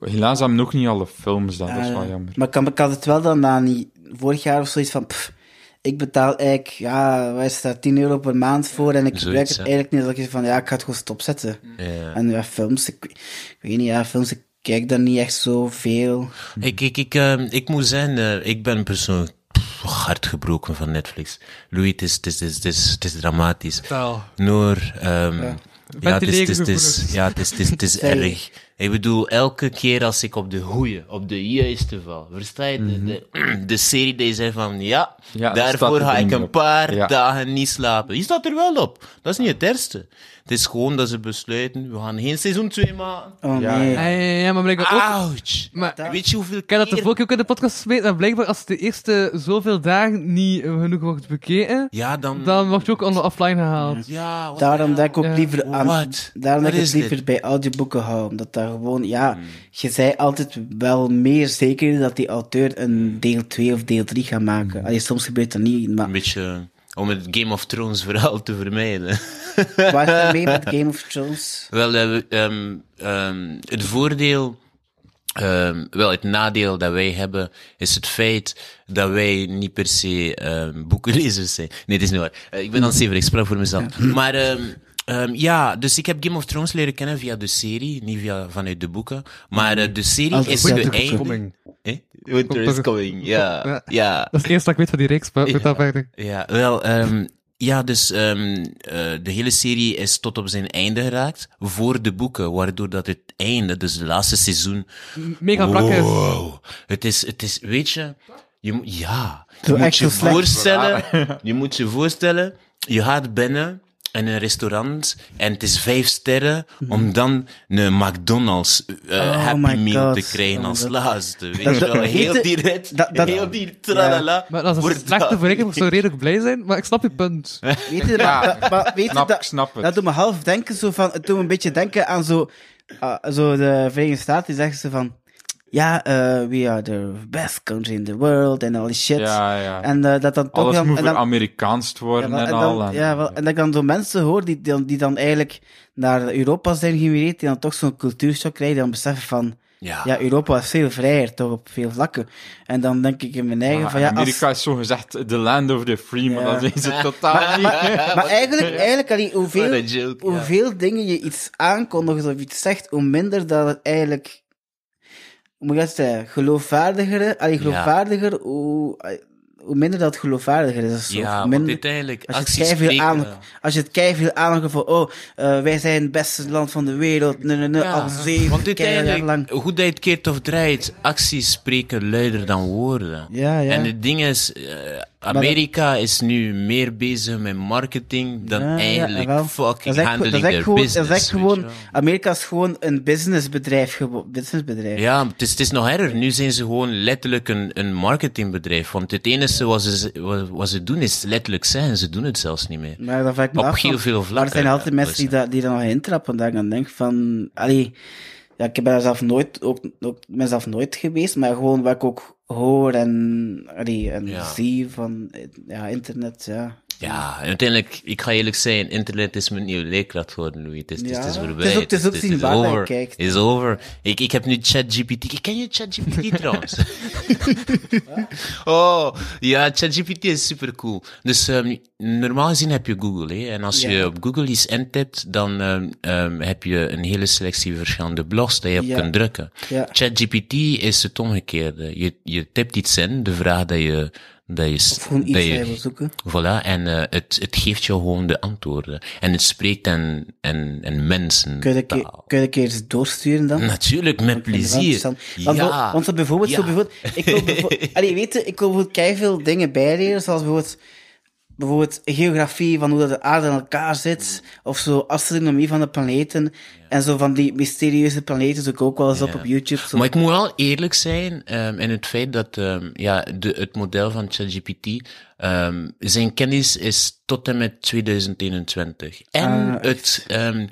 [SPEAKER 2] Helaas hebben we ook niet alle films dan, dat is wel
[SPEAKER 5] Eh,
[SPEAKER 2] jammer.
[SPEAKER 5] Maar ik, had- ik had het wel dan na niet, vorig jaar of zoiets van, pff, ik betaal eigenlijk, ja, wat is dat, 10 euro per maand voor en ik gebruik het
[SPEAKER 4] hè.
[SPEAKER 5] eigenlijk niet. Dat ik zeg van, ja, ik ga het gewoon stopzetten.
[SPEAKER 4] Ja.
[SPEAKER 5] En ja, films, ik, ik weet niet, ja, films, ik kijk daar niet echt zoveel.
[SPEAKER 2] Mhm.
[SPEAKER 4] Ik, ik, ik, ehm, ik moet zijn, eh, ik ben persoonlijk pff, hard gebroken van Netflix. Louis, het is, het is, het is, het is, het is dramatisch.
[SPEAKER 3] Vertel.
[SPEAKER 4] Noor, ehm, ja. het is, het is, het is-
[SPEAKER 3] gevoelens.
[SPEAKER 4] ja, het is, het is, het is
[SPEAKER 5] Sorry.
[SPEAKER 4] erg. Ik bedoel, elke keer als ik op de goeie, op de juiste val, versta je, de- de, de serie die zei van, ja,
[SPEAKER 2] Mhm. Ja, staat
[SPEAKER 4] daarvoor
[SPEAKER 2] het
[SPEAKER 4] ga
[SPEAKER 2] er
[SPEAKER 4] ik
[SPEAKER 2] niet
[SPEAKER 4] een
[SPEAKER 2] op.
[SPEAKER 4] paar
[SPEAKER 2] Ja.
[SPEAKER 4] dagen niet slapen. Die staat er wel op. Dat is niet het ergste. Het is gewoon dat ze besluiten, we gaan geen seizoen 2 maken.
[SPEAKER 5] Oh
[SPEAKER 2] Ja,
[SPEAKER 5] nee.
[SPEAKER 3] Ja, ja, ja, maar blijkbaar ook...
[SPEAKER 4] Ah, Ouch!
[SPEAKER 3] Maar,
[SPEAKER 5] Dat-
[SPEAKER 4] Weet je hoeveel
[SPEAKER 3] Ik heb dat
[SPEAKER 4] keer-
[SPEAKER 3] de vorige keer ook in de podcast gesmeten. En blijkbaar, als de eerste zoveel dagen niet eh, genoeg wordt bekeken,
[SPEAKER 4] Ja, dan...
[SPEAKER 3] dan wordt je ook onder offline gehaald.
[SPEAKER 4] Ja, wat
[SPEAKER 5] Daarom
[SPEAKER 4] de
[SPEAKER 5] dat ik ook
[SPEAKER 3] Ja.
[SPEAKER 5] liever aan.
[SPEAKER 4] What?
[SPEAKER 5] Daarom
[SPEAKER 4] Wat
[SPEAKER 5] dat ik het
[SPEAKER 4] is
[SPEAKER 5] liever
[SPEAKER 4] dit?
[SPEAKER 5] bij audioboeken hou. Omdat daar gewoon, ja, je zei altijd wel meer zeker dat die auteur een deel 2 of deel 3 gaat maken. Allee, soms gebeurt dat niet, maar
[SPEAKER 4] Een beetje eh, om het Game of Thrones verhaal te vermijden.
[SPEAKER 5] waar is dat mee met Game of Thrones?
[SPEAKER 4] Wel, eh, we- ehm, ehm, het voordeel, ehm, wel, het nadeel dat wij hebben, is het feit dat wij niet per se ehm, boekenlezers zijn. Nee, dat is niet waar. Eh, ik ben aan het zeven, ik sprak voor mezelf. Maar ehm, ehm, ja, dus ik heb Game of Thrones leren kennen via de serie, niet via, vanuit de boeken. Maar eh, de serie
[SPEAKER 5] Als
[SPEAKER 4] is
[SPEAKER 5] Winter
[SPEAKER 4] de
[SPEAKER 5] is
[SPEAKER 4] einde.
[SPEAKER 3] Coming.
[SPEAKER 4] Eh? Winter is coming, ja.
[SPEAKER 3] Ja.
[SPEAKER 4] Ja,
[SPEAKER 3] Dat is het eerste dat ik weet van die reeks, maar goed, dat verder.
[SPEAKER 4] Ja, wel, ehm, ja, dus ehm, eh, de hele serie is tot op zijn einde geraakt voor de boeken, waardoor dat het einde, dus het laatste seizoen.
[SPEAKER 3] Mega brak is.
[SPEAKER 4] Wow, het is, het is, weet je, je moet- ja,
[SPEAKER 5] Zo
[SPEAKER 4] je moet
[SPEAKER 5] echt
[SPEAKER 4] je
[SPEAKER 5] zo slecht.
[SPEAKER 4] voorstellen, je moet je voorstellen, je gaat binnen in een restaurant en het is vijf sterren om dan een McDonald's eh,
[SPEAKER 5] Mhm. Oh
[SPEAKER 4] Happy
[SPEAKER 5] my
[SPEAKER 4] Meal
[SPEAKER 5] God.
[SPEAKER 4] te krijgen
[SPEAKER 5] Oh,
[SPEAKER 4] als
[SPEAKER 5] dat-
[SPEAKER 4] laatste, weet
[SPEAKER 5] dat-
[SPEAKER 4] je wel,
[SPEAKER 5] dat-
[SPEAKER 4] heel
[SPEAKER 5] dat-
[SPEAKER 4] die rit,
[SPEAKER 5] dat- dat-
[SPEAKER 4] heel die tralala.
[SPEAKER 3] Maar als
[SPEAKER 4] wordt
[SPEAKER 3] het slechte
[SPEAKER 4] dat.
[SPEAKER 3] voor ik ik zou redelijk blij zijn, maar ik snap je punt.
[SPEAKER 5] Weet je, dat, dat- maar weet je
[SPEAKER 2] Snap, ik
[SPEAKER 5] dat,
[SPEAKER 2] snap
[SPEAKER 5] dat
[SPEAKER 2] het.
[SPEAKER 5] doet me half denken zo van, het doet me een beetje denken aan zo, ah, zo de Verenigde Staten, die zeggen ze van, ja, eh, we are the best country in the world en al die shit.
[SPEAKER 2] Ja, ja.
[SPEAKER 5] En eh, dat dan toch
[SPEAKER 2] Alles
[SPEAKER 5] dan,
[SPEAKER 2] moet
[SPEAKER 5] en
[SPEAKER 2] weer
[SPEAKER 5] dan,
[SPEAKER 2] Amerikaans te worden
[SPEAKER 5] Ja, wel,
[SPEAKER 2] en,
[SPEAKER 5] en
[SPEAKER 2] al.
[SPEAKER 5] dan,
[SPEAKER 2] en-
[SPEAKER 5] ja, wel, en dat ik dan zo mensen hoor die, die, dan- die dan eigenlijk naar Europa zijn gemigreerd, die dan toch zo'n cultuurshock krijgen, dan beseffen van, ja, Europa is veel vrijer, toch op veel vlakken. En dan denk ik in mijn eigen
[SPEAKER 2] Maar
[SPEAKER 5] van, ja, als-
[SPEAKER 2] Amerika is zo gezegd the land of the free, maar
[SPEAKER 5] Ja.
[SPEAKER 2] dat zijn ze totaal niet.
[SPEAKER 5] maar eigenlijk, eigenlijk allee, hoeveel,
[SPEAKER 4] Wat een joke, ja.
[SPEAKER 5] hoeveel dingen je iets aankondigt of iets zegt, hoe minder dat het eigenlijk, hoe moet ik dat zeggen, geloofwaardiger, allee, geloofwaardiger, hoe, hoe minder dat het geloofwaardiger is. of zo. Of
[SPEAKER 4] Ja, want
[SPEAKER 5] minder,
[SPEAKER 4] uiteindelijk,
[SPEAKER 5] Als je, het
[SPEAKER 4] acties
[SPEAKER 5] kei veel
[SPEAKER 4] spreken,
[SPEAKER 5] aandacht, als je het kei veel aandacht hebt van, oh, eh, wij zijn het beste land van de wereld, nee, nee, nee,
[SPEAKER 4] ja.
[SPEAKER 5] al zeven
[SPEAKER 4] Want
[SPEAKER 5] keihard jaar
[SPEAKER 4] uiteindelijk,
[SPEAKER 5] lang.
[SPEAKER 4] hoe dat je het keert of draait, acties spreken luider dan woorden.
[SPEAKER 5] Ja, ja.
[SPEAKER 4] En het ding is, eh, Amerika is nu meer bezig met marketing dan
[SPEAKER 5] Ja, ja,
[SPEAKER 4] eigenlijk
[SPEAKER 5] jawel.
[SPEAKER 4] fucking
[SPEAKER 5] Dat is echt-
[SPEAKER 4] handling
[SPEAKER 5] dat is echt
[SPEAKER 4] their
[SPEAKER 5] gewoon,
[SPEAKER 4] business.
[SPEAKER 5] Dat is echt
[SPEAKER 4] weet
[SPEAKER 5] gewoon,
[SPEAKER 4] je wel.
[SPEAKER 5] Amerika is gewoon een businessbedrijf. gewo- businessbedrijf.
[SPEAKER 4] Ja, het is, het is nog erger. Nu zijn ze gewoon letterlijk een, een marketingbedrijf. Want het enige wat ze, wat, wat ze doen is letterlijk zeggen. Ze doen het zelfs niet meer.
[SPEAKER 5] Maar dat vraag ik me
[SPEAKER 4] Op
[SPEAKER 5] af,
[SPEAKER 4] heel
[SPEAKER 5] want-
[SPEAKER 4] veel
[SPEAKER 5] Maar er
[SPEAKER 4] vlakken,
[SPEAKER 5] zijn altijd
[SPEAKER 4] eh,
[SPEAKER 5] mensen die, dat, die daar nog intrappen. Dat ik dan denk van, allee, ja, ik ben daar zelf nooit, ook, ook mezelf nooit geweest, maar gewoon wat ik ook hoor en, allee, en
[SPEAKER 4] Ja.
[SPEAKER 5] zie van, eh, ja, internet, ja.
[SPEAKER 4] Ja, en uiteindelijk, ik ga eerlijk zijn, internet is mijn nieuwe leerkracht geworden, Louis. Het is, het is- het is
[SPEAKER 5] Ja.
[SPEAKER 4] voorbij.
[SPEAKER 5] Het is ook- het is ook zien waar je
[SPEAKER 4] over.
[SPEAKER 5] kijkt.
[SPEAKER 4] Het is over. Ik, ik heb nu ChatGPT. Ken je ChatGPT trouwens? oh, ja, ChatGPT is super cool. Dus ehm, normaal gezien heb je Google, hè. En als je
[SPEAKER 5] Ja.
[SPEAKER 4] op Google iets intipt, dan ehm, ehm, heb je een hele selectie verschillende blogs die je op
[SPEAKER 5] Ja.
[SPEAKER 4] kunt drukken.
[SPEAKER 5] Ja.
[SPEAKER 4] ChatGPT is het omgekeerde. Je, je tipt iets in, de vraag dat je... Dat je
[SPEAKER 5] Of gewoon iets
[SPEAKER 4] dat
[SPEAKER 5] dat
[SPEAKER 4] je-
[SPEAKER 5] je wil zoeken.
[SPEAKER 4] Voilà, en eh, het, het geeft jou gewoon de antwoorden. En het spreekt en, en, en mensen.
[SPEAKER 5] Kun je dat keer- kun je dat keer eens doorsturen dan?
[SPEAKER 4] Natuurlijk, met
[SPEAKER 5] Ik vind het wel
[SPEAKER 4] plezier.
[SPEAKER 5] interessant. Want,
[SPEAKER 4] Ja.
[SPEAKER 5] zo- want zo bijvoorbeeld, zo
[SPEAKER 4] Ja.
[SPEAKER 5] bijvoorbeeld, ik wil bijvoorbeeld, allee, weet je, ik wil bijvoorbeeld keiveel dingen bijleren, zoals bijvoorbeeld, bijvoorbeeld geografie, van hoe dat de aarde in elkaar zit,
[SPEAKER 4] Mm.
[SPEAKER 5] of zo astronomie van de planeten, en zo van die mysterieuze planeten zoek ik ook wel eens op op YouTube. Zo.
[SPEAKER 4] Maar ik moet wel eerlijk zijn ehm, in het feit dat ehm, ja, de, het model van ChatGPT, ehm, zijn kennis is tot en met 2021. En
[SPEAKER 5] Ah.
[SPEAKER 4] het, ehm,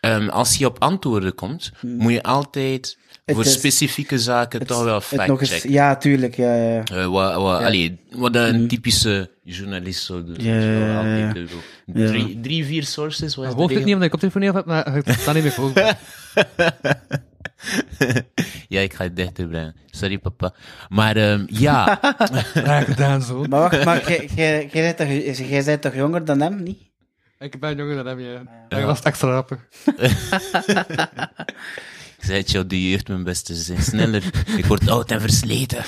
[SPEAKER 4] ehm, als je op antwoorden komt, moet je altijd voor
[SPEAKER 5] Hmm. is-
[SPEAKER 4] specifieke zaken toch wel
[SPEAKER 5] Het nog eens,
[SPEAKER 4] fact-checken.
[SPEAKER 5] ja, tuurlijk, ja, ja. ja.
[SPEAKER 4] Eh, wa- wa- allee, wat
[SPEAKER 5] Mm.
[SPEAKER 4] een typische journalist zou doen.
[SPEAKER 5] Ja,
[SPEAKER 4] Zo,
[SPEAKER 5] ja, ja.
[SPEAKER 4] altijd, eh, Drie, drie, vier sources, wat is de
[SPEAKER 3] Hoort dit
[SPEAKER 4] regel?
[SPEAKER 3] niet omdat ik koptelefoon niet af heb, maar ik sta niet meer voor.
[SPEAKER 4] Ja, ik ga het dichter brengen. Sorry, papa. Maar ehm, ja,
[SPEAKER 3] Graag gedaan, zo.
[SPEAKER 5] Maar wacht, maar jij- jij- jij bent toch- jij bent toch jonger dan hem, niet?
[SPEAKER 4] Ah,
[SPEAKER 3] Ik ben jonger dan hem, ja. Dat was extra grappig.
[SPEAKER 4] ik zei het jou, de jeugd mijn beste, ze zijn sneller. ik word oud en versleten.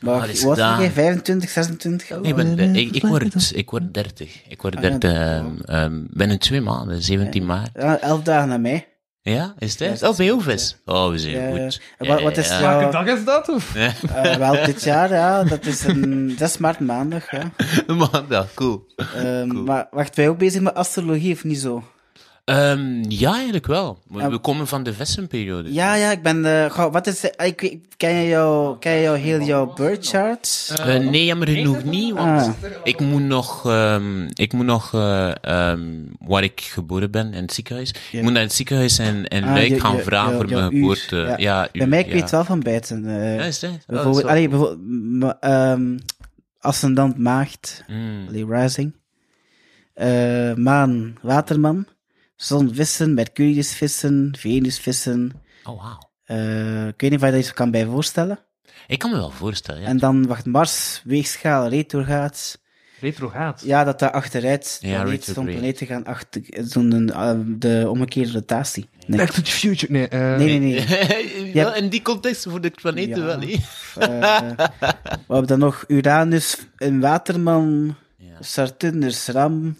[SPEAKER 4] Wat
[SPEAKER 5] Maar
[SPEAKER 4] is
[SPEAKER 5] wat
[SPEAKER 4] dat?
[SPEAKER 5] jij, 25, 26?
[SPEAKER 4] Nee, Ik, ben, eh, ik, ik, word, ik word 30. Ik
[SPEAKER 5] Ah,
[SPEAKER 4] word 30 ehm, ehm, binnen twee maanden, 17 maart.
[SPEAKER 5] Ja, elf dagen na mij.
[SPEAKER 4] Ja, is
[SPEAKER 5] Ja,
[SPEAKER 4] het?
[SPEAKER 5] het
[SPEAKER 4] Oh,
[SPEAKER 5] is
[SPEAKER 4] bij Ovis. Oh, we zijn
[SPEAKER 5] Ja,
[SPEAKER 4] goed.
[SPEAKER 5] ja. Wat- wat is
[SPEAKER 4] Ja,
[SPEAKER 5] dat?
[SPEAKER 3] Welke dag is dat? Of?
[SPEAKER 4] ja.
[SPEAKER 5] Eh, wel dit jaar, ja. Dat is een 6 maart maandag, ja.
[SPEAKER 4] Maandag, cool.
[SPEAKER 5] Ehm, Maar wacht, wij ook bezig met astrologie, of niet zo?
[SPEAKER 4] Ehm, ja, eigenlijk wel. We, we komen van de Vessenperiode.
[SPEAKER 5] Ja, ja, ik ben... eh, goh, wat is... Ik, weet- ken je jou, ken je jou heel jouw birth chart?
[SPEAKER 4] Eh, nee, jammer genoeg niet, want
[SPEAKER 5] Ah.
[SPEAKER 4] ik moet nog, ehm, ik moet nog eh, ehm, waar ik geboren ben, in het ziekenhuis. Ik moet naar het ziekenhuis en, en
[SPEAKER 5] Ah,
[SPEAKER 4] Luik
[SPEAKER 5] je-
[SPEAKER 4] gaan
[SPEAKER 5] je-
[SPEAKER 4] vragen
[SPEAKER 5] jou-
[SPEAKER 4] voor
[SPEAKER 5] jouw
[SPEAKER 4] mijn
[SPEAKER 5] uur,
[SPEAKER 4] geboorte. Ja,
[SPEAKER 5] Bij mij,
[SPEAKER 4] uur,
[SPEAKER 5] ik weet wel van buiten. eh,
[SPEAKER 4] Ja, is dat? Oh, dat
[SPEAKER 5] bijvoorbeeld,
[SPEAKER 4] is wel-
[SPEAKER 5] allee, bijvoorbeeld m- ehm, ascendant maagd,
[SPEAKER 4] Mm.
[SPEAKER 5] allee, rising. Eh, maan, waterman. Zon, vissen. Mercurius, vissen. Venus, vissen.
[SPEAKER 4] Oh, wauw.
[SPEAKER 5] Eh, ik weet niet of je daar iets kan bij voorstellen.
[SPEAKER 4] Ik kan me wel voorstellen, ja.
[SPEAKER 5] En dan, wacht, Mars, weegschaal, retrograat.
[SPEAKER 3] Retrogaat.
[SPEAKER 5] Ja, dat daar achteruit,
[SPEAKER 4] Ja,
[SPEAKER 5] ja,
[SPEAKER 4] retrograde.
[SPEAKER 5] planeten gaan achter, doen een, eh, de omgekeerde rotatie. Nee,
[SPEAKER 3] Back to the future. Nee, eh,
[SPEAKER 5] nee, nee. nee.
[SPEAKER 4] Wel, in die context voor de planeten
[SPEAKER 5] Ja.
[SPEAKER 4] wel, hè.
[SPEAKER 5] Eh, we hebben dan nog Uranus, een waterman,
[SPEAKER 4] Ja.
[SPEAKER 5] Saturnus, Ram,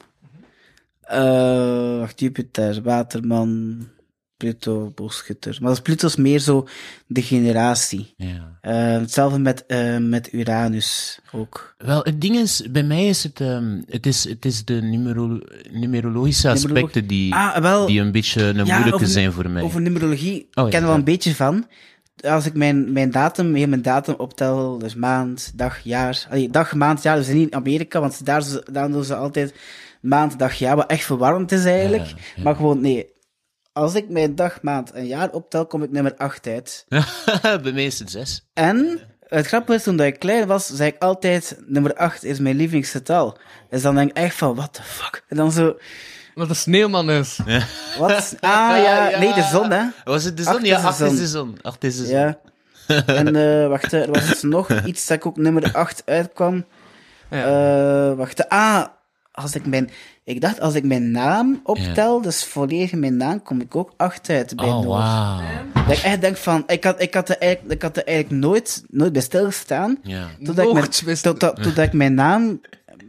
[SPEAKER 5] eh, wacht, Jupiter, waterman, Pluto, boogschutter. Maar dat is Pluto's meer zo de generatie.
[SPEAKER 4] Ja.
[SPEAKER 5] Eh, hetzelfde met, eh, met Uranus ook.
[SPEAKER 4] Wel, het ding is, bij mij is het, ehm, het, is, het is de numero numerologische aspecten die,
[SPEAKER 5] Ah, wel,
[SPEAKER 4] die een beetje een
[SPEAKER 5] Ja,
[SPEAKER 4] moeilijke
[SPEAKER 5] over-
[SPEAKER 4] zijn voor mij. Oh,
[SPEAKER 5] Over numerologie
[SPEAKER 4] ja,
[SPEAKER 5] ik ken er wel
[SPEAKER 4] ja.
[SPEAKER 5] een beetje van. Als ik mijn, mijn datum, heel mijn datum optel, dus maand, dag, jaar. Allee, dag, maand, jaar, dus niet in Amerika, want daar, ze- daar doen ze altijd maand, dag, jaar, wat echt verwarrend is eigenlijk. Maar gewoon, nee. Als ik mijn dag, maand en jaar optel, kom ik nummer 8 uit.
[SPEAKER 4] bij mij is het zes.
[SPEAKER 5] En het grappige is, toen dat ik klein was, zei ik altijd, nummer 8 is mijn lievelingsgetal. Dus dan denk ik echt van, what the fuck? En dan zo,
[SPEAKER 3] Wat een sneeuwman is.
[SPEAKER 5] wat? Ah ja, nee, de zon, hè.
[SPEAKER 4] Was het de
[SPEAKER 5] Acht
[SPEAKER 4] zon?
[SPEAKER 5] is
[SPEAKER 4] Ja,
[SPEAKER 5] de
[SPEAKER 4] acht is
[SPEAKER 5] zon.
[SPEAKER 4] de zon. Acht is de zon.
[SPEAKER 5] Ja. En eh, wacht, hè, er was dus nog iets dat ik ook nummer 8 uitkwam. Eh, wacht, hè. ah, als ik mijn... Ik dacht, als ik mijn naam optel, dus volledig mijn naam, kom ik ook 8 uit bij
[SPEAKER 4] Oh,
[SPEAKER 5] Noor.
[SPEAKER 4] wauw.
[SPEAKER 5] Dat ik echt denk van... Ik had, ik had, er, eigenlijk, ik had er eigenlijk nooit, nooit bij stilgestaan.
[SPEAKER 4] Ja.
[SPEAKER 5] Totdat ik, mijn,
[SPEAKER 3] Nooit bij stil-
[SPEAKER 5] tot, tot, totdat ik mijn naam...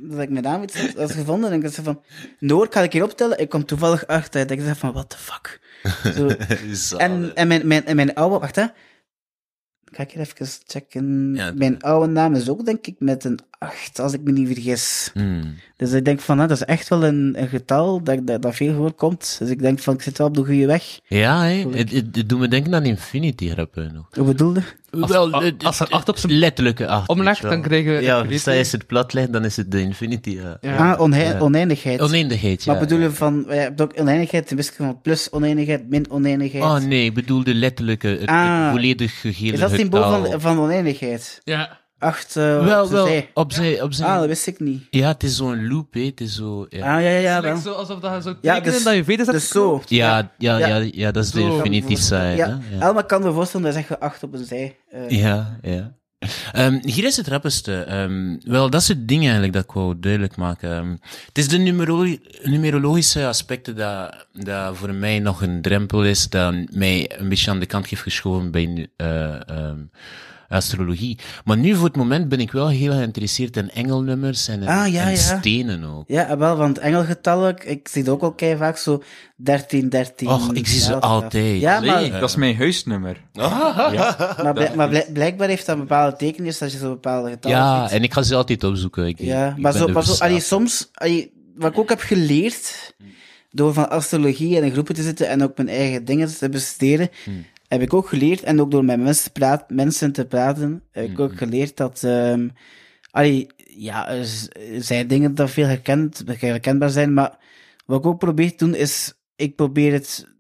[SPEAKER 5] Dat ik mijn naam iets had, had gevonden en ik dacht van... Noor, kan ik hier optellen? Ik kom toevallig 8 uit. Ik dacht van, what the fuck? Zo, en, en, mijn, mijn, en mijn oude, wacht hè. Ga ik hier even checken.
[SPEAKER 4] Ja, doe
[SPEAKER 5] mijn oude naam is ook, denk ik, met een 8, als ik me niet vergis.
[SPEAKER 4] Hmm.
[SPEAKER 5] Dus ik denk van, hè, dat is echt wel een, een getal dat, dat, dat veel voorkomt. Dus ik denk van, ik zit wel op de goede weg.
[SPEAKER 4] Ja, hè. Het, het, het doet me denken aan Infinity, grappen nog.
[SPEAKER 5] Hoe bedoelde?
[SPEAKER 4] Wel,
[SPEAKER 3] a-
[SPEAKER 4] het-
[SPEAKER 3] als er
[SPEAKER 4] het-
[SPEAKER 3] acht op zijn
[SPEAKER 4] Letterlijke acht.
[SPEAKER 3] omlegt,
[SPEAKER 4] weet je wel.
[SPEAKER 3] dan krijgen we
[SPEAKER 4] Ja,
[SPEAKER 3] Infinity.
[SPEAKER 4] als is het plat legt, dan is het de Infinity. Ja. Oh,
[SPEAKER 3] Ja.
[SPEAKER 5] ah, onhei- oneindigheid.
[SPEAKER 4] Oneindigheid, ja.
[SPEAKER 5] maar bedoelen van, je hebt ook oneindigheid, de wiskunde van plus oneindigheid, min oneindigheid.
[SPEAKER 4] Oh nee, ik bedoel de letterlijke, het, het
[SPEAKER 5] Ah.
[SPEAKER 4] volledig gehele
[SPEAKER 5] is dat het symbool
[SPEAKER 4] getal.
[SPEAKER 5] van, van oneindigheid? eh,
[SPEAKER 3] Ja.
[SPEAKER 5] 8
[SPEAKER 4] Wel, wel, op zijn... Op zijn
[SPEAKER 5] Ah, dat wist ik niet.
[SPEAKER 4] Ja, het is zo'n loop, hè. Het is zo... Ja,
[SPEAKER 5] Ah, ja, ja, ja, wel.
[SPEAKER 3] Lijkt zo alsof dat je zo
[SPEAKER 5] Ja,
[SPEAKER 3] tekenen
[SPEAKER 5] dus-
[SPEAKER 3] dat je veters hebt
[SPEAKER 5] Dus zo.
[SPEAKER 4] ja, ja, ja,
[SPEAKER 5] Ja.
[SPEAKER 4] ja, dat is de
[SPEAKER 3] Zo.
[SPEAKER 4] Infinity side.
[SPEAKER 5] Ja,
[SPEAKER 4] hè, ja.
[SPEAKER 5] Elma kan me voorstellen, dat is echt acht op een zij. Eh,
[SPEAKER 4] Ja, ja. Ehm, hier is het rappigste. Ehm, wel, dat is het ding eigenlijk dat ik wou duidelijk maken. Ehm, het is de numero- numerologische aspecten dat, dat voor mij nog een drempel is, dat mij een beetje aan de kant heeft geschoven bij nu- eh, ehm, astrologie. Maar nu voor het moment ben ik wel heel geïnteresseerd in engelnummers en, in-
[SPEAKER 5] Ah, ja,
[SPEAKER 4] en
[SPEAKER 5] ja.
[SPEAKER 4] stenen ook.
[SPEAKER 5] Ja, en wel, want engelgetallen, ik- ik zie het ook al kei vaak zo 13, 13.
[SPEAKER 4] Och, ik zie ze
[SPEAKER 5] 11,
[SPEAKER 4] altijd.
[SPEAKER 5] Ja, maar,
[SPEAKER 4] Nee.
[SPEAKER 2] Dat is mijn huisnummer.
[SPEAKER 5] maar, blijk- maar blijk- blijkbaar heeft dat een bepaalde tekenis als je zo bepaalde getallen
[SPEAKER 4] Ja,
[SPEAKER 5] ziet.
[SPEAKER 4] en ik ga ze altijd opzoeken. Ik,
[SPEAKER 5] ja,
[SPEAKER 4] ik
[SPEAKER 5] maar
[SPEAKER 4] ben
[SPEAKER 5] zo,
[SPEAKER 4] er
[SPEAKER 5] maar zo
[SPEAKER 4] verslaafd
[SPEAKER 5] allee, soms, allee, wat ik ook heb geleerd, door van astrologie en in groepen te zitten en ook mijn eigen dingen te bestuderen,
[SPEAKER 4] Hmm.
[SPEAKER 5] heb ik ook geleerd, en ook door met mensen te, praat, mensen te praten, heb
[SPEAKER 4] Hmm,
[SPEAKER 5] ik ook geleerd dat... ehm, allee, ja, er z- er zijn dingen dat veel herkend, herkenbaar zijn, maar wat ik ook probeer te doen is, ik probeer het,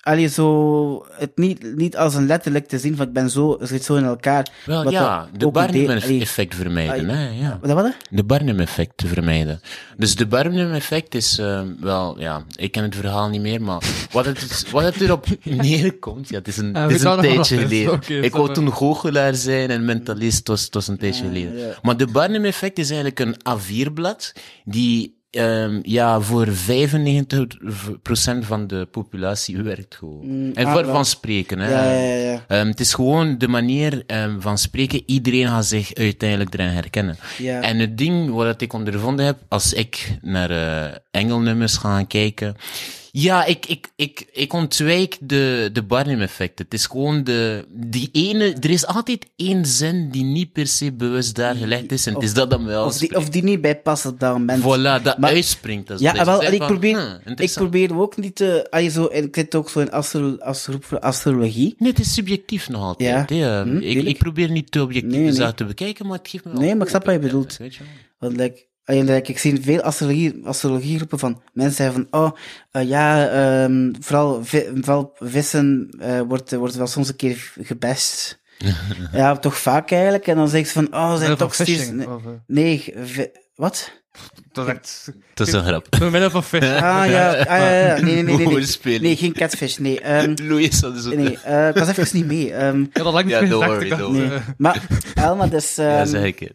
[SPEAKER 5] allee, zo, het niet, niet als een letterlijk te zien, van ik ben zo, het zit zo in elkaar.
[SPEAKER 4] Wel,
[SPEAKER 5] Wat
[SPEAKER 4] ja,
[SPEAKER 5] dat
[SPEAKER 4] de
[SPEAKER 5] ook een deel- allee,
[SPEAKER 4] Barnum-effect vermijden.
[SPEAKER 5] Ai.
[SPEAKER 4] Hè, ja.
[SPEAKER 5] Wat was dat?
[SPEAKER 4] De Barnum-effect te vermijden. Dus de Barnum-effect is eh, wel, ja, ik ken het verhaal niet meer, maar wat het, is- wat het erop neerkomt, ja, het is een,
[SPEAKER 3] Ah,
[SPEAKER 4] het
[SPEAKER 3] we
[SPEAKER 4] is een
[SPEAKER 3] gaan er vanaf,
[SPEAKER 4] tijdje
[SPEAKER 3] dus.
[SPEAKER 4] geleden.
[SPEAKER 3] Oké,
[SPEAKER 4] ik wou
[SPEAKER 3] snap
[SPEAKER 4] toen goochelaar zijn en mentalist, het was, het was een tijdje geleden. Maar de Barnum-effect is eigenlijk een A4-blad die ehm, ja, voor 95% van de populatie werkt gewoon.
[SPEAKER 5] Mm,
[SPEAKER 4] en
[SPEAKER 5] ah,
[SPEAKER 4] voor
[SPEAKER 5] wel.
[SPEAKER 4] van spreken, hè.
[SPEAKER 5] Ja, ja, ja.
[SPEAKER 4] Ehm, het is gewoon de manier ehm, van spreken. Iedereen gaat zich uiteindelijk erin herkennen.
[SPEAKER 5] Ja.
[SPEAKER 4] En het ding wat dat ik ondervonden heb, als ik naar eh, engelnummers ga kijken. Ja, ik, ik, ik, ik ontwijk de, de Barnum-effect. Het is gewoon de, die ene, er is altijd één zin die niet per se bewust daar gelegd is. En het is dat dan wel.
[SPEAKER 5] Of die, of die niet bij past op dat moment.
[SPEAKER 4] Voilà, dat
[SPEAKER 5] Maar-
[SPEAKER 4] uitspringt. Als
[SPEAKER 5] Ja,
[SPEAKER 4] deze.
[SPEAKER 5] en wel,
[SPEAKER 4] Zeg
[SPEAKER 5] en ik
[SPEAKER 4] van, hm,
[SPEAKER 5] probeer, ik
[SPEAKER 4] interessant.
[SPEAKER 5] probeer ook niet te... allee, zo, en ik zit ook zo in astro, astro, astrologie.
[SPEAKER 4] Nee, het is subjectief nog altijd.
[SPEAKER 5] Ja.
[SPEAKER 4] hè.
[SPEAKER 5] Hm,
[SPEAKER 4] ik,
[SPEAKER 5] tuurlijk.
[SPEAKER 4] ik probeer niet te objectief
[SPEAKER 5] Nee,
[SPEAKER 4] de
[SPEAKER 5] nee.
[SPEAKER 4] zaak te bekijken, maar het geeft me wel
[SPEAKER 5] Nee, maar ik snap wat je bedoelt.
[SPEAKER 4] Weet je wel.
[SPEAKER 5] Want like, allee, like, ik zie veel astrologie, astrologiegroepen van mensen zeggen van, oh, eh, ja, ehm, vooral, vi- vooral vissen eh, wordt, wordt wel soms een keer gebest. ja, toch vaak eigenlijk. En dan zeg ze van, oh, zijn
[SPEAKER 3] Middel van
[SPEAKER 5] toxisch.
[SPEAKER 3] phishing,
[SPEAKER 5] Nee,
[SPEAKER 3] of, eh,
[SPEAKER 5] nee, vi- wat?
[SPEAKER 3] Dat is echt...
[SPEAKER 4] Het is een grap.
[SPEAKER 3] Door middel van phishing.
[SPEAKER 5] Ah, ja, ah, ja, ja, nee, nee, nee, nee, nee.
[SPEAKER 4] Woordspeling.
[SPEAKER 5] Nee, geen catfish, nee. ehm,
[SPEAKER 4] Louis, dat is ook...
[SPEAKER 5] nee, eh, ik was even niet mee. ehm,
[SPEAKER 3] Ik had al lang niet
[SPEAKER 4] Ja,
[SPEAKER 3] meer
[SPEAKER 4] don't
[SPEAKER 3] gedacht.
[SPEAKER 4] worry,
[SPEAKER 3] Ik dacht,
[SPEAKER 4] don't worry.
[SPEAKER 3] eh,
[SPEAKER 5] maar, Elma, dus...
[SPEAKER 4] ja,
[SPEAKER 5] ehm,
[SPEAKER 4] zeg ik het.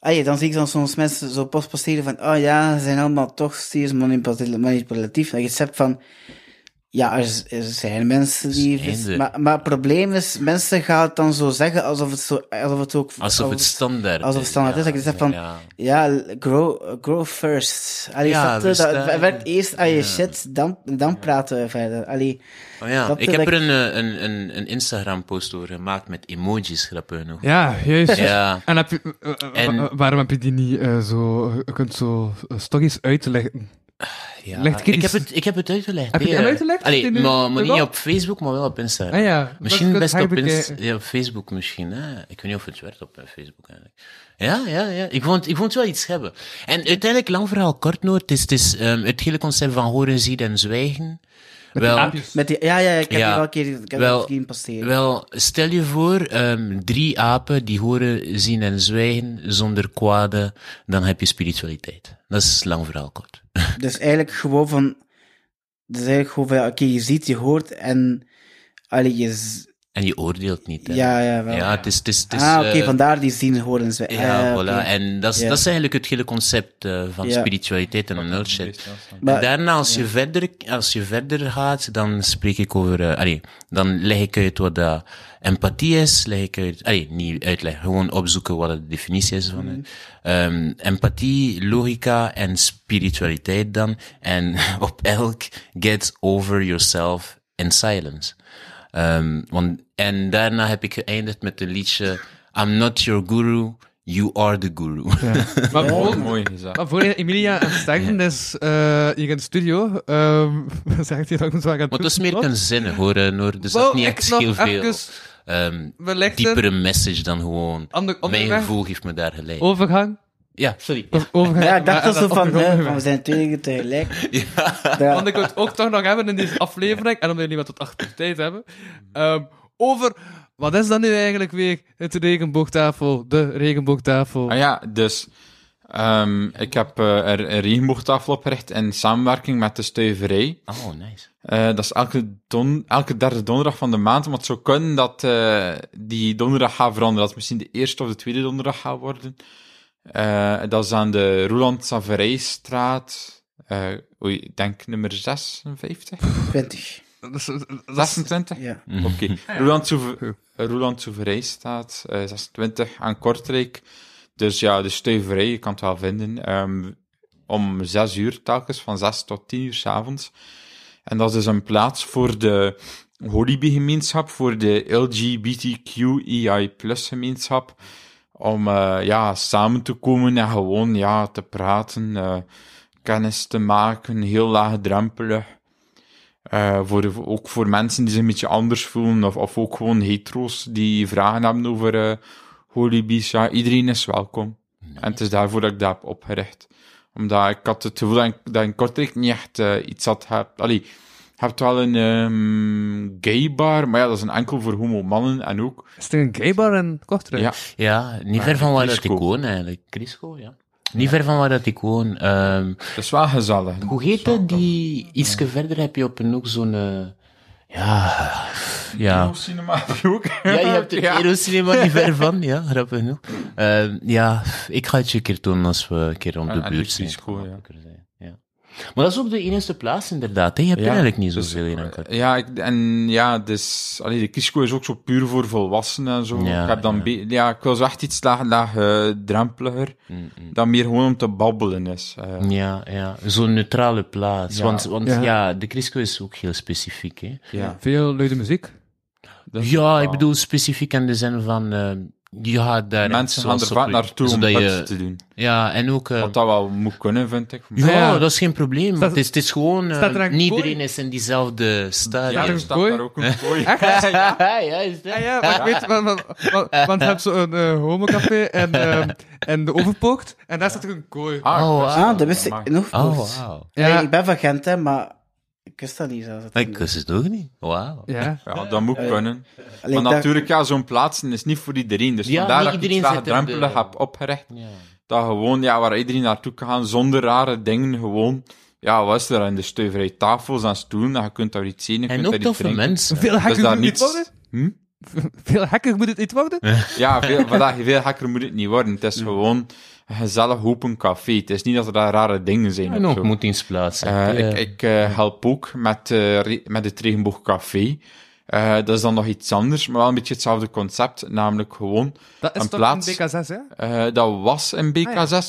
[SPEAKER 5] Ah ja, dan zie ik dan soms mensen zo post posteren van, oh ja, ze zijn allemaal toch steeds manipul- manipulatief. Dat je het hebt van, ja, er, z- er zijn mensen die...
[SPEAKER 4] Zijn ze.
[SPEAKER 5] maar, maar het probleem is, mensen gaan het dan zo zeggen alsof het, zo, alsof het ook...
[SPEAKER 4] Alsof het standaard
[SPEAKER 5] alsof het standaard is. Dat ik zeg van,
[SPEAKER 4] Ja,
[SPEAKER 5] Ja, grow, grow first. Allee,
[SPEAKER 4] Ja,
[SPEAKER 5] snap je?
[SPEAKER 4] dus
[SPEAKER 5] dat,
[SPEAKER 4] daar-
[SPEAKER 5] het werkt eerst aan je
[SPEAKER 4] ja.
[SPEAKER 5] shit, dan, dan praten we verder. Allee,
[SPEAKER 4] Oh ja,
[SPEAKER 5] Dat
[SPEAKER 4] ik heb
[SPEAKER 5] ik-
[SPEAKER 4] er een, eh, een, een, een Instagram-post over gemaakt met emojis, grappig genoeg.
[SPEAKER 3] Ja, jezus.
[SPEAKER 4] Ja.
[SPEAKER 3] En, heb je, eh, eh,
[SPEAKER 4] En-
[SPEAKER 3] wa- waarom heb je die niet eh, zo... Je kunt zo eh, stokjes uitleggen.
[SPEAKER 4] Ja,
[SPEAKER 3] Leg het keer
[SPEAKER 4] ik, heb
[SPEAKER 3] eens-
[SPEAKER 4] het, ik heb het uitgelegd.
[SPEAKER 3] Heb je
[SPEAKER 4] hè.
[SPEAKER 3] het uitgelegd?
[SPEAKER 4] Allee,
[SPEAKER 3] Die nu-
[SPEAKER 4] maar, maar
[SPEAKER 3] nu
[SPEAKER 4] niet
[SPEAKER 3] wel?
[SPEAKER 4] op Facebook, maar wel op Instagram.
[SPEAKER 3] Ah ja.
[SPEAKER 4] Misschien
[SPEAKER 3] dat
[SPEAKER 4] best
[SPEAKER 3] kan
[SPEAKER 4] op,
[SPEAKER 3] ik eh,
[SPEAKER 4] Inst-
[SPEAKER 3] bekijken.
[SPEAKER 4] ja, op Facebook misschien. Hè? Ik weet niet of het werd op eh, Facebook eigenlijk. Ja, ja, ja. Ik vond, ik vond het wel iets hebben. En uiteindelijk, lang verhaal kort, Noord, het is, het, is, ehm, het hele concept van horen, zien en zwijgen. wel,
[SPEAKER 3] Aapjes.
[SPEAKER 5] met die, ja, ja, ik heb
[SPEAKER 4] Ja.
[SPEAKER 5] die wel een keer ik heb
[SPEAKER 4] Wel-
[SPEAKER 5] wel, zien posteren.
[SPEAKER 4] Wel, stel je voor, ehm, drie apen die horen, zien en zwijgen zonder kwade, dan heb je spiritualiteit. Dat is lang verhaal kort.
[SPEAKER 5] Dus eigenlijk gewoon van. Dus eigenlijk gewoon van, ja, oké, je ziet, je hoort en. Allee, je. z-
[SPEAKER 4] En je oordeelt niet. Hè?
[SPEAKER 5] Ja, ja, wel.
[SPEAKER 4] ja, het is... Het is, het is
[SPEAKER 5] ah, oké,
[SPEAKER 4] eh,
[SPEAKER 5] vandaar die zien, horen ze.
[SPEAKER 4] Ja,
[SPEAKER 5] Eh,
[SPEAKER 4] voilà.
[SPEAKER 5] oké.
[SPEAKER 4] En dat is,
[SPEAKER 5] Ja.
[SPEAKER 4] dat is eigenlijk het hele concept eh, van
[SPEAKER 5] Ja.
[SPEAKER 4] spiritualiteit en een nulshit.
[SPEAKER 5] Maar-
[SPEAKER 4] Daarna, als, je verder, als je verder gaat, dan spreek ik over... eh, allee, dan leg ik uit wat dat empathie is. Leg ik uit... Allee, niet uitleggen. Gewoon opzoeken wat de definitie is van het. Ehm, empathie, logica en spiritualiteit dan. En op elk, get over yourself in silence. Ehm, want, en daarna heb ik geëindigd met een liedje... I'm not your guru, you are the guru.
[SPEAKER 3] Maar
[SPEAKER 2] Oh,
[SPEAKER 3] bijvoorbeeld-
[SPEAKER 2] mooi gezegd.
[SPEAKER 3] Maar voor Emilia aan het sterven is eh, hier in de studio, ehm, zegt hij dat ik moet gaan
[SPEAKER 4] Maar dat is meer een zin, hoor, eh, Noor. Dus dat is niet echt heel veel ehm,
[SPEAKER 3] Wellicht
[SPEAKER 4] diepere message dan gewoon...
[SPEAKER 3] Ander,
[SPEAKER 4] Mijn
[SPEAKER 3] onderweg.
[SPEAKER 4] gevoel heeft me daar geleid.
[SPEAKER 3] overgang.
[SPEAKER 4] Ja, sorry.
[SPEAKER 3] Dat is overgang.
[SPEAKER 5] Ja, ik dacht
[SPEAKER 3] Maar-
[SPEAKER 5] dat zo
[SPEAKER 3] dat
[SPEAKER 5] van,
[SPEAKER 3] onderweg.
[SPEAKER 5] hè, van, we zijn twee tegelijk. Ja.
[SPEAKER 3] Want ik wil het ook toch nog hebben in deze aflevering, en omdat jullie wat tot achter de tijd hebben, ehm, over, wat is dat nu eigenlijk weer, het regenboogtafel, de regenboogtafel.
[SPEAKER 2] Ah ja, dus ehm, ik heb eh, er een regenboogtafel opgericht in samenwerking met de stuiverij.
[SPEAKER 4] Oh, nice.
[SPEAKER 2] Eh, dat is elke, don elke derde donderdag van de maand, maar het zou kunnen dat eh, die donderdag gaat veranderen. Dat het misschien de eerste of de tweede donderdag gaat worden. Eh, dat is aan de Roland Savarijstraat. Eh oei, ik denk nummer 56?
[SPEAKER 5] 20.
[SPEAKER 3] Dat is- dat is-
[SPEAKER 2] 26?
[SPEAKER 5] Ja.
[SPEAKER 4] Mm.
[SPEAKER 2] Oké. Roland Souver- Roland Souverij staat, eh, 26 aan Kortrijk. Dus ja, de stuiverij, je kan het wel vinden. ehm, om 6 uur telkens, van 6 tot 10 uur s'avonds. En dat is dus een plaats voor de Holibi-gemeenschap, voor de E LGBTQEI-gemeenschap. Om eh, ja, samen te komen en gewoon ja, te praten, eh, kennis te maken, heel laagdrempelig. Eh, voor, voor- ook voor mensen die zich een beetje anders voelen, of, of ook gewoon hetero's die vragen hebben over eh holibies. Ja, iedereen is welkom. En het is daarvoor dat ik dat heb opgericht. Omdat ik had het gevoel dat, ik, dat in Kortrijk niet echt eh, iets had. Heb, allee, je hebt wel een ehm, gay bar, maar ja, dat is een enkel voor homo-mannen en ook.
[SPEAKER 3] Is er een gaybar in Kortrijk?
[SPEAKER 2] Ja.
[SPEAKER 4] Ja, niet
[SPEAKER 2] Ja,
[SPEAKER 4] ver van waar dat ik
[SPEAKER 2] Ah, Crisco.
[SPEAKER 4] woon eigenlijk. Crisco, ja. Niet ver van waar dat ik woon. Ehm,
[SPEAKER 2] Dat is wel gezellig.
[SPEAKER 4] hoe heet dat? Die, ietsje verder heb je op een hoek zo'n... eh, ja, ja.
[SPEAKER 2] Cinema ook.
[SPEAKER 4] Ja, je hebt de
[SPEAKER 2] Ja.
[SPEAKER 4] Eurocinema niet ver van, ja, grappig genoeg. Eh, ja, ik ga het je een keer doen als we een keer om de
[SPEAKER 2] En- en
[SPEAKER 4] buurt
[SPEAKER 2] dat
[SPEAKER 4] zijn.
[SPEAKER 2] is goed, Ah, ja.
[SPEAKER 4] Ja. Maar dat is ook de enige plaats, inderdaad. Hè. Je hebt er
[SPEAKER 2] Ja,
[SPEAKER 4] eigenlijk niet
[SPEAKER 2] dus-
[SPEAKER 4] zoveel in elkaar.
[SPEAKER 2] Ja, ik, en ja, dus, allee, de kiesco is ook zo puur voor volwassenen en zo.
[SPEAKER 4] Ja,
[SPEAKER 2] ik heb dan
[SPEAKER 4] ja.
[SPEAKER 2] be- ja, ik wil zo echt iets laag, laag, eh, drempeliger, dat meer gewoon om te babbelen is. eh.
[SPEAKER 4] Mm, Ja, ja. zo'n neutrale plaats.
[SPEAKER 2] Ja.
[SPEAKER 4] Want, want
[SPEAKER 3] Ja.
[SPEAKER 4] ja. de Crisco is ook heel specifiek. Hè.
[SPEAKER 2] ja.
[SPEAKER 3] Veel leuke muziek.
[SPEAKER 2] dat is
[SPEAKER 4] Ja, ik
[SPEAKER 2] wel-
[SPEAKER 4] bedoel specifiek in de zin van... eh, je gaat daar...
[SPEAKER 2] Mensen gaan er
[SPEAKER 4] zoals
[SPEAKER 2] vaak
[SPEAKER 4] op-
[SPEAKER 2] naartoe om
[SPEAKER 4] zodat
[SPEAKER 2] dat
[SPEAKER 4] je-
[SPEAKER 2] te doen.
[SPEAKER 4] Ja, en ook... eh,
[SPEAKER 2] Wat dat wel moet kunnen, vind ik.
[SPEAKER 4] ja,
[SPEAKER 3] Ja.
[SPEAKER 4] dat is geen probleem.
[SPEAKER 3] Staat-
[SPEAKER 4] het, is, het is gewoon... eh,
[SPEAKER 3] staat er een
[SPEAKER 4] niet
[SPEAKER 3] kooi?
[SPEAKER 4] iedereen is in diezelfde stadium.
[SPEAKER 2] Ja,
[SPEAKER 3] een
[SPEAKER 2] er staat
[SPEAKER 3] kooi?
[SPEAKER 2] daar ook een kooi.
[SPEAKER 4] ja, ja, is dat?
[SPEAKER 3] Ja, Ah ja, maar ik weet, want, want, want, want je hebt zo'n eh, homocafé en, ehm, en de overpookt, en daar staat ook een kooi.
[SPEAKER 2] Ah,
[SPEAKER 4] Oh,
[SPEAKER 2] dat is-
[SPEAKER 4] wauw.
[SPEAKER 5] Ah, dat wist
[SPEAKER 2] maar-
[SPEAKER 5] ik nog
[SPEAKER 4] Oh,
[SPEAKER 5] niet.
[SPEAKER 4] wauw.
[SPEAKER 5] Nee,
[SPEAKER 3] Ja.
[SPEAKER 5] Ik ben van Gent, hè, maar ik wist dat niet zelfs.
[SPEAKER 4] Ik kus het ook niet. Wauw.
[SPEAKER 3] Ja.
[SPEAKER 2] Ja, dat moet kunnen.
[SPEAKER 5] Allee,
[SPEAKER 2] maar
[SPEAKER 5] ik dacht-
[SPEAKER 2] natuurlijk, ja, zo'n plaatsen is niet voor iedereen. Dus
[SPEAKER 4] Ja,
[SPEAKER 2] vandaar
[SPEAKER 4] niet
[SPEAKER 2] dat ik iets
[SPEAKER 4] iedereen zit in de-
[SPEAKER 2] laagdrempelig heb opgericht.
[SPEAKER 4] Ja.
[SPEAKER 2] Dat gewoon, ja, waar iedereen naartoe kan gaan, zonder rare dingen, gewoon... Ja, wat is er in de steuverij? Tafels en stoelen, en je kunt daar iets zien, je kunt
[SPEAKER 4] En
[SPEAKER 2] daar
[SPEAKER 4] ook
[SPEAKER 2] iets
[SPEAKER 4] toffe
[SPEAKER 2] drinken.
[SPEAKER 4] mensen.
[SPEAKER 3] Veel
[SPEAKER 2] Dus
[SPEAKER 3] hacker
[SPEAKER 2] daar
[SPEAKER 3] moet het niet
[SPEAKER 2] niets...
[SPEAKER 3] worden.
[SPEAKER 2] Hm?
[SPEAKER 3] Veel hacker moet het niet worden.
[SPEAKER 2] Ja, veel, vandaag, veel hacker moet het niet worden. Het
[SPEAKER 4] Mm.
[SPEAKER 2] is gewoon een gezellig open café. Het is niet dat er daar rare dingen zijn
[SPEAKER 4] En
[SPEAKER 2] of
[SPEAKER 4] ook
[SPEAKER 2] zo.
[SPEAKER 4] ontmoetingsplaatsen.
[SPEAKER 2] Eh,
[SPEAKER 4] Ja.
[SPEAKER 2] Ik, ik eh, help ook met, eh, re- met het Regenboogcafé. Eh, dat is dan nog iets anders, maar wel een beetje hetzelfde concept. Namelijk gewoon,
[SPEAKER 3] Dat is
[SPEAKER 2] Een
[SPEAKER 3] toch
[SPEAKER 2] plaats.
[SPEAKER 3] een BK6, hè?
[SPEAKER 2] eh, dat was in BK6.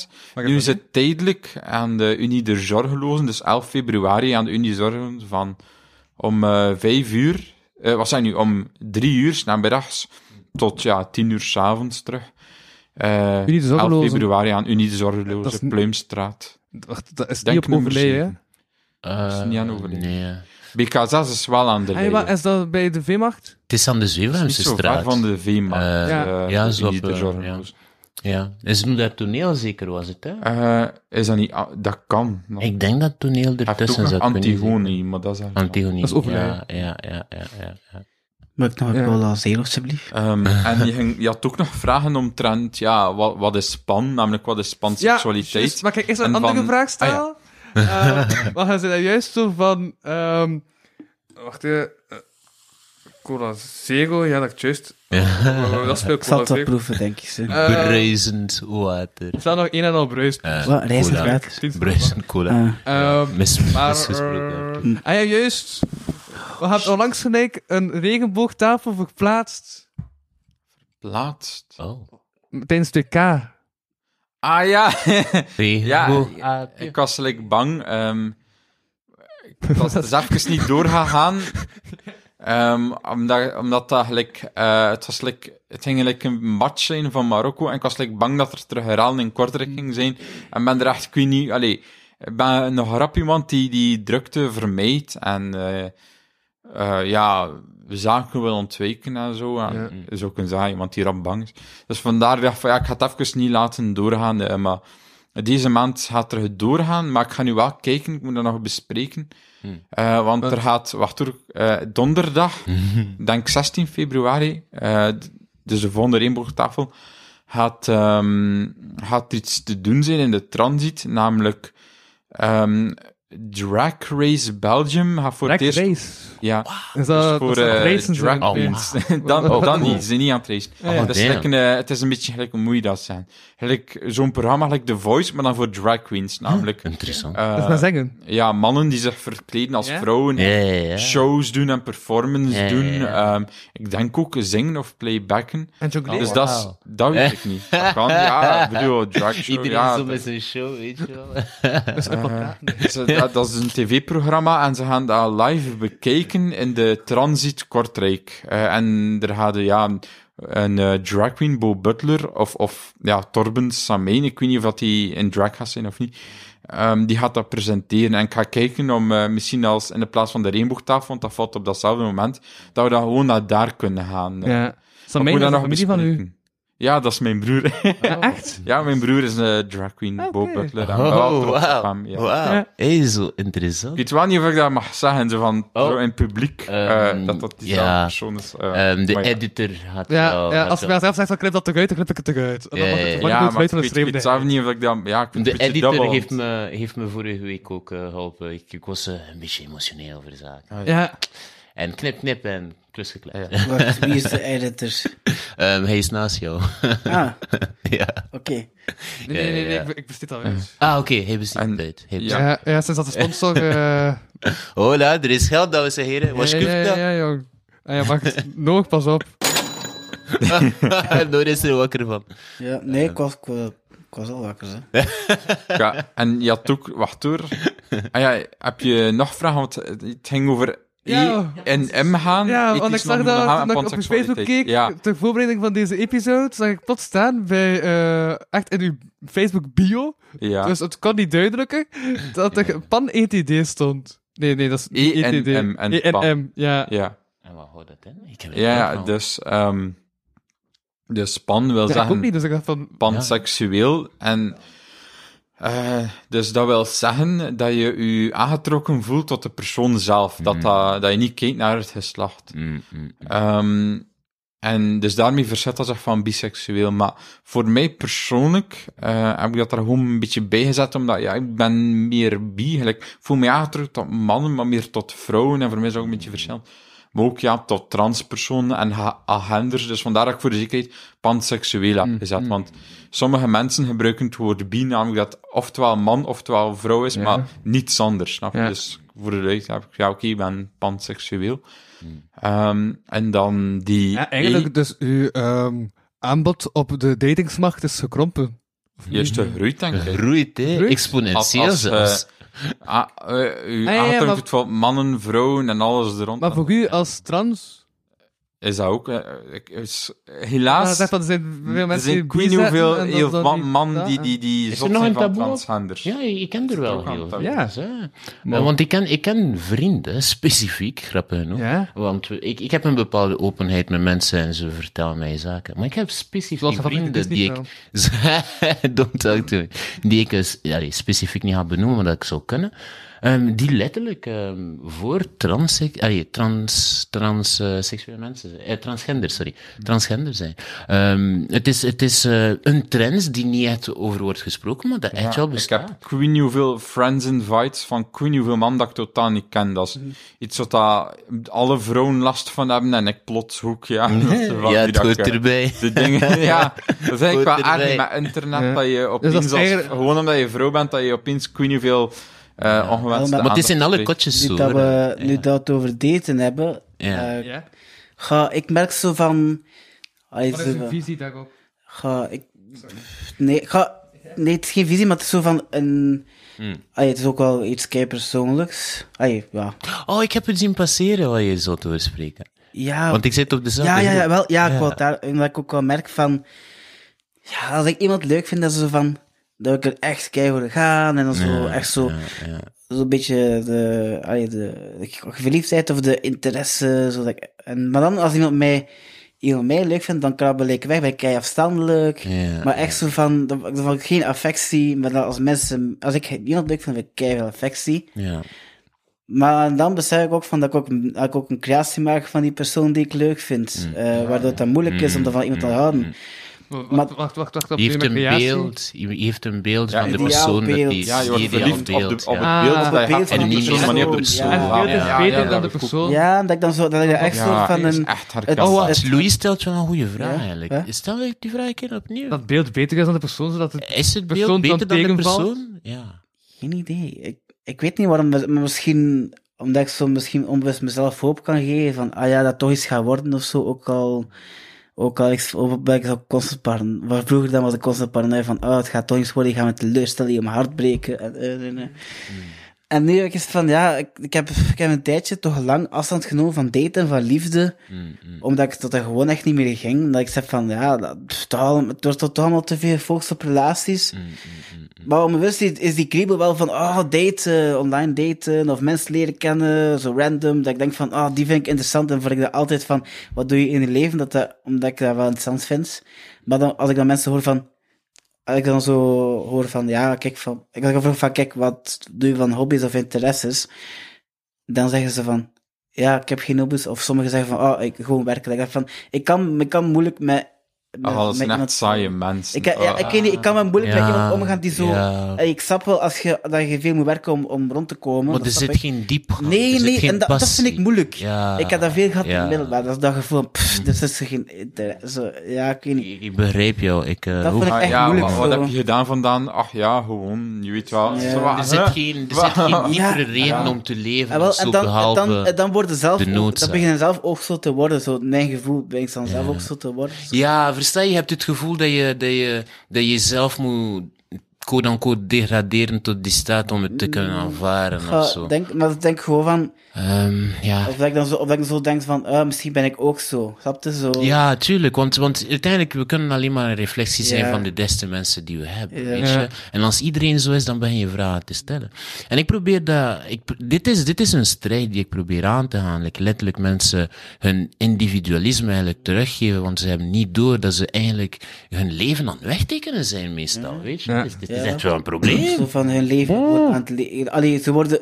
[SPEAKER 3] Mag Ah ik
[SPEAKER 2] nu
[SPEAKER 3] dat
[SPEAKER 2] is het tijdelijk aan de Unie der Zorgelozen, dus 11 februari aan de Unie Zorgelozen van om eh 5 uur, eh wat zijn nu, om 3 uur 's namiddags tot ja, 10 uur 's avonds terug. Eh,
[SPEAKER 3] Unie der
[SPEAKER 2] 11
[SPEAKER 3] Zorgelozen.
[SPEAKER 2] februari aan Unie de
[SPEAKER 3] Dat is
[SPEAKER 2] Zorgelozen,
[SPEAKER 3] niet-
[SPEAKER 2] Pluimstraat.
[SPEAKER 3] Wacht, Dat is
[SPEAKER 2] Denk
[SPEAKER 3] niet op
[SPEAKER 2] nummer
[SPEAKER 3] overleden, hè?
[SPEAKER 2] zeven. is niet aan overleden.
[SPEAKER 4] Nee.
[SPEAKER 2] BK6 is wel aan de
[SPEAKER 3] Hey, Ah, maar
[SPEAKER 2] Leyen.
[SPEAKER 3] is dat bij de Veemacht?
[SPEAKER 4] Het is aan de
[SPEAKER 2] Niet
[SPEAKER 4] Zeevremse
[SPEAKER 2] zo ver
[SPEAKER 4] straat.
[SPEAKER 2] van de Veemarkt.
[SPEAKER 4] Eh,
[SPEAKER 3] Ja.
[SPEAKER 2] eh,
[SPEAKER 4] ja,
[SPEAKER 2] de
[SPEAKER 4] zo op,
[SPEAKER 2] Unie der
[SPEAKER 4] eh,
[SPEAKER 2] Zorgelozen.
[SPEAKER 4] Ja. Is het nu dat toneel zeker was het, hè?
[SPEAKER 2] Eh, is dat niet... ah, Dat kan. Dat
[SPEAKER 4] Ik denk dat toneel
[SPEAKER 2] heeft ook
[SPEAKER 4] ertussen
[SPEAKER 2] nog
[SPEAKER 4] zat.
[SPEAKER 2] Antigone, maar dat is... echt-
[SPEAKER 4] Antigone.
[SPEAKER 3] Dat is
[SPEAKER 4] ja,
[SPEAKER 3] overleden.
[SPEAKER 4] ja, ja, ja, ja, ja.
[SPEAKER 5] Mag ik nog
[SPEAKER 3] Ja.
[SPEAKER 5] een cola zero, alsjeblieft?
[SPEAKER 2] Ehm, en je, ging- je had ook nog vragen omtrent, ja, wat, wat is span? Namelijk, wat is panseksualiteit?
[SPEAKER 3] juist. maar kijk, eerst een
[SPEAKER 2] En
[SPEAKER 3] andere
[SPEAKER 2] van- Ah,
[SPEAKER 3] vraag stellen. Eh, maar hij zei dat juist zo van... ehm, wacht even. eh, Cola Zero, ja, dat ik juist... Oh, dat speelt
[SPEAKER 5] Ik zal
[SPEAKER 3] Cola
[SPEAKER 5] het wel
[SPEAKER 3] Zero.
[SPEAKER 5] proeven, denk ik. zo.
[SPEAKER 3] Eh,
[SPEAKER 4] Bruisend water.
[SPEAKER 3] Er staat nog één en al bruist.
[SPEAKER 5] Wat? Reis het
[SPEAKER 4] cola.
[SPEAKER 5] gratis?
[SPEAKER 4] Bruisend cola.
[SPEAKER 2] Eh,
[SPEAKER 5] Ah.
[SPEAKER 3] Ehm,
[SPEAKER 4] Mis,
[SPEAKER 3] Maar,
[SPEAKER 4] misgesproken.
[SPEAKER 3] eh, ah ja, juist. We hebben onlangs gelijk een regenboogtafel verplaatst
[SPEAKER 2] Laatst.
[SPEAKER 4] Oh.
[SPEAKER 3] tijdens het WK.
[SPEAKER 2] Ah ja, ja
[SPEAKER 4] Rego-
[SPEAKER 2] ik was gelijk bang. ehm, ik was dus even niet doorgegaan. ehm, omdat, omdat dat gelijk, eh, het, was gelijk, het ging gelijk een match zijn van Marokko. En ik was gelijk bang dat er terug herhalen in Kortrijk ging zijn. En ben er echt, ik weet niet, allee, ik ben nog rap iemand die die drukte vermijdt. En eh, eh, ja, zaken wil ontwijken en zo. En is ook een zaak, iemand die rap bang is. Dus vandaar dacht ik van ja, ik ga het even niet laten doorgaan. eh, maar deze maand gaat er het doorgaan, maar ik ga nu wel kijken, ik moet dat nog bespreken. Eh, want er gaat, wacht hoor, eh, donderdag, denk 16 februari, eh, d- dus de volgende regenboogtafel, gaat, ehm, gaat iets te doen zijn in de transit, namelijk ehm, Drag Race Belgium gaat voor
[SPEAKER 3] Drag
[SPEAKER 2] het eerst...
[SPEAKER 3] race.
[SPEAKER 2] Ja,
[SPEAKER 3] Is dat,
[SPEAKER 2] dus
[SPEAKER 3] dat
[SPEAKER 2] voor
[SPEAKER 3] zijn
[SPEAKER 2] eh,
[SPEAKER 3] racen
[SPEAKER 2] drag
[SPEAKER 3] zijn?
[SPEAKER 4] Oh, Ah,
[SPEAKER 3] Nee.
[SPEAKER 2] queens. dan,
[SPEAKER 3] Wat
[SPEAKER 2] dan
[SPEAKER 3] cool.
[SPEAKER 2] niet, ze zijn niet aan het racen.
[SPEAKER 3] ja.
[SPEAKER 2] Het, is
[SPEAKER 4] Damn.
[SPEAKER 2] gelijk een, eh, het is een beetje gelijk hoe moet je dat zijn. Gelijk zo'n programma, gelijk The Voice, maar dan voor drag queens, namelijk.
[SPEAKER 4] Interessant.
[SPEAKER 2] eh,
[SPEAKER 3] Dat is maar zeggen.
[SPEAKER 2] ja, mannen die zich verkleden als
[SPEAKER 3] Ja?
[SPEAKER 2] vrouwen,
[SPEAKER 4] Ja, ja, ja.
[SPEAKER 2] shows doen en performance
[SPEAKER 4] Ja, ja,
[SPEAKER 2] doen.
[SPEAKER 4] ja.
[SPEAKER 2] Ehm, ik denk ook zingen of playbacken.
[SPEAKER 3] En jongleren.
[SPEAKER 2] Dus dat, is- dat weet ik niet. Dat kan, ja, ik bedoel, drag show,
[SPEAKER 4] Iedereen
[SPEAKER 2] ja,
[SPEAKER 4] zo
[SPEAKER 2] dat-
[SPEAKER 4] met zijn show, weet je wel.
[SPEAKER 2] Ze- dat, dat is een tv-programma en ze gaan dat live bekijken in de Transit Kortrijk. Eh, en er hadden ja, een, een eh, drag queen, Bo Butler, of, of ja, Torben Sameen, ik weet niet of dat die in drag gaat zijn of niet, ehm, die gaat dat presenteren. En ik ga kijken om eh, misschien als in de plaats van de regenboogtafel, want dat valt op datzelfde moment, dat we dan gewoon naar daar kunnen gaan. Eh,
[SPEAKER 3] Ja.
[SPEAKER 2] ik
[SPEAKER 3] Samijn
[SPEAKER 2] moet
[SPEAKER 3] is een
[SPEAKER 2] dat nog
[SPEAKER 3] familie van u.
[SPEAKER 2] bespreken. Ja, dat is mijn broer.
[SPEAKER 3] Ja, echt?
[SPEAKER 2] ja, mijn broer is een drag queen, Bo
[SPEAKER 3] Oké.
[SPEAKER 2] Butler. En wel
[SPEAKER 4] Oh,
[SPEAKER 2] trots op
[SPEAKER 4] wauw.
[SPEAKER 2] hem, ja.
[SPEAKER 4] Wauw.
[SPEAKER 3] Ja.
[SPEAKER 4] Hé, zo interessant.
[SPEAKER 2] Ik weet wel niet of ik dat mag zeggen, zo van
[SPEAKER 4] Oh.
[SPEAKER 2] zo in publiek, eh,
[SPEAKER 4] Ehm,
[SPEAKER 2] dat dat diezelfde
[SPEAKER 4] ja.
[SPEAKER 2] persoon is. eh,
[SPEAKER 4] Ehm, de
[SPEAKER 2] maar ja.
[SPEAKER 4] editor had
[SPEAKER 3] Ja,
[SPEAKER 4] wel-
[SPEAKER 3] ja,
[SPEAKER 4] had
[SPEAKER 3] als
[SPEAKER 4] wel-
[SPEAKER 3] men zelf zegt, dan knip dat eruit, dan knip ik het eruit. En dan
[SPEAKER 4] Ja,
[SPEAKER 3] mag
[SPEAKER 4] ja,
[SPEAKER 3] het
[SPEAKER 4] ja.
[SPEAKER 2] ja,
[SPEAKER 3] ja,
[SPEAKER 2] maar
[SPEAKER 3] uit van
[SPEAKER 2] ik
[SPEAKER 3] de
[SPEAKER 2] weet, ik
[SPEAKER 3] streep.
[SPEAKER 2] weet zelf niet of ik dat... Ja, ik vind
[SPEAKER 4] De
[SPEAKER 2] het een beetje
[SPEAKER 4] editor
[SPEAKER 2] dubbel,
[SPEAKER 4] heeft
[SPEAKER 2] want- Ah,
[SPEAKER 4] me, heeft me vorige week ook eh, geholpen. Ik, ik was eh, een beetje emotioneel over de zaak.
[SPEAKER 3] Ja,
[SPEAKER 4] En knip, knip en klus geklept.
[SPEAKER 5] Wacht, wie is de editor?
[SPEAKER 4] Ehm, hij is naast jou.
[SPEAKER 5] Ah,
[SPEAKER 4] ja.
[SPEAKER 5] oké.
[SPEAKER 3] Nee, nee, nee, nee,
[SPEAKER 4] Ja.
[SPEAKER 3] ik, ik besteed dat weer.
[SPEAKER 4] Ah, oké, hij bestaat
[SPEAKER 2] En-
[SPEAKER 4] uit. Hij
[SPEAKER 2] ja.
[SPEAKER 4] bestaat-
[SPEAKER 3] Ja, ja, sinds dat de sponsor... eh
[SPEAKER 4] Hola, er is geld, dames en heren. Was
[SPEAKER 3] ja,
[SPEAKER 4] kuft
[SPEAKER 3] ja, ja,
[SPEAKER 4] dat?
[SPEAKER 3] ja, jong. Ah, ja, wacht. Nog, pas op.
[SPEAKER 4] Noor is er wakker van. Eh,
[SPEAKER 5] Ja, nee, ik was, ik, was- ik was al wakker. Hè.
[SPEAKER 2] Ja, en je had ook... Wacht hoor. Ah ja, heb je nog vragen? Want het ging over
[SPEAKER 3] Ja.
[SPEAKER 2] E en M gaan.
[SPEAKER 3] Ja, want ik
[SPEAKER 2] ethisch
[SPEAKER 3] zag
[SPEAKER 2] normen
[SPEAKER 3] dat
[SPEAKER 2] gaan en
[SPEAKER 3] toen ik op mijn Facebook
[SPEAKER 2] panseksualiteit.
[SPEAKER 3] keek,
[SPEAKER 2] Ja.
[SPEAKER 3] ter voorbereiding van deze episode, zag ik plots staan bij, eh, echt in uw Facebook bio,
[SPEAKER 2] Ja.
[SPEAKER 3] dus het kon niet duidelijker, dat er pan-ETD stond. Nee, nee, dat is niet
[SPEAKER 2] E en
[SPEAKER 3] ETD.
[SPEAKER 2] M en
[SPEAKER 3] E en
[SPEAKER 2] pan.
[SPEAKER 3] M, ja.
[SPEAKER 2] ja.
[SPEAKER 4] En wat houdt dat in? Ik heb het
[SPEAKER 2] Ja,
[SPEAKER 4] niet
[SPEAKER 2] ja,
[SPEAKER 4] van.
[SPEAKER 2] dus... ehm dus pan wil
[SPEAKER 3] Ja, ik ook
[SPEAKER 2] zeggen
[SPEAKER 3] niet, dus ik dacht van...
[SPEAKER 2] panseksueel. En eh, dus dat wil zeggen dat je je aangetrokken voelt tot de persoon zelf. Dat, dat, dat je niet kijkt naar het geslacht.
[SPEAKER 4] Mm, mm.
[SPEAKER 2] Ehm, en dus daarmee verzet dat zich van biseksueel. Maar voor mij persoonlijk eh, heb ik dat er gewoon een beetje bij gezet, omdat ja, ik ben meer bi. gelijk. Ik voel me aangetrokken tot mannen, maar meer tot vrouwen. En voor mij is dat ook een beetje verschillend. Maar ook ja, tot transpersonen en ha- agenders. Dus vandaar dat ik voor de zekerheid panseksueel
[SPEAKER 3] Mm,
[SPEAKER 2] heb gezet. Want sommige mensen gebruiken het woord bi, namelijk dat het oftewel man oftewel vrouw is, maar niets anders. Snap je?
[SPEAKER 3] Ja.
[SPEAKER 2] Dus voor de luid heb ik, ja, oké, ik ben panseksueel. Ehm, en dan die.
[SPEAKER 3] Ja,
[SPEAKER 2] E-
[SPEAKER 3] eigenlijk dus uw ehm, aanbod op de datingsmarkt is gekrompen.
[SPEAKER 2] E- Juist
[SPEAKER 3] Mm.
[SPEAKER 2] de groeit, denk ik.
[SPEAKER 4] Groeit, hè?
[SPEAKER 3] Groeit.
[SPEAKER 4] Exponentieel
[SPEAKER 2] Als-
[SPEAKER 4] zelfs.
[SPEAKER 2] als, Ah, eh, u
[SPEAKER 3] Ah, ja, ja,
[SPEAKER 2] aantrekt
[SPEAKER 3] maar-
[SPEAKER 2] het van mannen, vrouwen en alles er rond.
[SPEAKER 3] Maar voor u als trans...
[SPEAKER 2] Is dat ook? eh, ik- is-
[SPEAKER 3] Ah,
[SPEAKER 2] helaas.
[SPEAKER 3] zeg van, er zijn veel
[SPEAKER 2] er
[SPEAKER 3] mensen
[SPEAKER 2] zijn Dus ik weet
[SPEAKER 3] die
[SPEAKER 2] niet hoeveel
[SPEAKER 3] en dan-
[SPEAKER 2] heel
[SPEAKER 3] dan
[SPEAKER 2] wat
[SPEAKER 3] niet-
[SPEAKER 2] mannen
[SPEAKER 3] dat,
[SPEAKER 2] die,
[SPEAKER 3] en-
[SPEAKER 2] die, die
[SPEAKER 4] er
[SPEAKER 2] zot
[SPEAKER 4] nog
[SPEAKER 2] zijn
[SPEAKER 4] een
[SPEAKER 2] van
[SPEAKER 4] taboe op?
[SPEAKER 2] transgenders.
[SPEAKER 4] Ja, ik ken er wel
[SPEAKER 2] ook aan
[SPEAKER 4] heel
[SPEAKER 2] tafel.
[SPEAKER 4] veel.
[SPEAKER 3] Ja.
[SPEAKER 4] Ja. Eh, Want ik ken, ik ken vrienden, specifiek, grappig genoeg.
[SPEAKER 3] Ja.
[SPEAKER 4] Want we- ik, ik heb een bepaalde openheid met mensen en ze vertellen mij zaken. Maar ik heb specifiek
[SPEAKER 3] Zoals dat
[SPEAKER 4] vrienden
[SPEAKER 3] niet is,
[SPEAKER 4] die
[SPEAKER 3] niet
[SPEAKER 4] ik... Don't talk to me. Die ik dus, ja, die specifiek niet ga benoemen, maar dat ik zou kunnen. Ehm, die letterlijk ehm, voor trans, allee, trans, trans eh, seksuele mensen zijn. Eh, transgender, sorry. Transgender zijn. Ehm, het is, het is eh, een trend die niet echt over wordt gesproken, maar dat echt wel
[SPEAKER 2] Ik
[SPEAKER 4] bestaat.
[SPEAKER 2] heb Queen hoeveel friends invites van Queen hoeveel man dat ik totaal niet ken. Dat
[SPEAKER 4] Mhm.
[SPEAKER 2] is iets wat dat alle vrouwen last van hebben en ik plots hoek, ja. Dat is van
[SPEAKER 4] ja,
[SPEAKER 2] die
[SPEAKER 4] het
[SPEAKER 2] dat
[SPEAKER 4] hoort
[SPEAKER 2] ik, eh,
[SPEAKER 4] erbij.
[SPEAKER 2] De dingen, ja. Dat vind ik wel
[SPEAKER 4] Hoort
[SPEAKER 2] aardig
[SPEAKER 4] erbij.
[SPEAKER 2] met internet,
[SPEAKER 3] Ja.
[SPEAKER 2] dat je
[SPEAKER 3] Dus
[SPEAKER 2] opeens,
[SPEAKER 3] dat is
[SPEAKER 2] als-
[SPEAKER 3] eigenlijk-
[SPEAKER 2] gewoon omdat je vrouw bent, dat je opeens queen hoeveel eh ongewenste
[SPEAKER 5] maar
[SPEAKER 4] Maar het is in
[SPEAKER 2] aandacht
[SPEAKER 4] alle
[SPEAKER 2] krijgt.
[SPEAKER 4] kotjes
[SPEAKER 5] Dus Nu
[SPEAKER 4] zo.
[SPEAKER 5] dat
[SPEAKER 4] hoor.
[SPEAKER 5] we nu dat we het over daten hebben,
[SPEAKER 4] Ja.
[SPEAKER 5] eh,
[SPEAKER 3] Ja.
[SPEAKER 5] ga, ik merk zo van... allee,
[SPEAKER 3] Wat
[SPEAKER 5] zo
[SPEAKER 3] is uw
[SPEAKER 5] van-
[SPEAKER 3] visie daarop?
[SPEAKER 5] Ga, ik, nee, ga, nee, het is geen visie, maar het is zo van een...
[SPEAKER 4] Hmm.
[SPEAKER 5] Allee, het is ook wel iets kei persoonlijks. Allee, ja.
[SPEAKER 4] Oh, ik heb het zien passeren waar je zo te over spreken.
[SPEAKER 5] Ja,
[SPEAKER 4] Want ik zit op dezelfde
[SPEAKER 5] ja, ja, ja,
[SPEAKER 4] groep.
[SPEAKER 5] wel, ja, ik wou het daar, omdat ik ook wel merk van... Ja, als ik iemand leuk vind, dat ze zo van... Dat ik er echt kei voor gaan en dan zo, echt zo...
[SPEAKER 4] ja.
[SPEAKER 5] Zo'n beetje de, allee, de, de verliefdheid of de interesse. Zo dat ik, en, maar dan, als iemand mij, iemand mij leuk vindt, dan krabbel ik weg, ben ik kei afstandelijk.
[SPEAKER 4] Ja,
[SPEAKER 5] maar echt zo van, dan, dan vond ik geen affectie. Maar dan als mensen, als ik iemand leuk vind, heb ik kei veel affectie.
[SPEAKER 4] Ja.
[SPEAKER 5] Maar dan besef ik ook van dat ik ook, dat ik ook een creatie maak van die persoon die ik leuk vind.
[SPEAKER 4] Mm.
[SPEAKER 5] eh, waardoor het dan moeilijk is om er van iemand te houden.
[SPEAKER 3] Wacht,
[SPEAKER 5] Maar-
[SPEAKER 3] wacht, wacht, wacht, wacht.
[SPEAKER 4] Je heeft
[SPEAKER 3] opnieuw
[SPEAKER 4] een
[SPEAKER 3] met creatie.
[SPEAKER 4] beeld, je je heeft een beeld
[SPEAKER 2] Ja,
[SPEAKER 4] van de
[SPEAKER 5] ideaal
[SPEAKER 4] persoon dat
[SPEAKER 5] beeld.
[SPEAKER 4] die
[SPEAKER 2] Ja, je wordt
[SPEAKER 4] ideaal
[SPEAKER 2] verliefd op, de,
[SPEAKER 4] beeld,
[SPEAKER 2] op het
[SPEAKER 4] ja.
[SPEAKER 2] beeld
[SPEAKER 3] Ah,
[SPEAKER 2] dat je
[SPEAKER 5] op
[SPEAKER 2] hebt
[SPEAKER 5] het beeld
[SPEAKER 2] van de
[SPEAKER 4] van de
[SPEAKER 2] persoon, maar niet op de
[SPEAKER 4] persoon.
[SPEAKER 2] persoon.
[SPEAKER 4] En het
[SPEAKER 3] beeld is beter dan
[SPEAKER 2] dat
[SPEAKER 3] de
[SPEAKER 2] is goed.
[SPEAKER 3] persoon.
[SPEAKER 5] Ja, dat ik dan zo, dat ik er echt
[SPEAKER 2] Ja,
[SPEAKER 5] soort van
[SPEAKER 2] is
[SPEAKER 5] een...
[SPEAKER 2] echt
[SPEAKER 5] het-
[SPEAKER 2] herkenbaar.
[SPEAKER 5] oh,
[SPEAKER 4] Dus Louis stelt wel een goede vraag
[SPEAKER 5] Ja,
[SPEAKER 4] eigenlijk.
[SPEAKER 5] hè?
[SPEAKER 4] Stel ik die vraag een keer opnieuw.
[SPEAKER 3] Dat het beeld beter is dan de persoon, zodat het...
[SPEAKER 4] is het beeld
[SPEAKER 3] persoon
[SPEAKER 4] beter
[SPEAKER 3] dan
[SPEAKER 4] dan de
[SPEAKER 3] tegenvalt?
[SPEAKER 4] persoon? Ja.
[SPEAKER 5] Geen idee. Ik, ik weet niet waarom, maar misschien omdat ik zo misschien onbewust mezelf hoop kan geven van, ah ja, dat toch iets gaat worden of zo, ook al, ook al ik, ook ben ik zo constant paren, waar vroeger dan was ik constant paranoia van, ah, het gaat toch iets worden, ik ga me teleurstellen, je gaat mijn hart breken, en, eh, en, eh. En nu heb ik eens van, ja, ik, ik, heb, ik heb een tijdje toch lang afstand genomen van daten, en van liefde,
[SPEAKER 4] Mm,
[SPEAKER 5] omdat ik tot dat gewoon echt niet meer ging, omdat ik zei van, ja, dat, dat, het wordt toch allemaal te veel gefocust op relaties, maar onbewust is, is die kriebel wel van, oh, daten, online daten, of mensen leren kennen, zo random, dat ik denk van, oh, die vind ik interessant, en vond ik dat altijd van, wat doe je in je leven, dat dat, omdat ik dat wel interessant vind. Maar dan, als ik dan mensen hoor van, als ik dan zo hoor van, ja, kijk, van, ik had gevraagd van, kijk, wat doe je van hobby's of interesses? Dan zeggen ze van, ah, ja, ik heb geen hobby's, of sommigen zeggen van, oh, ik gewoon werken. Ik denk van, ik kan, ik kan moeilijk met met-
[SPEAKER 2] Ah, dat zijn
[SPEAKER 5] met-
[SPEAKER 2] echt saaie mensen.
[SPEAKER 5] Ik, ja,
[SPEAKER 2] Ah.
[SPEAKER 5] ik, weet niet, ik kan me moeilijk met
[SPEAKER 4] Ja,
[SPEAKER 5] iemand omgaan die zo...
[SPEAKER 4] ja.
[SPEAKER 5] Eh, Ik snap wel als je, dat je veel moet werken om, om rond te komen.
[SPEAKER 4] Maar
[SPEAKER 5] dat
[SPEAKER 4] er
[SPEAKER 5] snap
[SPEAKER 4] zit
[SPEAKER 5] ik.
[SPEAKER 4] geen diepgang.
[SPEAKER 5] Nee,
[SPEAKER 4] er zit
[SPEAKER 5] nee,
[SPEAKER 4] geen
[SPEAKER 5] en dat, dat
[SPEAKER 4] passie.
[SPEAKER 5] vind ik moeilijk.
[SPEAKER 4] Ja.
[SPEAKER 5] Ik heb dat veel gehad in
[SPEAKER 4] Ja.
[SPEAKER 5] het middelbaar. Dat is dat gevoel van, pff, dus is er geen... inter- Zo, ja, ik weet niet.
[SPEAKER 4] Ik, ik begrijp jou. Ik, eh, hoe-
[SPEAKER 5] Dat vind ik
[SPEAKER 2] Ah,
[SPEAKER 5] echt
[SPEAKER 2] ja,
[SPEAKER 5] moeilijk.
[SPEAKER 2] maar wat
[SPEAKER 5] zo.
[SPEAKER 2] heb je gedaan vandaan? Ach ja, gewoon, je weet wel.
[SPEAKER 5] Ja.
[SPEAKER 2] Zo, wat,
[SPEAKER 4] er zit
[SPEAKER 2] hè?
[SPEAKER 4] geen, er zit geen diepere
[SPEAKER 5] Ja.
[SPEAKER 4] reden om te leven.
[SPEAKER 5] En, wel,
[SPEAKER 4] of zo,
[SPEAKER 5] en dan, en
[SPEAKER 4] behalve...
[SPEAKER 5] dan, en dan worden zelf
[SPEAKER 4] de
[SPEAKER 5] ook-
[SPEAKER 4] noodzaak.
[SPEAKER 5] dan beginnen zelf ook zo te worden. Zo, mijn gevoel begint dan zelf ook zo te worden. Zo.
[SPEAKER 4] Ja, versta je, je hebt het gevoel dat je, dat je, dat je jezelf moet quote unquote degraderen tot die staat om het te kunnen aanvaren
[SPEAKER 5] Ik Mm. ga-
[SPEAKER 4] of zo.
[SPEAKER 5] denk, maar ik denk gewoon van,
[SPEAKER 4] Ehm, ja.
[SPEAKER 5] of dat ik dan zo, of dat ik zo denk van, eh, misschien ben ik ook zo. Snap je? Zo,
[SPEAKER 4] ja, tuurlijk, want, want uiteindelijk, we kunnen alleen maar een reflectie zijn
[SPEAKER 5] Ja.
[SPEAKER 4] van de beste mensen die we hebben,
[SPEAKER 5] Ja.
[SPEAKER 4] weet je. En als iedereen zo is, dan begin je vragen te stellen. En ik probeer dat, ik, pro- dit, is, dit is een strijd die ik probeer aan te gaan. Like, letterlijk mensen hun individualisme eigenlijk teruggeven, want ze hebben niet door dat ze eigenlijk hun leven aan het wegtekenen zijn meestal, weet je. Dus dit is echt wel een probleem.
[SPEAKER 5] Zo van hun leven wordt aan het le- Allee, ze worden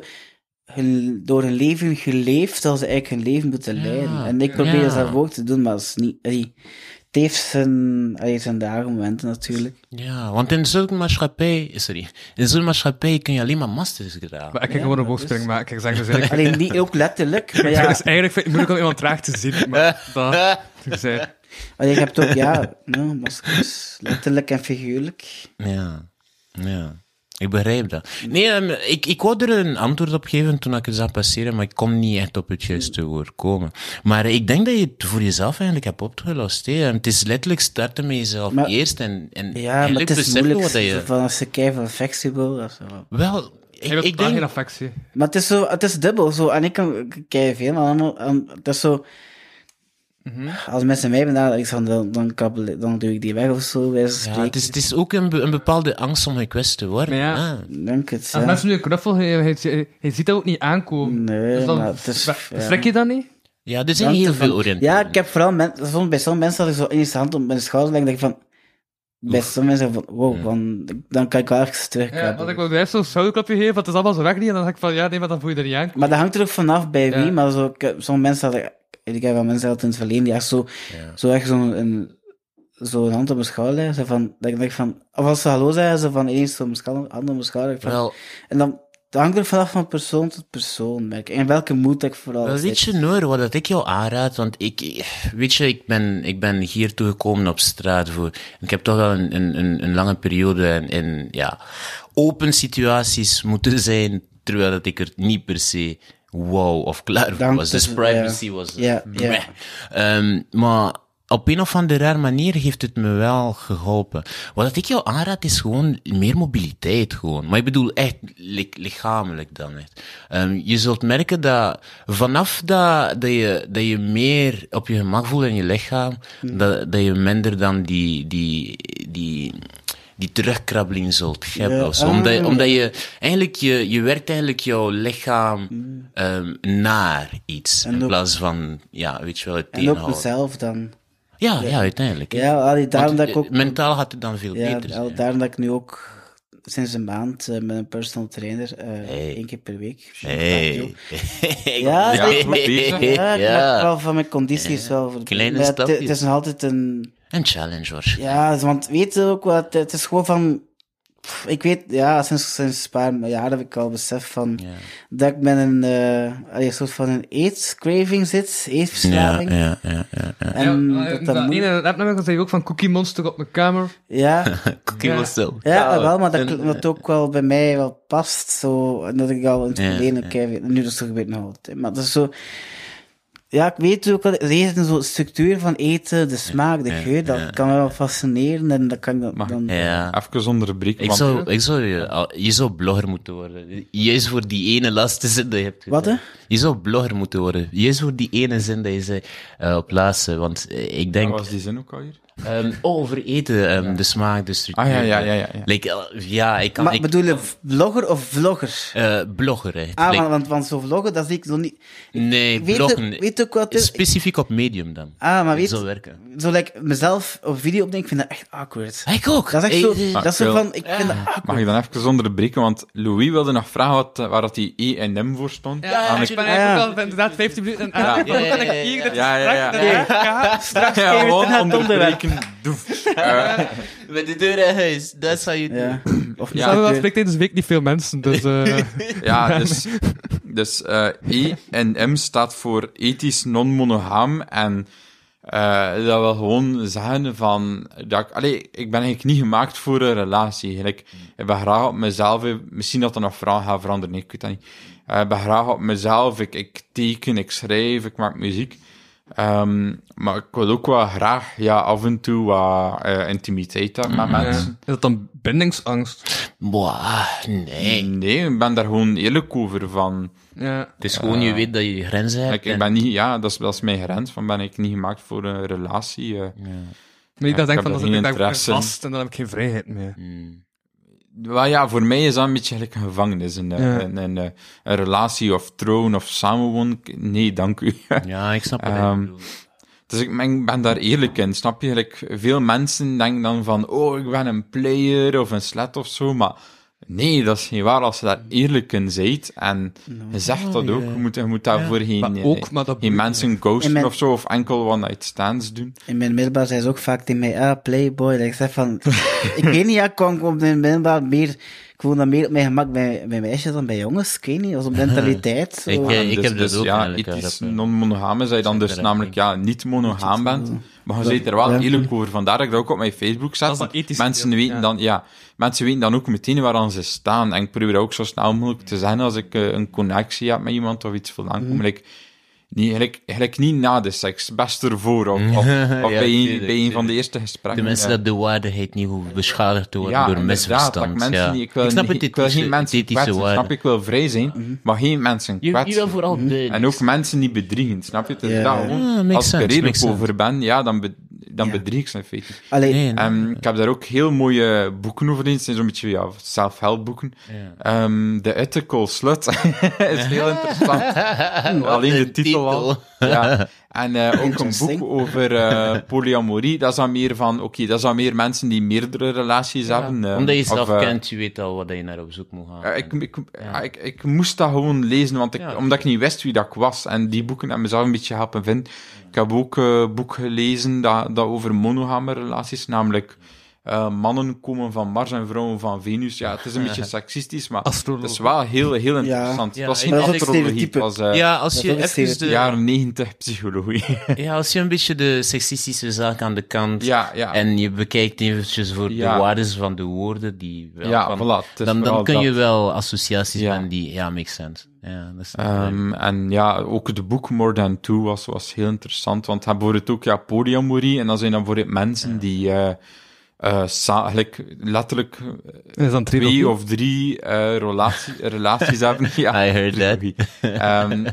[SPEAKER 5] hun- door hun leven geleefd, terwijl ze eigenlijk hun leven moeten leiden. En ik probeer
[SPEAKER 4] ja.
[SPEAKER 5] dat zelf ook te doen, maar dat is niet... Allee, het heeft zijn, allee, zijn dagen momenten natuurlijk.
[SPEAKER 4] Ja, want in zulke maatschappij, sorry, in zulke maatschappij kun je alleen maar masters dragen.
[SPEAKER 3] Maar ik ga gewoon een boogspring maken. Ik zeg dus eigenlijk...
[SPEAKER 5] Alleen niet ook letterlijk, maar
[SPEAKER 3] Ja.
[SPEAKER 5] ja,
[SPEAKER 3] Dus eigenlijk vind ik het moeilijk om iemand traag te zien. Maar dat, dus, eh,
[SPEAKER 5] allee, je hebt ook, ja, no, maskers, letterlijk en figuurlijk.
[SPEAKER 4] Ja, ja. Ik begrijp dat. Nee, ehm, ik, ik wou er een antwoord op geven toen ik het zag passeren, maar ik kon niet echt op het juiste
[SPEAKER 5] Hmm.
[SPEAKER 4] woord komen. Maar ik denk dat je het voor jezelf eigenlijk hebt opgelost. Hè. Ehm, Het is letterlijk starten met jezelf
[SPEAKER 5] Maar-
[SPEAKER 4] eerst en, en
[SPEAKER 5] Ja, maar
[SPEAKER 4] eigenlijk
[SPEAKER 5] het is
[SPEAKER 4] beseffen
[SPEAKER 5] moeilijk,
[SPEAKER 4] wat dat
[SPEAKER 5] zo
[SPEAKER 4] je...
[SPEAKER 5] van als je keihard affectie wil, dat is wel-
[SPEAKER 4] Wel, ik,
[SPEAKER 3] hij wil
[SPEAKER 4] ik
[SPEAKER 3] totaal
[SPEAKER 4] denk...
[SPEAKER 3] geen affectie.
[SPEAKER 5] Maar het is zo, het is dubbel zo. En ik kan keihard veel allemaal. En het is zo.
[SPEAKER 4] Mhm.
[SPEAKER 5] Als mensen mij benaderen, ik zeg, dan, dan, kabbel, dan doe ik die weg of zo. Wij
[SPEAKER 4] Ja, het,
[SPEAKER 5] spreken.
[SPEAKER 4] is, het is ook een, be- een bepaalde angst om gekwetst te worden.
[SPEAKER 3] Ja.
[SPEAKER 4] Ah.
[SPEAKER 5] Denk het,
[SPEAKER 3] Als
[SPEAKER 5] ja.
[SPEAKER 3] mensen nu een knuffel geven, hij, hij- hij ziet dat ook niet aankomen.
[SPEAKER 5] Nee,
[SPEAKER 3] dus dan
[SPEAKER 5] maar het is-
[SPEAKER 3] schrik-
[SPEAKER 5] ja.
[SPEAKER 3] schrik je dan niet?
[SPEAKER 4] ja, er zijn
[SPEAKER 5] Dank
[SPEAKER 4] heel
[SPEAKER 5] ervan.
[SPEAKER 4] veel oriënten.
[SPEAKER 5] Ja, ik heb vooral mensen, soms bij sommige mensen had ik zo in de hand op mijn schouder en ik denk van. Bij sommige mensen van, wow, dan, dan kan ik wel ergens
[SPEAKER 3] Ja,
[SPEAKER 5] terugkomen.
[SPEAKER 3] want ik wil juist zo'n schouderklapje geven, want het is allemaal zo weg niet. En dan zeg ik van, ja, nee, maar dan voel je er niet aan.
[SPEAKER 5] Maar dat hangt er ook vanaf bij
[SPEAKER 3] Ja.
[SPEAKER 5] wie, maar zo, ik heb- sommige mensen hadden, ik heb wel mensen dat in het verleden, die echt zo, zo echt zo'n een- zo'n hand op mijn schouder leggen, zo van, dat ik denk van, of als ze hallo zeggen, ze van ineens zo'n schou- hand op mijn schouder. ik van-
[SPEAKER 4] Wel,
[SPEAKER 5] en dan, dat hangt er vanaf van persoon tot persoon, merk ik. En welke moed ik vooral
[SPEAKER 4] Wel,
[SPEAKER 5] zit.
[SPEAKER 4] weet je, Noor, wat dat ik jou aanraad, want ik, ik- weet je, ik ben, ik ben hier toegekomen op straat voor, ik heb toch wel een, een, een, een lange periode in, in, ja, open situaties moeten zijn, terwijl dat ik er niet per se wow of klaar voor
[SPEAKER 5] Dank
[SPEAKER 4] was. Dus
[SPEAKER 5] tussen- ja.
[SPEAKER 4] privacy was... eh,
[SPEAKER 5] Ja, ja.
[SPEAKER 4] meh. Ehm, maar op een of andere raar manier heeft het me wel geholpen. Wat ik jou aanraad is gewoon meer mobiliteit gewoon. Maar ik bedoel echt li- lichamelijk dan echt. Ehm, je zult merken dat vanaf dat, dat, je, dat je meer op je gemak voelt in je lichaam,
[SPEAKER 5] Hmm.
[SPEAKER 4] dat, dat je minder dan die, die, die, die terugkrabbeling zult hebben.
[SPEAKER 5] Ja,
[SPEAKER 4] of zo.
[SPEAKER 5] ah.
[SPEAKER 4] Omdat, omdat je eigenlijk, je, je werkt eigenlijk jouw lichaam ehm, naar iets. in
[SPEAKER 5] Mm. ook-
[SPEAKER 4] plaats van, ja, weet je wel, het
[SPEAKER 5] En ook
[SPEAKER 4] tegenhouden.
[SPEAKER 5] mezelf dan.
[SPEAKER 4] Ja, ja, uiteindelijk. hè.
[SPEAKER 5] Ja, allee, daarom
[SPEAKER 4] Want,
[SPEAKER 5] dat ik
[SPEAKER 4] eh,
[SPEAKER 5] ook,
[SPEAKER 4] Mentaal gaat het dan veel
[SPEAKER 5] ja,
[SPEAKER 4] beter
[SPEAKER 5] al-
[SPEAKER 4] zijn.
[SPEAKER 5] daarom dat ik nu ook sinds een maand eh, met een personal trainer, eh, één keer per week.
[SPEAKER 4] Hey.
[SPEAKER 5] Ja,
[SPEAKER 2] Ja,
[SPEAKER 5] nee,
[SPEAKER 2] goed bezig.
[SPEAKER 5] Ja, ik merk
[SPEAKER 4] Ja.
[SPEAKER 5] wel van mijn conditie is wel verbeterd.
[SPEAKER 4] Kleine
[SPEAKER 5] Maar het-
[SPEAKER 4] stapjes.
[SPEAKER 5] Het is nog altijd een...
[SPEAKER 4] Een challenge, hoor.
[SPEAKER 5] Ja, want weet je ook wat, het is gewoon van... pff, Ik weet, ja, sinds, sinds een paar jaar heb ik al besef van... Dat ik met een, eh, allee, een soort van een aids-craving zit,
[SPEAKER 4] Ja,
[SPEAKER 5] aidsverslaving.
[SPEAKER 4] ja, ja, ja.
[SPEAKER 5] En
[SPEAKER 3] ja, eh,
[SPEAKER 5] dat
[SPEAKER 3] dat
[SPEAKER 5] dat moet...
[SPEAKER 3] ene appnummer zei je ook van Cookie Monster op mijn kamer.
[SPEAKER 5] Ja,
[SPEAKER 4] Cookie was zo.
[SPEAKER 5] ja wel, maar dat dat ook wel bij mij wel past. Zo, en dat ik al in het
[SPEAKER 4] Ja,
[SPEAKER 5] verleden ook heb- Nu dat gebeurt het nog altijd. Maar dat is zo... Ja, ik weet ook wel, er is een soort structuur van eten, de smaak, de geur, dat kan me wel fascineren en dat kan ik dan...
[SPEAKER 2] Mag ik-
[SPEAKER 5] dan
[SPEAKER 4] Ja.
[SPEAKER 2] Even onderbreken,
[SPEAKER 4] Ik
[SPEAKER 2] want Ah,
[SPEAKER 4] zou, ik zou je, al- je zou blogger moeten worden. Juist voor die ene laatste zin dat je hebt
[SPEAKER 5] Wat, hè?
[SPEAKER 4] gezegd. Je zou blogger moeten worden. Juist voor die ene zin dat je zei eh, op laatste. Want eh, ik denk...
[SPEAKER 2] wat was die zin ook alweer?
[SPEAKER 4] ehm, oh, over eten. ehm, De smaak, de structuur.
[SPEAKER 2] Ah, ja, ja, ja, ja, ja.
[SPEAKER 4] Like, eh, ja, ik kan...
[SPEAKER 5] Maar
[SPEAKER 4] ik,
[SPEAKER 5] bedoel je vlogger of vlogger?
[SPEAKER 4] eh, blogger, hè.
[SPEAKER 5] Ah,
[SPEAKER 4] Like,
[SPEAKER 5] want, want, want zo vloggen, dat zie ik zo niet...
[SPEAKER 4] nee,
[SPEAKER 5] Ik weet,
[SPEAKER 4] bloggen.
[SPEAKER 5] ook, weet ook wat het is.
[SPEAKER 4] Specifiek op Medium dan.
[SPEAKER 5] Ah, maar
[SPEAKER 4] Zo
[SPEAKER 5] weet
[SPEAKER 4] werken.
[SPEAKER 5] zo like, mezelf op video opnemen, ik vind dat echt awkward.
[SPEAKER 4] Ik ook.
[SPEAKER 5] Dat is echt
[SPEAKER 4] Hey,
[SPEAKER 5] zo,
[SPEAKER 4] eh,
[SPEAKER 5] dat is zo
[SPEAKER 2] wil-
[SPEAKER 5] van, ik vind dat awkward.
[SPEAKER 2] Mag ik dan even onderbreken? Want Louis wilde nog vragen wat, eh, waar dat die E&M voor stond.
[SPEAKER 3] Ja,
[SPEAKER 2] Aan
[SPEAKER 3] ik
[SPEAKER 2] de-
[SPEAKER 3] ben
[SPEAKER 5] ja.
[SPEAKER 3] eigenlijk ook al inderdaad 15 minuten aan
[SPEAKER 2] Ja.
[SPEAKER 3] het
[SPEAKER 4] Ja, ja,
[SPEAKER 3] ja,
[SPEAKER 4] ja, ja.
[SPEAKER 3] hier, dat is
[SPEAKER 2] Ja, ja, ja.
[SPEAKER 3] strak, dat is raak, ja.
[SPEAKER 2] Ja,
[SPEAKER 5] even
[SPEAKER 2] gewoon
[SPEAKER 5] naar het onderwerp.
[SPEAKER 2] onderbreken. fucking doef. Eh,
[SPEAKER 4] Met de deur in huis, that's how you do
[SPEAKER 5] Ja. Of niet
[SPEAKER 2] Ja.
[SPEAKER 3] Ja,
[SPEAKER 5] de
[SPEAKER 3] dat
[SPEAKER 5] deur.
[SPEAKER 3] spreekt deze week niet veel mensen, dus... eh,
[SPEAKER 2] ja, dus, dus eh, E en M staat voor ethisch non-monogaam. En eh, dat wil gewoon zeggen van... Dat ik, allee, ik ben eigenlijk niet gemaakt voor een relatie. eigenlijk. Ik ben graag op mezelf. eh, Misschien dat er nog vragen gaan veranderen, ik weet dat niet. Eh, ik ben graag op mezelf. Ik, ik teken, ik schrijf, ik maak muziek. Ehm, maar ik wil ook wel graag ja, af en toe wat eh, intimiteit hebben met
[SPEAKER 3] Is
[SPEAKER 2] mensen.
[SPEAKER 3] dat dan bindingsangst?
[SPEAKER 4] Boah, nee.
[SPEAKER 2] Nee, ik ben daar gewoon eerlijk over van...
[SPEAKER 3] Ja.
[SPEAKER 4] Het is gewoon, je weet dat je je grenzen hebt.
[SPEAKER 2] Ah. Ik, ik
[SPEAKER 4] en-
[SPEAKER 2] ben niet, ja, dat is, dat is mijn grens. Van ben ik niet gemaakt voor een relatie? eh.
[SPEAKER 3] Nee,
[SPEAKER 2] Ja,
[SPEAKER 3] ik dat
[SPEAKER 2] ik
[SPEAKER 3] denk
[SPEAKER 2] heb
[SPEAKER 3] van,
[SPEAKER 2] daar
[SPEAKER 3] dat
[SPEAKER 2] geen
[SPEAKER 3] ik daar
[SPEAKER 2] interesse in. Hmm.
[SPEAKER 3] vast en dan heb ik geen vrijheid meer.
[SPEAKER 2] Wel ja, voor mij is dat een beetje eigenlijk een gevangenis. Een, eh,
[SPEAKER 3] Ja.
[SPEAKER 2] een, een, eh, een relatie of troon of samenwonen. Nee, dank u.
[SPEAKER 4] Ja, ik snap het.
[SPEAKER 2] Ehm,
[SPEAKER 4] ik bedoel.
[SPEAKER 2] Dus ik ben, ben daar eerlijk in, snap je? Like, veel mensen denken dan van, oh, ik ben een player of een slet of zo, maar nee, dat is niet waar als je daar eerlijk in bent. En je zegt dat ook, je moet, je moet daarvoor geen,
[SPEAKER 3] Maar
[SPEAKER 2] eh,
[SPEAKER 3] ook, maar dat
[SPEAKER 2] geen
[SPEAKER 3] moet-
[SPEAKER 2] mensen ghosten
[SPEAKER 5] En men-
[SPEAKER 2] of zo, of enkel one-night stands doen.
[SPEAKER 5] In mijn middelbaar zei ze ook vaak tegen mij, ah, playboy. Dat ik zeg van, ik weet niet, ja, ik kwam op mijn middelbaar meer, ik voelde dat meer op mijn gemak bij, bij meisjes dan bij jongens. Ik weet niet, als op mentaliteit. zo.
[SPEAKER 4] Ik, eh,
[SPEAKER 2] En
[SPEAKER 4] heb dat ook
[SPEAKER 2] ja,
[SPEAKER 4] eigenlijk, ja,
[SPEAKER 2] ethisch
[SPEAKER 4] dat, eh,
[SPEAKER 2] non-monogaam is dat je dan dus
[SPEAKER 4] er
[SPEAKER 2] namelijk ja, niet monogaam bent. Maar je zit er wel
[SPEAKER 5] ja.
[SPEAKER 2] eerlijk over. Vandaar dat ik dat ook op mijn Facebook zet.
[SPEAKER 3] Dat is dat
[SPEAKER 2] want
[SPEAKER 3] ethische
[SPEAKER 2] mensen,
[SPEAKER 3] deel,
[SPEAKER 2] weten
[SPEAKER 3] ja.
[SPEAKER 2] Dan, ja, mensen weten dan ook meteen waar dan ze staan. En ik probeer ook zo snel mogelijk te zijn als ik eh, een connectie heb met iemand of iets wil
[SPEAKER 4] Mhm.
[SPEAKER 2] aankomen. Like, niet, eigenlijk, eigenlijk niet na de seks, best ervoor. Of, of, of bij,
[SPEAKER 4] tuurlijk,
[SPEAKER 2] een, bij een van
[SPEAKER 4] tuurlijk.
[SPEAKER 2] de eerste gesprekken.
[SPEAKER 4] de mensen
[SPEAKER 2] ja.
[SPEAKER 4] dat de waardigheid niet hoeven beschadigd te worden
[SPEAKER 2] Ja,
[SPEAKER 4] door
[SPEAKER 2] inderdaad, dat ik
[SPEAKER 4] misverstand.
[SPEAKER 2] mensen
[SPEAKER 4] ja.
[SPEAKER 2] niet- ik wil,
[SPEAKER 4] snap
[SPEAKER 2] niet-
[SPEAKER 4] het,
[SPEAKER 2] ik wil geen
[SPEAKER 4] ethische-
[SPEAKER 2] mensen
[SPEAKER 4] ethische
[SPEAKER 2] kwetsen,
[SPEAKER 4] waarde. Mhm.
[SPEAKER 2] snap ik wil vrij zijn, maar geen mensen
[SPEAKER 4] Je,
[SPEAKER 2] kwetsen.
[SPEAKER 4] je wil vooral de...
[SPEAKER 2] En ook mensen niet bedriegen, snap je? Het is
[SPEAKER 5] Ja.
[SPEAKER 2] dat gewoon,
[SPEAKER 4] Ja, Ah, makes
[SPEAKER 2] als ik
[SPEAKER 4] sense,
[SPEAKER 2] er eerlijk
[SPEAKER 4] makes sense.
[SPEAKER 2] over ben, ja, dan, be- dan
[SPEAKER 5] Ja.
[SPEAKER 2] bedrieg ik ze in feite.
[SPEAKER 5] Allee,
[SPEAKER 4] Nee, nee.
[SPEAKER 2] Ehm, ik heb daar ook heel mooie boeken over gelezen. Het zijn zo'n beetje ja, self-help boeken. Ehm, The Ethical Slut is heel interessant.
[SPEAKER 4] Hm, Wat
[SPEAKER 2] Alleen de
[SPEAKER 4] een
[SPEAKER 2] titel al. Ja. En eh, ook een
[SPEAKER 5] Interesting.
[SPEAKER 2] boek over eh, polyamorie. Dat is dan meer van, oké, dat zijn meer mensen die meerdere relaties hebben. eh,
[SPEAKER 4] Omdat je
[SPEAKER 2] of,
[SPEAKER 4] zelf
[SPEAKER 2] eh,
[SPEAKER 4] kent, je weet al wat je naar op zoek moet gaan.
[SPEAKER 2] ja, ik, ik, ja, ik, ik moest dat gewoon lezen, want ik,
[SPEAKER 4] Ja.
[SPEAKER 2] omdat ik niet wist wie dat ik was. En die boeken hebben mezelf een beetje helpen vinden. Ik heb ook eh, een boek gelezen dat, dat over monogame relaties, namelijk eh, mannen komen van Mars en vrouwen van Venus. Ja, het is een beetje seksistisch, maar
[SPEAKER 3] Astroloog.
[SPEAKER 2] het is wel heel, heel interessant.
[SPEAKER 4] Ja,
[SPEAKER 2] het was
[SPEAKER 4] ik-
[SPEAKER 2] geen
[SPEAKER 4] dat is ook
[SPEAKER 2] astrologie, het
[SPEAKER 5] stereotype.
[SPEAKER 2] was eh,
[SPEAKER 4] ja, als
[SPEAKER 5] dat
[SPEAKER 4] je
[SPEAKER 5] is ook een
[SPEAKER 4] even de,
[SPEAKER 5] stereotype.
[SPEAKER 2] jaren 90 psychologie.
[SPEAKER 4] ja, als je een beetje de seksistische zaak aan de kant
[SPEAKER 2] ja, ja.
[SPEAKER 4] en je bekijkt eventjes voor
[SPEAKER 2] Ja.
[SPEAKER 4] de waardes van de woorden die wel
[SPEAKER 2] Ja,
[SPEAKER 4] van-
[SPEAKER 2] voilà, het is
[SPEAKER 4] dan,
[SPEAKER 2] vooral
[SPEAKER 4] dan kun
[SPEAKER 2] dat.
[SPEAKER 4] je wel associaties
[SPEAKER 2] Ja.
[SPEAKER 4] maken die ja makes sense ja dat is
[SPEAKER 2] Ehm, en ja, ook de boek More Than Two was, was heel interessant, want hij bijvoorbeeld ook ja, polyamorie, en dan zijn dan bijvoorbeeld mensen die eh eh, sa- eigenlijk letterlijk
[SPEAKER 3] En is dan
[SPEAKER 2] twee
[SPEAKER 3] trilogie?
[SPEAKER 2] of drie eh, relatie, relaties hebben. Ja,
[SPEAKER 4] I heard that.
[SPEAKER 2] trilogie. Ehm,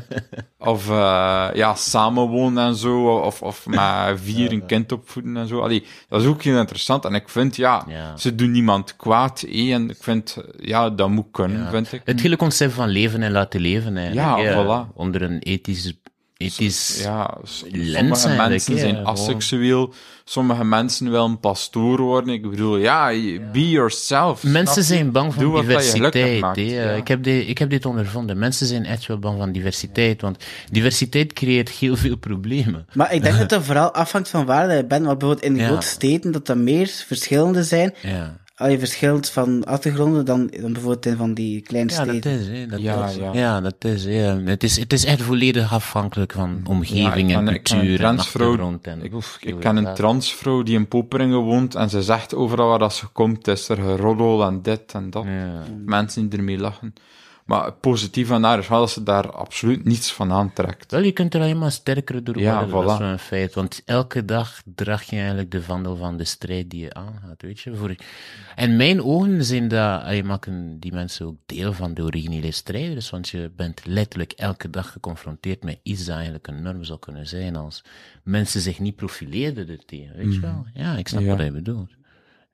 [SPEAKER 2] of eh, ja, samenwonen en zo, of, of met vier een kind opvoeden en zo. Allee, dat is ook heel interessant, en ik vind, ja,
[SPEAKER 4] Ja.
[SPEAKER 2] ze doen niemand kwaad, eh, en ik vind, ja, dat moet kunnen, vind ik.
[SPEAKER 4] het hele concept van leven en laten leven eigenlijk
[SPEAKER 2] Ja, voilà.
[SPEAKER 4] onder een ethisch ethisch
[SPEAKER 2] Ja, s-
[SPEAKER 4] lens
[SPEAKER 2] sommige
[SPEAKER 4] eigenlijk,
[SPEAKER 2] mensen
[SPEAKER 4] hè,
[SPEAKER 2] zijn
[SPEAKER 4] gewoon.
[SPEAKER 2] asexueel, sommige mensen willen pastoor worden. Ik bedoel, ja, je- be yourself. snap je?
[SPEAKER 4] Mensen zijn bang
[SPEAKER 2] Doe
[SPEAKER 4] van
[SPEAKER 2] wat dat je gelukkig
[SPEAKER 4] diversiteit.
[SPEAKER 2] maakt,
[SPEAKER 4] hè.
[SPEAKER 2] ja.
[SPEAKER 4] Ik, heb dit, ik heb dit ondervonden. Mensen zijn echt wel bang van diversiteit, want diversiteit creëert heel veel problemen.
[SPEAKER 5] Maar ik denk dat dat vooral afhangt van waar dat je bent. Want bijvoorbeeld in de
[SPEAKER 4] Ja.
[SPEAKER 5] grote steden, dat er meer verschillende zijn.
[SPEAKER 4] Ja,
[SPEAKER 5] Al je verschilt van achtergronden dan, dan bijvoorbeeld in van die kleine
[SPEAKER 4] ja dat
[SPEAKER 5] steden.
[SPEAKER 4] is. Hè, dat
[SPEAKER 2] Ja,
[SPEAKER 4] is.
[SPEAKER 2] ja.
[SPEAKER 4] Ja. dat is, ja. Het is. Het is echt volledig afhankelijk van omgeving
[SPEAKER 2] Ja, ik
[SPEAKER 4] en
[SPEAKER 2] ken- ik ken een
[SPEAKER 4] cultuur en
[SPEAKER 2] transvrouw-
[SPEAKER 4] achtergrond. En,
[SPEAKER 2] Ik,
[SPEAKER 4] oef,
[SPEAKER 2] ik
[SPEAKER 4] heel
[SPEAKER 2] ken een
[SPEAKER 4] raar.
[SPEAKER 2] transvrouw die in Poperingen woont en ze zegt overal waar dat ze komt, is er geroddel en dit en dat.
[SPEAKER 4] Ja.
[SPEAKER 2] Mensen die ermee lachen. Maar het positieve aan haar is wel dat ze daar absoluut niets van aantrekt.
[SPEAKER 4] Wel, je kunt er alleen maar sterker door
[SPEAKER 2] Ja,
[SPEAKER 4] worden, dat is
[SPEAKER 2] voilà.
[SPEAKER 4] wel een feit. Want elke dag draag je eigenlijk de vandel van de strijd die je aangaat, weet je. Voor... En mijn ogen zijn dat, ah, je maken die mensen ook deel van de originele strijders, want je bent letterlijk elke dag geconfronteerd met iets dat eigenlijk een norm zou kunnen zijn als mensen zich niet profileerden ertegen, weet je wel. Ja, ik snap
[SPEAKER 2] Mhm. Ja.
[SPEAKER 4] wat je bedoelt.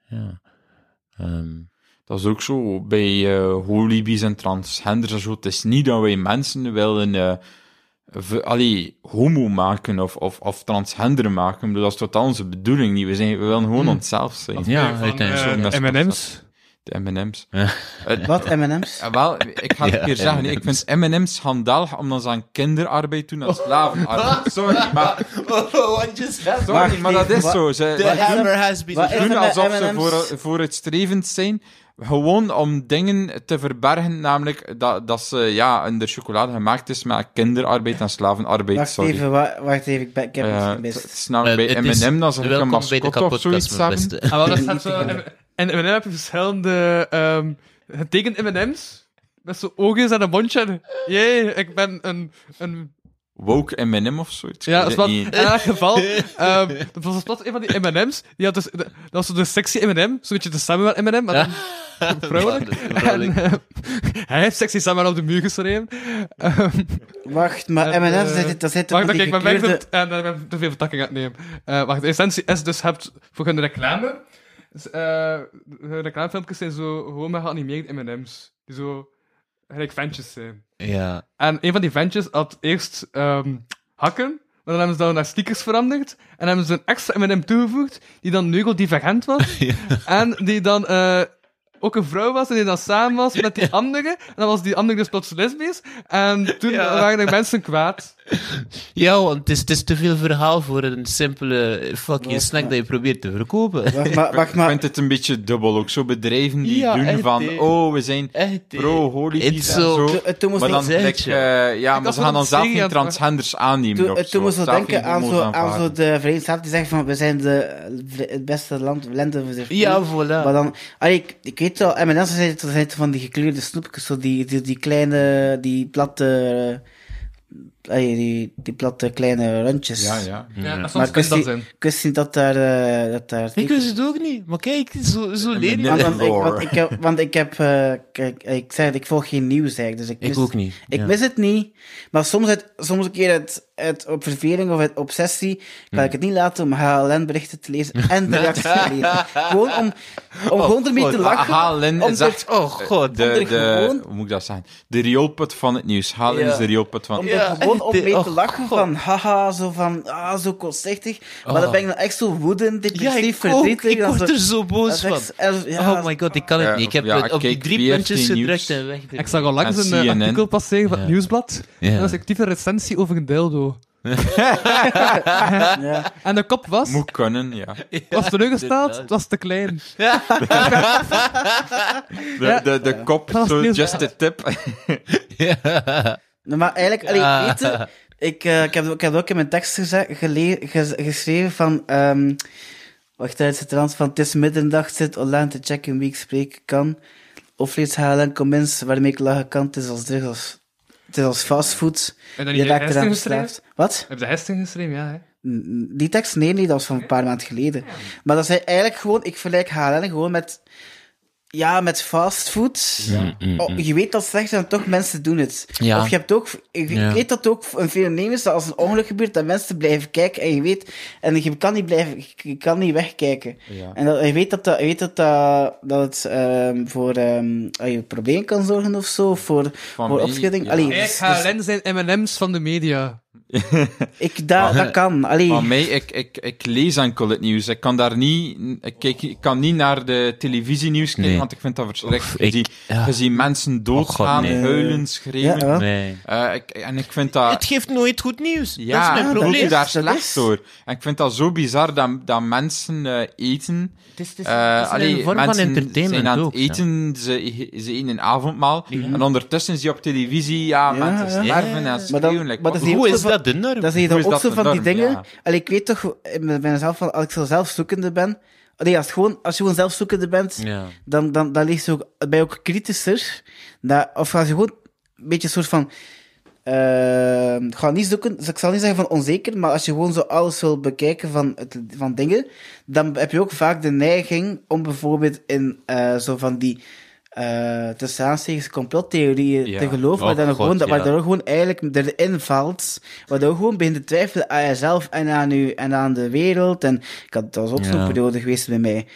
[SPEAKER 4] Ja. Ehm,
[SPEAKER 2] Dat is ook zo bij eh holibies en transgenders en zo. Het is niet dat wij mensen willen eh, v- allee, homo maken of, of, of transgender maken. Ik bedoel, Dat is totaal onze bedoelig niet. We, zijn, we willen gewoon onszelf zijn.
[SPEAKER 4] ja,
[SPEAKER 3] Van,
[SPEAKER 4] uiteindelijk.
[SPEAKER 3] eh,
[SPEAKER 2] Zo'n mes-
[SPEAKER 3] M&M's?
[SPEAKER 2] de M&M's.
[SPEAKER 5] Wat, M&M's?
[SPEAKER 2] Ja, wel, ik ga het
[SPEAKER 4] Ja,
[SPEAKER 2] een keer zeggen. Ik
[SPEAKER 4] M&M's.
[SPEAKER 2] vind M&M's handalig omdat ze aan kinderarbeid doen, aan slavenarbeid. Sorry, maar,
[SPEAKER 4] What just happened?
[SPEAKER 2] sorry, maar dat is
[SPEAKER 5] wat-
[SPEAKER 2] zo. Ze,
[SPEAKER 4] The hammer has been...
[SPEAKER 5] Wat is
[SPEAKER 2] doen
[SPEAKER 5] er met
[SPEAKER 2] alsof ze
[SPEAKER 5] M&M's?
[SPEAKER 2] voor, vooruitstrevend zijn. Gewoon om dingen te verbergen, namelijk dat, dat ze ja, in de chocolade gemaakt is met kinderarbeid en slavenarbeid.
[SPEAKER 5] Wacht
[SPEAKER 2] sorry.
[SPEAKER 5] even, wa- wacht even, ik, ben, ik heb
[SPEAKER 2] Eh,
[SPEAKER 5] iets
[SPEAKER 2] het,
[SPEAKER 5] gemist.
[SPEAKER 2] is namelijk
[SPEAKER 4] Eh,
[SPEAKER 2] bij
[SPEAKER 4] het is-
[SPEAKER 2] M&M dat ze een
[SPEAKER 4] Welkom bij de
[SPEAKER 2] mascotte of zoiets
[SPEAKER 4] kapotkast, mijn
[SPEAKER 2] hebben.
[SPEAKER 4] beste.
[SPEAKER 3] Ah, wel, dat
[SPEAKER 5] Niet
[SPEAKER 3] staat
[SPEAKER 5] te
[SPEAKER 3] zo.
[SPEAKER 5] kennen.
[SPEAKER 3] En M&M heb je verschillende ehm getekend M&M's. Met zo'n oogjes en een mondje. Jee, ik ben een... een...
[SPEAKER 2] Woke M&M of zoiets.
[SPEAKER 3] Ja,
[SPEAKER 2] Ik
[SPEAKER 3] dat
[SPEAKER 2] weet
[SPEAKER 3] is wat,
[SPEAKER 2] het
[SPEAKER 3] in
[SPEAKER 2] niet.
[SPEAKER 3] elk geval. ehm dat was plots een van die M&M's. Die had dus, de- dat was zo'n sexy M&M. Zo'n beetje de Samuel M&M, maar dan vrouwelijk. En, ehm, hij heeft sexy Samuel op de muur geschreven. Ehm,
[SPEAKER 5] Wacht, maar
[SPEAKER 3] Het,
[SPEAKER 5] M&M's,
[SPEAKER 3] eh,
[SPEAKER 5] dat zit- dat zit toch
[SPEAKER 3] Wacht,
[SPEAKER 5] op
[SPEAKER 3] oké,
[SPEAKER 5] die
[SPEAKER 3] ik ben weg.
[SPEAKER 5] gekleurde...
[SPEAKER 3] te- En daar ben ik te veel vertakking aan het nemen. Eh, wacht, de essentie is dus, je hebt voor hun reclame... Dus, eh, hun reclamefilmpjes zijn zo gewoon met geanimeerd M&M's. Die zo gelijk ventjes zijn.
[SPEAKER 4] Ja.
[SPEAKER 3] En een van die ventjes had eerst ehm, hakken, maar dan hebben ze dat naar stickers veranderd. En hebben ze een extra M&M toegevoegd, die dan neugel-divergent was. En die dan... eh, ook een vrouw was en die dan samen was met die andere. En dan was die andere dus plots lesbisch. En toen
[SPEAKER 4] Ja.
[SPEAKER 3] waren er mensen kwaad.
[SPEAKER 4] Ja, want het is, het is te veel verhaal voor een simpele fucking
[SPEAKER 5] Wacht,
[SPEAKER 4] snack
[SPEAKER 5] maar-
[SPEAKER 4] dat je probeert te verkopen.
[SPEAKER 5] Wacht maar, wacht
[SPEAKER 2] Ik
[SPEAKER 5] maar.
[SPEAKER 2] vind het een beetje dubbel ook. Zo bedrijven die
[SPEAKER 4] Eh, Ja,
[SPEAKER 2] doen
[SPEAKER 4] echt,
[SPEAKER 2] van,
[SPEAKER 4] hè.
[SPEAKER 2] oh, we zijn
[SPEAKER 4] Echt. eh.
[SPEAKER 2] pro-holidays en
[SPEAKER 4] It's so-
[SPEAKER 2] zo.
[SPEAKER 5] Toen- eh, Toen moest
[SPEAKER 2] Maar
[SPEAKER 5] ik-
[SPEAKER 2] dan
[SPEAKER 4] Wat
[SPEAKER 2] denk
[SPEAKER 4] zeg je?
[SPEAKER 2] eh, ja, maar
[SPEAKER 3] was
[SPEAKER 2] ze
[SPEAKER 3] wel
[SPEAKER 2] gaan dan
[SPEAKER 3] een
[SPEAKER 2] zelf
[SPEAKER 3] serie
[SPEAKER 2] geen
[SPEAKER 3] aan het-
[SPEAKER 2] transgenders aannemen.
[SPEAKER 5] Toen,
[SPEAKER 2] ook
[SPEAKER 5] eh,
[SPEAKER 2] zo.
[SPEAKER 5] toen moest ik
[SPEAKER 2] Zelf
[SPEAKER 5] denken
[SPEAKER 2] geen
[SPEAKER 5] aan
[SPEAKER 2] homo's
[SPEAKER 5] zo, aan
[SPEAKER 2] aanvaarden.
[SPEAKER 5] zo de Verenigde Staten die zeggen van we zijn de, eh, het beste land, land over zich.
[SPEAKER 4] Ja, voilà.
[SPEAKER 5] Maar dan, allee, ik, ik weet wel, en mensen zijn, dat zijn van die gekleurde snoepjes, zo die, die, die kleine, die platte, eh, allee, die, die platte kleine rondjes.
[SPEAKER 2] Ja, ja.
[SPEAKER 4] Ja.
[SPEAKER 3] Ja,
[SPEAKER 5] Maar
[SPEAKER 3] soms
[SPEAKER 5] ik wist,
[SPEAKER 3] kan dat
[SPEAKER 5] niet,
[SPEAKER 3] zijn.
[SPEAKER 5] ik wist niet dat daar, eh, dat daar...
[SPEAKER 4] Ik wist het ook niet. Maar kijk, zo, zo leer je.
[SPEAKER 2] nee.
[SPEAKER 5] want, want ik,
[SPEAKER 2] Lore.
[SPEAKER 5] want ik heb, want ik heb, eh, kijk, ik zeg het, ik volg geen nieuws eigenlijk, dus ik,
[SPEAKER 4] Ik
[SPEAKER 5] mis-
[SPEAKER 4] ook niet.
[SPEAKER 5] Ik
[SPEAKER 4] ja.
[SPEAKER 5] mis het niet, maar soms, het, soms een keer het, het op verveling of het obsessie kan ik het niet laten om HLN-berichten te lezen en de reacties te lezen. Gewoon om, om
[SPEAKER 4] Oh,
[SPEAKER 5] gewoon ermee te
[SPEAKER 2] Ah,
[SPEAKER 5] lachen.
[SPEAKER 2] Halen is
[SPEAKER 5] Omdat-
[SPEAKER 2] echt... Oh god. De,
[SPEAKER 5] Omdat
[SPEAKER 2] de,
[SPEAKER 5] gewoon-
[SPEAKER 2] hoe moet ik dat zeggen? De rioolput van het nieuws. Halen
[SPEAKER 4] Ja.
[SPEAKER 2] is de rioolput van
[SPEAKER 5] Om
[SPEAKER 2] het
[SPEAKER 5] er
[SPEAKER 4] Ja,
[SPEAKER 5] gewoon
[SPEAKER 4] echt,
[SPEAKER 5] op mee
[SPEAKER 4] eh,
[SPEAKER 5] te
[SPEAKER 4] oh,
[SPEAKER 5] lachen
[SPEAKER 4] God.
[SPEAKER 5] van haha, zo van ah, zo kortzichtig. Maar
[SPEAKER 4] Oh.
[SPEAKER 5] dan ben ik dan echt zo woedend,
[SPEAKER 4] Ja,
[SPEAKER 5] depressief,
[SPEAKER 4] ik ook.
[SPEAKER 5] verdrietig.
[SPEAKER 4] Ik
[SPEAKER 5] dan
[SPEAKER 4] word
[SPEAKER 5] zo-
[SPEAKER 4] er zo
[SPEAKER 5] dat
[SPEAKER 4] boos
[SPEAKER 5] is
[SPEAKER 4] van.
[SPEAKER 5] echt- eh, ja,
[SPEAKER 4] Oh my god, ik kan het
[SPEAKER 2] Ja,
[SPEAKER 4] niet. Ik heb
[SPEAKER 2] ja,
[SPEAKER 4] het op die
[SPEAKER 2] kijk,
[SPEAKER 4] drie
[SPEAKER 2] BRT
[SPEAKER 4] puntjes gedrukt
[SPEAKER 2] Nieuws.
[SPEAKER 4] en weg.
[SPEAKER 3] Ik zag al langs
[SPEAKER 2] En
[SPEAKER 3] een eh,
[SPEAKER 2] CNN.
[SPEAKER 3] artikel passeren van het
[SPEAKER 4] Ja.
[SPEAKER 3] nieuwsblad.
[SPEAKER 4] Ja.
[SPEAKER 3] En dat was actief een recensie over een dildo.
[SPEAKER 5] ja.
[SPEAKER 3] En de kop was,
[SPEAKER 2] moet kunnen, ja.
[SPEAKER 3] was teleurgesteld,
[SPEAKER 4] Ja.
[SPEAKER 3] het was te klein.
[SPEAKER 2] De, de, de kop,
[SPEAKER 3] Dat is
[SPEAKER 2] zo,
[SPEAKER 3] nieuws.
[SPEAKER 2] just a tip.
[SPEAKER 5] Nou, Maar eigenlijk, allee,
[SPEAKER 4] Ja.
[SPEAKER 5] weet je, ik, eh, ik, heb, ik heb ook in mijn tekst geze- gele- ge- geschreven van... ehm wacht, daar zit er anders van... Het is middernacht, zit online te checken wie ik spreken kan. Of lees halen, comments waarmee ik lachen kan. Het is als drugs, als, het is als fastfood.
[SPEAKER 3] En dan
[SPEAKER 5] Je
[SPEAKER 3] heb je
[SPEAKER 5] raakt eraan
[SPEAKER 3] Hesting geschreven?
[SPEAKER 5] verslaafd. Wat?
[SPEAKER 3] Heb je Hesting geschreven? Ja, hè.
[SPEAKER 5] N- Die tekst? Nee, nee, dat was van een paar maanden geleden. Maar dat zijn eigenlijk gewoon... Ik vergelijk HLN gewoon met... Ja, met fastfood.
[SPEAKER 4] Mm,
[SPEAKER 5] Oh, je weet dat slecht is en toch mensen doen het.
[SPEAKER 4] Ja.
[SPEAKER 5] Of je hebt ook... Ik ik
[SPEAKER 4] Ja.
[SPEAKER 5] weet dat ook een fenomeen is dat als een ongeluk gebeurt, dat mensen blijven kijken en je weet... En je kan niet blijven... Je kan niet wegkijken. En dat, je weet dat dat, je weet dat, dat, dat het ehm, voor ehm je probleem kan zorgen of zo, voor, voor
[SPEAKER 2] wie?
[SPEAKER 5] opschudding.
[SPEAKER 2] Ja.
[SPEAKER 5] Allee,
[SPEAKER 3] Eigenlijk
[SPEAKER 5] dus- dus
[SPEAKER 3] HLN zijn M&M's van de media.
[SPEAKER 5] ik, dat, dat kan. Allee.
[SPEAKER 2] Maar mij, ik, ik, ik lees enkel het nieuws. Ik kan daar niet, ik, kijk, ik kan niet naar de televisienieuws kijken,
[SPEAKER 4] Nee.
[SPEAKER 2] want ik vind dat
[SPEAKER 4] Oef,
[SPEAKER 2] verschrikkelijk.
[SPEAKER 4] ik-
[SPEAKER 2] Je ziet-
[SPEAKER 4] ja.
[SPEAKER 2] Je ziet mensen doodgaan,
[SPEAKER 4] nee.
[SPEAKER 2] huilen,
[SPEAKER 5] ja,
[SPEAKER 2] schreeuwen.
[SPEAKER 5] ja.
[SPEAKER 4] Nee.
[SPEAKER 2] Eh, ik, en ik vind dat...
[SPEAKER 4] Het geeft nooit goed nieuws.
[SPEAKER 2] Ja,
[SPEAKER 4] dat is mijn
[SPEAKER 2] ik
[SPEAKER 5] dat
[SPEAKER 4] probleem.
[SPEAKER 2] voel
[SPEAKER 5] is-
[SPEAKER 2] daar
[SPEAKER 5] dat
[SPEAKER 2] slecht
[SPEAKER 5] is.
[SPEAKER 2] door. En ik vind dat zo bizar dat, dat mensen eh, eten.
[SPEAKER 4] Het is, het is-
[SPEAKER 2] Eh,
[SPEAKER 4] het is
[SPEAKER 2] allee,
[SPEAKER 4] een vorm van
[SPEAKER 2] mensen
[SPEAKER 4] entertainment
[SPEAKER 2] zijn aan het
[SPEAKER 4] ook, ja. Mhm.
[SPEAKER 2] eten, ze, e-, ze eten een avondmaal. En ondertussen zie je op televisie, ja,
[SPEAKER 5] Ja,
[SPEAKER 2] mensen
[SPEAKER 5] ja.
[SPEAKER 2] sterven
[SPEAKER 4] Ja.
[SPEAKER 2] en schreeuwen. like,
[SPEAKER 5] maar dat
[SPEAKER 2] wat-
[SPEAKER 5] is
[SPEAKER 4] Hoe
[SPEAKER 5] heel
[SPEAKER 4] is
[SPEAKER 5] veel-
[SPEAKER 4] dat de norm?
[SPEAKER 5] Dan zeg je
[SPEAKER 2] Hoe
[SPEAKER 5] dan
[SPEAKER 2] is
[SPEAKER 5] ook
[SPEAKER 2] dat
[SPEAKER 5] zo
[SPEAKER 2] de
[SPEAKER 5] van die
[SPEAKER 2] norm?
[SPEAKER 5] dingen.
[SPEAKER 2] Ja.
[SPEAKER 5] Allee, ik weet toch, ik ben zelf van, als ik zo zelfzoekende ben. Nee, als, het gewoon, als je gewoon zelfzoekende bent,
[SPEAKER 4] Ja.
[SPEAKER 5] dan, dan, dan lees je ook, ben je ook kritischer. Dat, of als je gewoon een beetje een soort van. eh, ik ga niet zoeken, dus ik zal niet zeggen van onzeker, maar als je gewoon zo alles wil bekijken van, het, van dingen, dan heb je ook vaak de neiging om bijvoorbeeld in eh, zo van die eh tussen aanstekens complottheorieën
[SPEAKER 2] Ja.
[SPEAKER 5] te geloven, maar
[SPEAKER 4] Oh,
[SPEAKER 5] dan
[SPEAKER 4] God,
[SPEAKER 5] gewoon, dat,
[SPEAKER 4] ja.
[SPEAKER 5] waar dan ook gewoon eigenlijk erin valt, waardoor je gewoon begint te twijfelen aan jezelf en aan, u, en aan de wereld. En ik had, dat was ook
[SPEAKER 4] Ja.
[SPEAKER 5] zo'n periode geweest bij mij,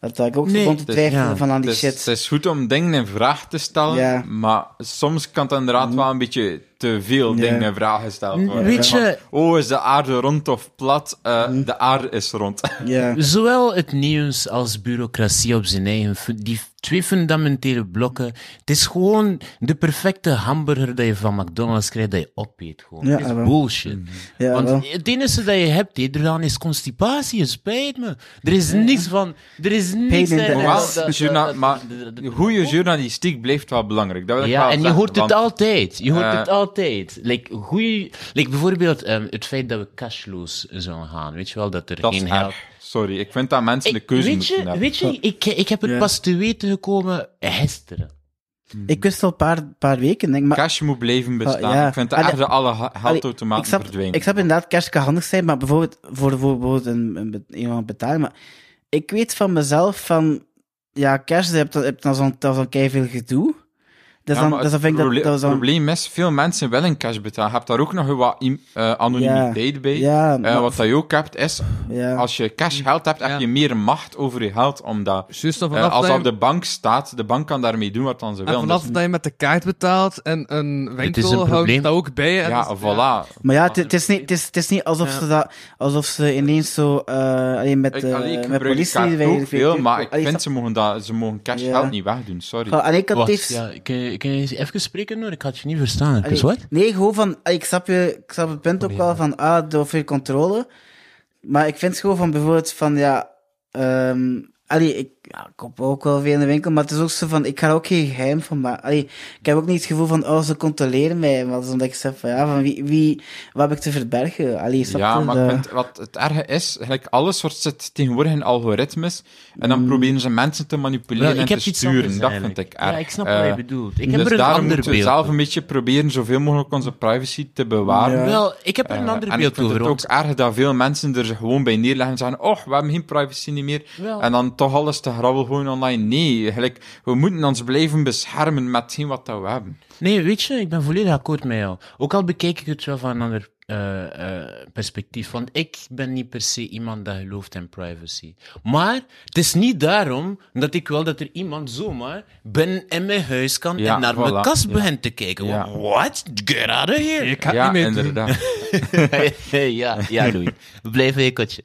[SPEAKER 5] dat ik ook
[SPEAKER 4] Nee,
[SPEAKER 5] begon te
[SPEAKER 4] dus,
[SPEAKER 5] twijfelen
[SPEAKER 4] ja,
[SPEAKER 5] van aan die
[SPEAKER 2] het is,
[SPEAKER 5] shit.
[SPEAKER 2] het is goed om dingen in vraag te stellen,
[SPEAKER 5] Ja. Mhm.
[SPEAKER 2] maar soms kan het inderdaad wel een beetje te veel
[SPEAKER 5] Ja.
[SPEAKER 2] dingen in vraag gesteld worden.
[SPEAKER 4] Weet je-
[SPEAKER 2] Van, oh, is de aarde rond of plat? Eh,
[SPEAKER 5] Mhm.
[SPEAKER 2] De aarde is rond.
[SPEAKER 5] Ja.
[SPEAKER 4] Zowel het nieuws als bureaucratie op zijn eigen. fu- Die twee fundamentele blokken. Het is gewoon de perfecte hamburger dat je van McDonald's krijgt, dat je opeet. Gewoon.
[SPEAKER 5] Ja,
[SPEAKER 4] Het is
[SPEAKER 5] jawel.
[SPEAKER 4] bullshit.
[SPEAKER 5] Ja,
[SPEAKER 4] Want
[SPEAKER 5] wel.
[SPEAKER 4] het enige dat je hebt hier aan is constipatie, het spijt me. Er is niks van... Er is niks...
[SPEAKER 5] in
[SPEAKER 4] dat-
[SPEAKER 5] the
[SPEAKER 4] dat-
[SPEAKER 2] Maar wel,
[SPEAKER 5] ass.
[SPEAKER 4] dat- dat-
[SPEAKER 2] journa-
[SPEAKER 4] dat-
[SPEAKER 2] maar
[SPEAKER 4] dat- dat-
[SPEAKER 2] goede journalistiek blijft wel belangrijk. Dat wil ik
[SPEAKER 4] ja,
[SPEAKER 2] wel
[SPEAKER 4] en je
[SPEAKER 2] zeggen,
[SPEAKER 4] hoort het
[SPEAKER 2] want-
[SPEAKER 4] altijd. Je hoort
[SPEAKER 2] eh,
[SPEAKER 4] het altijd. Like, goeie, like bijvoorbeeld ehm, het feit dat we cashloos zouden gaan. Weet je wel, dat er
[SPEAKER 2] Dat is
[SPEAKER 4] geen
[SPEAKER 2] erg.
[SPEAKER 4] geld...
[SPEAKER 2] Sorry, ik vind dat mensen de
[SPEAKER 4] Ik-
[SPEAKER 2] keuze
[SPEAKER 4] weet
[SPEAKER 2] moeten
[SPEAKER 4] je,
[SPEAKER 2] hebben.
[SPEAKER 4] Weet je, ik, ik heb het
[SPEAKER 5] Ja.
[SPEAKER 4] pas te weten gekomen gisteren.
[SPEAKER 5] Ik wist al een paar, paar weken, denk ik, maar...
[SPEAKER 2] Cash moet blijven bestaan.
[SPEAKER 5] Oh, ja.
[SPEAKER 2] Ik vind
[SPEAKER 5] Ah,
[SPEAKER 2] dat
[SPEAKER 5] de-
[SPEAKER 2] echt dat alle ha-
[SPEAKER 5] Allee,
[SPEAKER 2] geldautomaten
[SPEAKER 5] ik snap,
[SPEAKER 2] verdwijnen.
[SPEAKER 5] Ik snap inderdaad, cash kan handig zijn, maar bijvoorbeeld voor, voor bijvoorbeeld een, een, be- iemand betalen. Maar ik weet van mezelf van, ja, cash, je hebt, dan- je hebt dan zo'n dan zo'n veel gedoe. Dus
[SPEAKER 2] Ja,
[SPEAKER 5] dan,
[SPEAKER 2] maar
[SPEAKER 5] dus dan vind ik dat,
[SPEAKER 2] proble-
[SPEAKER 5] dat is dan-
[SPEAKER 2] probleem is, veel mensen willen cash betalen. Je hebt daar ook nog wat im- eh, anonimiteit bij.
[SPEAKER 5] Ja,
[SPEAKER 2] Eh,
[SPEAKER 5] maar-
[SPEAKER 2] wat dat je ook hebt, is
[SPEAKER 5] ja.
[SPEAKER 2] als je cash geld hebt, heb je meer macht over je geld. Omdat eh,
[SPEAKER 3] Juist dan vanaf
[SPEAKER 2] als
[SPEAKER 3] dat
[SPEAKER 2] dat
[SPEAKER 3] je-
[SPEAKER 2] op de bank staat, de bank kan daarmee doen wat dan ze
[SPEAKER 3] en
[SPEAKER 2] wil.
[SPEAKER 3] vanaf
[SPEAKER 2] Dus-
[SPEAKER 3] dat je met de kaart betaalt en een
[SPEAKER 4] is een
[SPEAKER 3] winkel houdt
[SPEAKER 4] probleem.
[SPEAKER 3] dat ook bij. En dus-
[SPEAKER 2] ja,
[SPEAKER 3] dat is-
[SPEAKER 2] voilà.
[SPEAKER 5] Maar ja, het- het is niet, het is, het is niet alsof, ze dat, alsof ze ineens zo... eh alleen met,
[SPEAKER 2] Ik,
[SPEAKER 5] eh,
[SPEAKER 2] allee, ik
[SPEAKER 5] met
[SPEAKER 2] gebruik
[SPEAKER 5] politie...
[SPEAKER 2] kaart
[SPEAKER 5] weet-
[SPEAKER 2] ook
[SPEAKER 5] weet-
[SPEAKER 2] veel,
[SPEAKER 5] weet-
[SPEAKER 2] maar ik
[SPEAKER 5] allee,
[SPEAKER 2] vind
[SPEAKER 5] snap-
[SPEAKER 2] ze mogen, dat, ze mogen cash
[SPEAKER 5] Ja.
[SPEAKER 2] geld niet wegdoen, sorry.
[SPEAKER 5] Allee, ik had
[SPEAKER 4] Wacht,
[SPEAKER 5] het-
[SPEAKER 4] ja, kun, kun je eens even spreken hoor? Ik had je niet verstaan.
[SPEAKER 5] Allee,
[SPEAKER 4] Marcus. wat?
[SPEAKER 5] Nee, gewoon van, ah, ik snap, je, ik snap het punt ook wel van, ah, door veel controle. Maar ik vind het gewoon van bijvoorbeeld van, ja, ehm allee, ik, ja, ik koop ook wel veel in de winkel, maar het is ook zo van, ik ga er ook geen geheim van maken. Allee, ik heb ook niet het gevoel van, oh, ze controleren mij. Want omdat ik zeg van, ja, van wie, wie, wat heb ik te verbergen? Allee, snap
[SPEAKER 2] Ja,
[SPEAKER 5] je?
[SPEAKER 2] maar
[SPEAKER 5] Dat-
[SPEAKER 2] ik vind, wat het erge is, gelijk alles wordt zit tegenwoordig in algoritmes. En
[SPEAKER 5] Mm.
[SPEAKER 2] dan proberen ze mensen te manipuleren
[SPEAKER 4] Wel,
[SPEAKER 2] en
[SPEAKER 4] ik heb
[SPEAKER 2] te
[SPEAKER 4] iets
[SPEAKER 2] sturen.
[SPEAKER 4] anders
[SPEAKER 2] Dat
[SPEAKER 4] eigenlijk.
[SPEAKER 2] vind ik erg.
[SPEAKER 4] Ja, ik snap
[SPEAKER 2] Eh,
[SPEAKER 4] wat je bedoelt. Ik heb
[SPEAKER 2] dus
[SPEAKER 4] er een
[SPEAKER 2] daarom
[SPEAKER 4] ander
[SPEAKER 2] moeten we
[SPEAKER 4] beeld.
[SPEAKER 2] zelf een beetje proberen zoveel mogelijk onze privacy te bewaren.
[SPEAKER 5] Ja.
[SPEAKER 4] Wel, ik heb er een
[SPEAKER 2] Eh,
[SPEAKER 4] ander
[SPEAKER 2] en ik
[SPEAKER 4] beeld
[SPEAKER 2] vind
[SPEAKER 4] over.
[SPEAKER 2] het ook
[SPEAKER 4] want-
[SPEAKER 2] erg dat veel mensen er gewoon bij neerleggen en zeggen, oh, we hebben geen privacy niet meer.
[SPEAKER 4] Wel.
[SPEAKER 2] En dan toch alles te grabbel gewoon online. Nee, gelijk, we moeten ons blijven beschermen met hetgeen wat dat we hebben.
[SPEAKER 4] Nee, weet je, ik ben volledig akkoord met jou. Ook al bekijk ik het wel van een ander eh, eh, perspectief. Want ik ben niet per se iemand dat gelooft in privacy. Maar het is niet daarom dat ik wil dat er iemand zomaar ben in mijn huis kan
[SPEAKER 2] Ja,
[SPEAKER 4] en naar mijn
[SPEAKER 2] voilà.
[SPEAKER 4] kast begint te kijken.
[SPEAKER 2] Ja.
[SPEAKER 4] Want What? Get out of here!
[SPEAKER 3] Ik ga het
[SPEAKER 2] ja,
[SPEAKER 3] niet mee doen.
[SPEAKER 2] inderdaad.
[SPEAKER 4] ja, ja, Louis. Blijf in je kotje.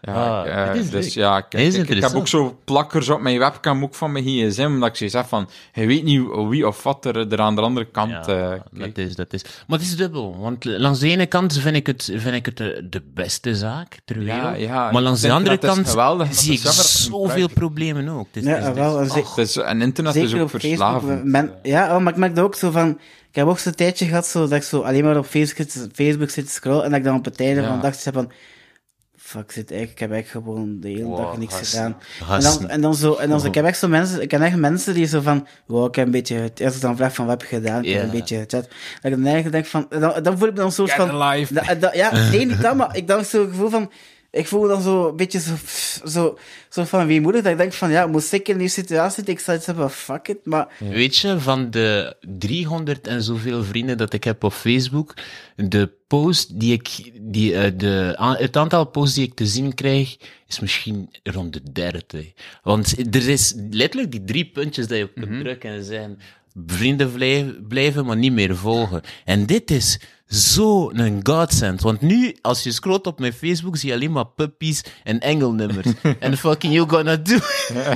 [SPEAKER 2] Ja,
[SPEAKER 4] Ah,
[SPEAKER 2] ik, eh,
[SPEAKER 4] het is
[SPEAKER 2] dus
[SPEAKER 4] leuk.
[SPEAKER 2] ja, ik,
[SPEAKER 4] Het is
[SPEAKER 2] ik- ik heb
[SPEAKER 4] interessant.
[SPEAKER 2] ook zo plakkers op mijn webcam, ook van mijn gsm, omdat ik zoiets heb van, je weet niet wie of wat er, er aan de andere kant eh
[SPEAKER 4] Ja, dat
[SPEAKER 2] kijkt.
[SPEAKER 4] is, dat is. Maar het is dubbel. Want langs de ene kant vind ik het, vind ik het eh, de, de beste zaak ter wereld.
[SPEAKER 2] Ja, ja,
[SPEAKER 4] maar
[SPEAKER 2] ik
[SPEAKER 4] langs de
[SPEAKER 2] denk
[SPEAKER 4] andere
[SPEAKER 2] dat het is
[SPEAKER 4] kant
[SPEAKER 2] geweldig, maar
[SPEAKER 4] zie
[SPEAKER 2] het
[SPEAKER 4] ik
[SPEAKER 2] is jammer dat het een
[SPEAKER 4] zoveel
[SPEAKER 2] prijs-
[SPEAKER 4] problemen ook. Het is-
[SPEAKER 5] Ja,
[SPEAKER 4] het is- het is-
[SPEAKER 5] wel, en ze-
[SPEAKER 2] Het is- en internet is
[SPEAKER 5] Zeker
[SPEAKER 2] ook
[SPEAKER 5] op Facebook.
[SPEAKER 2] verslavend.
[SPEAKER 5] men- ja, oh, maar ik merk dat ook zo van. Ik heb ook zo'n tijdje gehad zo, dat ik zo alleen maar op Facebook, zit- Facebook zit te scrollen en dat ik dan op het einde
[SPEAKER 2] Ja.
[SPEAKER 5] van de dag zit van. Fuck, zit eigenlijk, ik heb eigenlijk gewoon de hele dag niks
[SPEAKER 4] gast.
[SPEAKER 5] gedaan. En
[SPEAKER 4] Gast.
[SPEAKER 5] dan, en dan zo, en dan zo, ik heb echt zo mensen, ik ken echt mensen die zo van, wow, ik heb een beetje, het eerst dan vraag van wat heb je gedaan, ik heb
[SPEAKER 4] Ja.
[SPEAKER 5] een beetje gechat. Dat ik dan eigenlijk denk van, dan, dan voel ik me dan een soort van, dat- dat- ja, nee, niet dat, maar ik dan zo'n gevoel van... Ik voel me dan zo een beetje zo, pff, zo, zo van weemoedig, dat ik denk van, ja, moest ik in die situatie zitten? Ik zou iets hebben, fuck it, maar...
[SPEAKER 4] Weet je, van de 300 en zoveel vrienden dat ik heb op Facebook, de post die ik, die, eh, de, a- het aantal posts die ik te zien krijg, is misschien rond de 30. Want er is letterlijk die drie puntjes dat je op kunt drukken en zijn vrienden vlij- blijven, maar niet meer volgen. En dit is zo een godsend. Want nu, als je scrolt op mijn Facebook, zie je alleen maar puppies en engelnummers. en fucking you gonna do.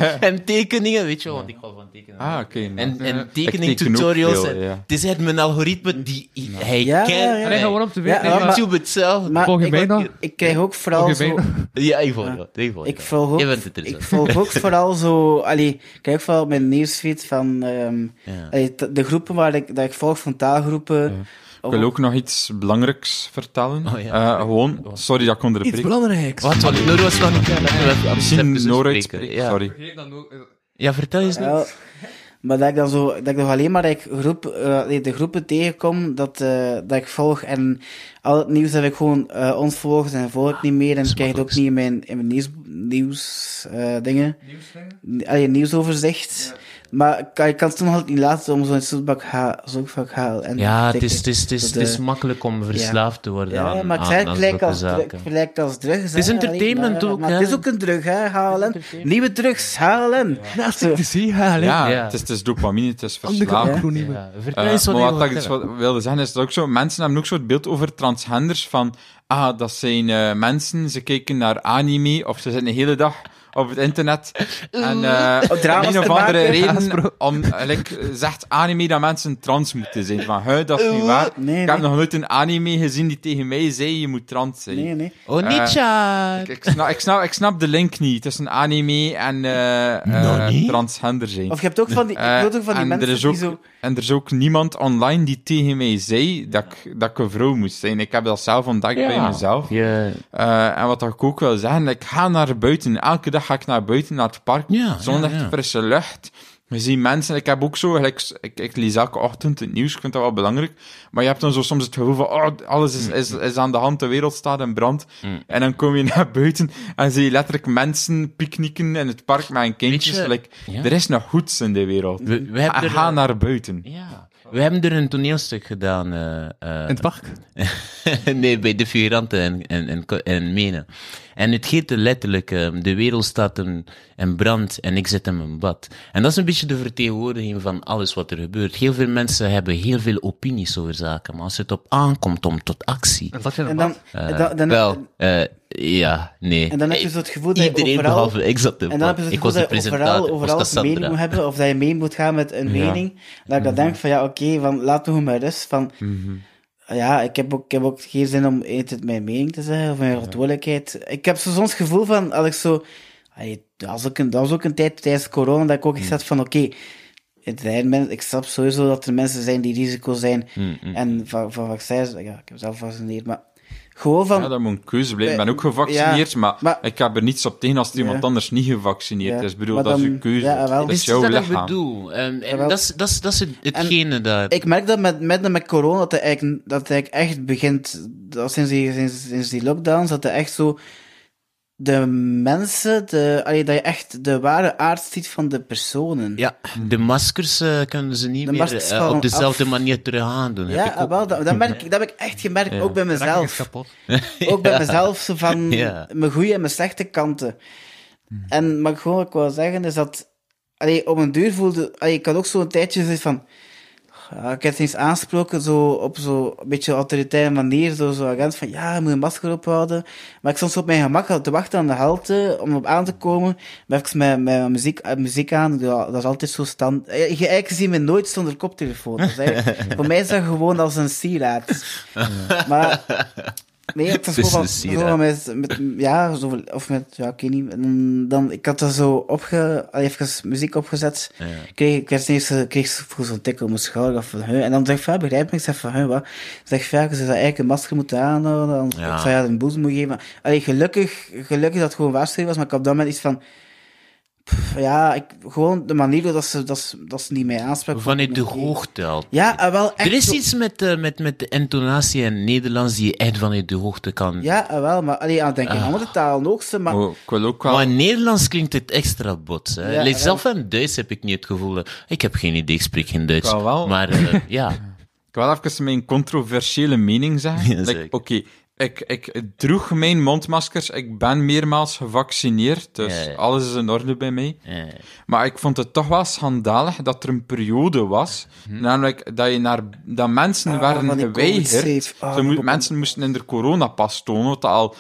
[SPEAKER 4] en tekeningen, weet je wel, want ik hou van tekeningen.
[SPEAKER 2] Ah, oké. nou.
[SPEAKER 4] En, en
[SPEAKER 2] Ik teken
[SPEAKER 4] tekening
[SPEAKER 2] ook
[SPEAKER 4] tutorials.
[SPEAKER 2] veel,
[SPEAKER 4] en-
[SPEAKER 2] ja.
[SPEAKER 4] Het is echt mijn algoritme die i- hij
[SPEAKER 5] Ja,
[SPEAKER 4] kent.
[SPEAKER 5] ja, ja.
[SPEAKER 3] En hij
[SPEAKER 4] Hij-
[SPEAKER 3] gewoon op de
[SPEAKER 5] Ja,
[SPEAKER 3] wereld.
[SPEAKER 5] maar-
[SPEAKER 4] YouTube hetzelfde.
[SPEAKER 5] maar
[SPEAKER 3] Volg je
[SPEAKER 5] ik,
[SPEAKER 3] mij dan?
[SPEAKER 5] ik krijg ook vooral
[SPEAKER 3] Volg je
[SPEAKER 5] zo...
[SPEAKER 3] mij
[SPEAKER 4] ja, ik volg dat. Ik volg
[SPEAKER 5] Ik
[SPEAKER 4] dat.
[SPEAKER 5] volg ook,
[SPEAKER 4] Je bent het dus
[SPEAKER 5] ik
[SPEAKER 4] interessant.
[SPEAKER 5] volg ook vooral zo... Allee, ik krijg ook vooral mijn nieuwsfeed van... ehm,
[SPEAKER 4] Ja.
[SPEAKER 5] allee, t- de groepen waar ik, dat ik volg, van taalgroepen...
[SPEAKER 2] Ik
[SPEAKER 5] of-
[SPEAKER 2] wil ook nog iets belangrijks vertellen.
[SPEAKER 4] Oh, ja.
[SPEAKER 2] Eh, gewoon, sorry dat ik
[SPEAKER 3] Iets
[SPEAKER 2] onderbreek.
[SPEAKER 3] belangrijks.
[SPEAKER 4] Wat? Wat? Noor was nog niet klaar.
[SPEAKER 2] Misschien nooit spreken,
[SPEAKER 4] Ja.
[SPEAKER 2] sorry.
[SPEAKER 4] ja, vertel eens
[SPEAKER 5] Ja,
[SPEAKER 4] nou.
[SPEAKER 5] maar dat ik dan zo, dat ik nog alleen maar dat ik groep, eh, nee, de groepen tegenkom dat, eh, dat ik volg en al het nieuws heb ik gewoon eh ontvolgd en volg ik niet meer
[SPEAKER 4] Ah,
[SPEAKER 5] en ik krijg het ook niet in mijn, in mijn nieuws, nieuws eh, dingen. Nieuwsdingen? Allee, nieuwsoverzicht. Maar kan, je kan het toch altijd niet laten om zo'n soort bak ha- zo'n vak haal. En
[SPEAKER 4] Ja, het is, het
[SPEAKER 5] tikken.
[SPEAKER 4] is, het is,
[SPEAKER 5] Dat,
[SPEAKER 4] het is
[SPEAKER 5] eh,
[SPEAKER 4] makkelijk om verslaafd te worden
[SPEAKER 5] Ja,
[SPEAKER 4] aan,
[SPEAKER 5] maar het
[SPEAKER 4] aan,
[SPEAKER 5] zijn
[SPEAKER 4] aan
[SPEAKER 5] gelijk
[SPEAKER 4] zulke
[SPEAKER 5] als, drug,
[SPEAKER 4] zaken.
[SPEAKER 5] gelijk als drugs. Het
[SPEAKER 4] is entertainment ook,
[SPEAKER 5] Maar
[SPEAKER 4] hè.
[SPEAKER 5] het is ook een drug, hè, HLN. Nieuwe drugs, HLN. Ja. Zo.
[SPEAKER 3] te zien, hè, alleen.
[SPEAKER 2] Ja,
[SPEAKER 4] Ja.
[SPEAKER 2] Het, is, het is dopamine, het is
[SPEAKER 3] Andere
[SPEAKER 2] verslavend.
[SPEAKER 3] acroniemen.
[SPEAKER 4] Ja,
[SPEAKER 2] Eh,
[SPEAKER 4] vertel eens wat
[SPEAKER 2] maar
[SPEAKER 4] je
[SPEAKER 2] wat ik
[SPEAKER 4] wilt
[SPEAKER 2] dus wat wilde zeggen is dat ook zo. Mensen hebben ook zo het beeld over transgenders van, ah, dat zijn eh, mensen, ze kijken naar anime of ze zitten de hele dag op het internet. En eh
[SPEAKER 5] Oh, drama's
[SPEAKER 2] om een of
[SPEAKER 5] te
[SPEAKER 2] andere
[SPEAKER 5] maken.
[SPEAKER 2] reden, om, like, zegt anime dat mensen trans moeten zijn. Van, huh, dat is niet waar.
[SPEAKER 5] Nee,
[SPEAKER 2] ik heb
[SPEAKER 5] nee.
[SPEAKER 2] nog nooit een anime gezien die tegen mij zei, je moet trans zijn.
[SPEAKER 5] Nee, nee.
[SPEAKER 4] hebben.
[SPEAKER 2] eh,
[SPEAKER 4] Onicha!
[SPEAKER 2] Ik, ik snap, ik, snap, ik snap de link niet tussen anime en eh, eh,
[SPEAKER 4] Nonnie?
[SPEAKER 2] transgender zijn.
[SPEAKER 5] Of je hebt ook van die, ik
[SPEAKER 2] Eh,
[SPEAKER 5] wil ook van die
[SPEAKER 2] en
[SPEAKER 5] mensen
[SPEAKER 2] er is
[SPEAKER 5] die
[SPEAKER 2] ook,
[SPEAKER 5] zo...
[SPEAKER 2] En er is ook niemand online die tegen mij zei dat ik, dat ik een vrouw moest zijn. Ik heb dat zelf ontdekt bij mezelf.
[SPEAKER 4] Je,
[SPEAKER 2] Eh, en wat ik ook wil zeggen, ik ga naar buiten. Elke dag ga ik naar buiten, naar het park.
[SPEAKER 4] Ja,
[SPEAKER 2] zon
[SPEAKER 4] ja,
[SPEAKER 2] echt
[SPEAKER 4] ja.
[SPEAKER 2] frisse lucht. We zien mensen, ik heb ook zo, gelijk, ik, ik lees elke ochtend het nieuws, ik vind dat wel belangrijk. Maar je hebt dan zo soms het gevoel van, oh, alles
[SPEAKER 4] Mm.
[SPEAKER 2] is, is, is aan de hand, de wereld staat in brand. En dan kom je naar buiten en zie je letterlijk mensen picknicken in het park met hun kindjes.
[SPEAKER 4] Weet je-
[SPEAKER 2] Gelijk,
[SPEAKER 4] ja.
[SPEAKER 2] Er is nog goeds in de wereld.
[SPEAKER 4] we, we hebben er,
[SPEAKER 2] Ga naar buiten.
[SPEAKER 4] ja, Ah, we hebben er een toneelstuk gedaan. eh, eh,
[SPEAKER 3] In het park.
[SPEAKER 4] nee, bij de figuranten en, en, en, ko- en menen. En het heette letterlijk, ehm, de wereld staat in, in brand en ik zit in mijn bad. En dat is een beetje de vertegenwoordiging van alles wat er gebeurt. Heel veel mensen hebben heel veel opinies over zaken, maar als het op aankomt om tot actie...
[SPEAKER 3] En zat je in
[SPEAKER 5] En
[SPEAKER 3] het
[SPEAKER 5] dan,
[SPEAKER 3] park.
[SPEAKER 4] eh,
[SPEAKER 5] dan, dan,
[SPEAKER 4] wel, eh, ja, nee.
[SPEAKER 5] en dan heb je
[SPEAKER 4] Ik-
[SPEAKER 5] zo het gevoel dat je
[SPEAKER 4] Iedereen
[SPEAKER 5] overal...
[SPEAKER 4] behalve, ik zat in
[SPEAKER 5] En dan heb je
[SPEAKER 4] bad.
[SPEAKER 5] het
[SPEAKER 4] Ik was de
[SPEAKER 5] gevoel dat je overal,
[SPEAKER 4] presentator, was
[SPEAKER 5] overal een mening moet
[SPEAKER 4] Cassandra.
[SPEAKER 5] hebben, of dat je mee moet gaan met een mening. Dat ik dan
[SPEAKER 4] Mhm.
[SPEAKER 5] denk van, ja, oké, van laat me gewoon maar rust. Van, Ja, ik heb, ook, ik heb ook geen zin om altijd mijn mening te zeggen, of mijn verantwoordelijkheid. Ik heb zo soms het gevoel van, als ik zo... allee, dat, was ook een, dat was ook een tijd tijdens corona, dat ik ook echt
[SPEAKER 4] Mm.
[SPEAKER 5] zat van, oké, het zijn mensen- ik snap sowieso dat er mensen zijn die risico zijn.
[SPEAKER 4] Mm,
[SPEAKER 5] En van, van vaccins, ja, ik heb zelf gevaccineerd, maar... Gewoon van...
[SPEAKER 2] Ja, dat moet een keuze blijven. Ik ben ook
[SPEAKER 5] Ja,
[SPEAKER 2] gevaccineerd, maar,
[SPEAKER 5] maar-
[SPEAKER 2] ik heb er niets op tegen als er iemand
[SPEAKER 5] Ja.
[SPEAKER 2] anders niet gevaccineerd
[SPEAKER 5] Ja,
[SPEAKER 2] is. Ik bedoel,
[SPEAKER 5] maar
[SPEAKER 2] dat is
[SPEAKER 5] dan-
[SPEAKER 2] een keuze.
[SPEAKER 5] ja, wel.
[SPEAKER 2] dat
[SPEAKER 4] Dus
[SPEAKER 2] is
[SPEAKER 4] is
[SPEAKER 2] jouw
[SPEAKER 4] dat ik
[SPEAKER 2] lichaam.
[SPEAKER 4] bedoel. Ehm, en
[SPEAKER 5] Jawel.
[SPEAKER 4] dat is- dat is- dat is het- hetgene dat...
[SPEAKER 5] Ik merk dat met, met, met corona, dat hij eigenlijk, dat hij eigenlijk echt begint, dat sinds, die, sinds, sinds die lockdowns, dat hij echt zo de mensen, de, allee, dat je echt de ware aard ziet van de personen.
[SPEAKER 4] Ja, de maskers eh, kunnen ze niet
[SPEAKER 5] De
[SPEAKER 4] meer
[SPEAKER 5] maskers
[SPEAKER 4] eh,
[SPEAKER 5] vallen
[SPEAKER 4] op dezelfde
[SPEAKER 5] af.
[SPEAKER 4] manier terug aandoen.
[SPEAKER 5] Ja,
[SPEAKER 4] heb ik ook.
[SPEAKER 5] wel, dat, dat, merk, ik- dat heb ik echt gemerkt, ook bij
[SPEAKER 3] De rakker is
[SPEAKER 5] mezelf.
[SPEAKER 3] kapot.
[SPEAKER 5] Ook bij mezelf, zo van
[SPEAKER 4] Ja. Hmm.
[SPEAKER 5] mijn goede en mijn slechte kanten. En maar gewoon wat ik wil zeggen is dat, allee, op een duur voelde, allee, ik had ook zo'n tijdje zoiets van, Ja, ik heb het eens aansproken zo, op zo'n beetje autoritaire manier. Zo'n zo agent van, ja, je moet een masker ophouden. Maar ik stond zo op mijn gemak te wachten aan de halte om op aan te komen. Maar even met, met muziek, eh, muziek aan, ja, dat is altijd zo stand... eh, Je, eigenlijk zie je me nooit zonder koptelefoon. Dat is eigenlijk- voor mij is dat gewoon als een sieraad. Maar... Nee, het is
[SPEAKER 4] Het is
[SPEAKER 5] gewoon
[SPEAKER 4] een
[SPEAKER 5] van-
[SPEAKER 4] sieraad.
[SPEAKER 5] gewoon met, met, ja, zo, of met, ja, ik weet niet, En dan, ik had dat zo opge, allee, even muziek opgezet, kreeg ik werd ineens, eh, kreeg zo- vroeg zo'n tik op mijn schouder, of van, huh, en dan zeg ik, van, ja, begrijp me, ik zeg van, huh, wat, ik zeg van, ja, ze zou eigenlijk een masker moeten aanhouden, anders
[SPEAKER 4] Ja.
[SPEAKER 5] ik zou je een boezem moeten geven, allee, gelukkig, gelukkig dat het gewoon waarschuwing was, maar ik had op dat moment iets van, pff, ja, ik, gewoon de manier waarop dat ze, dat ze, dat ze niet mij aansprak.
[SPEAKER 4] Vanuit de
[SPEAKER 5] oké.
[SPEAKER 4] hoogte al.
[SPEAKER 5] Ja, eh, wel echt
[SPEAKER 4] er is
[SPEAKER 5] zo-
[SPEAKER 4] iets met, eh, met, met de intonatie in het Nederlands die je echt vanuit de hoogte kan.
[SPEAKER 5] Ja, eh, wel, maar, allee, aan het
[SPEAKER 4] Ah.
[SPEAKER 5] denken, andere talen ook, ze, maar...
[SPEAKER 2] Oh, ik wil ook wel...
[SPEAKER 4] Maar in Nederlands klinkt het extra bots. Hè?
[SPEAKER 5] Ja,
[SPEAKER 4] Like,
[SPEAKER 5] ja.
[SPEAKER 4] Zelf in Duits heb ik niet het gevoel. eh, Ik heb geen idee, ik spreek geen Duits.
[SPEAKER 2] Wel, wel.
[SPEAKER 4] Maar eh, ja,
[SPEAKER 2] Ik wil even mijn controversiële mening zeggen.
[SPEAKER 4] Ja,
[SPEAKER 2] Like,
[SPEAKER 4] zeker.
[SPEAKER 2] Oké, ik, ik droeg mijn mondmaskers, ik ben meermaals gevaccineerd, dus
[SPEAKER 4] Ja, ja.
[SPEAKER 2] alles is in orde bij mij.
[SPEAKER 4] eh,
[SPEAKER 2] Maar ik vond het toch wel schandalig dat er een periode was,
[SPEAKER 4] Mhm.
[SPEAKER 2] namelijk dat, je naar, dat mensen
[SPEAKER 5] Ah, van
[SPEAKER 2] werden
[SPEAKER 5] die
[SPEAKER 2] geweigerd.
[SPEAKER 5] COVID-safe. Ah,
[SPEAKER 2] Ze moe-
[SPEAKER 5] dat ook-
[SPEAKER 2] mensen moesten in de coronapas tonen, wat dat al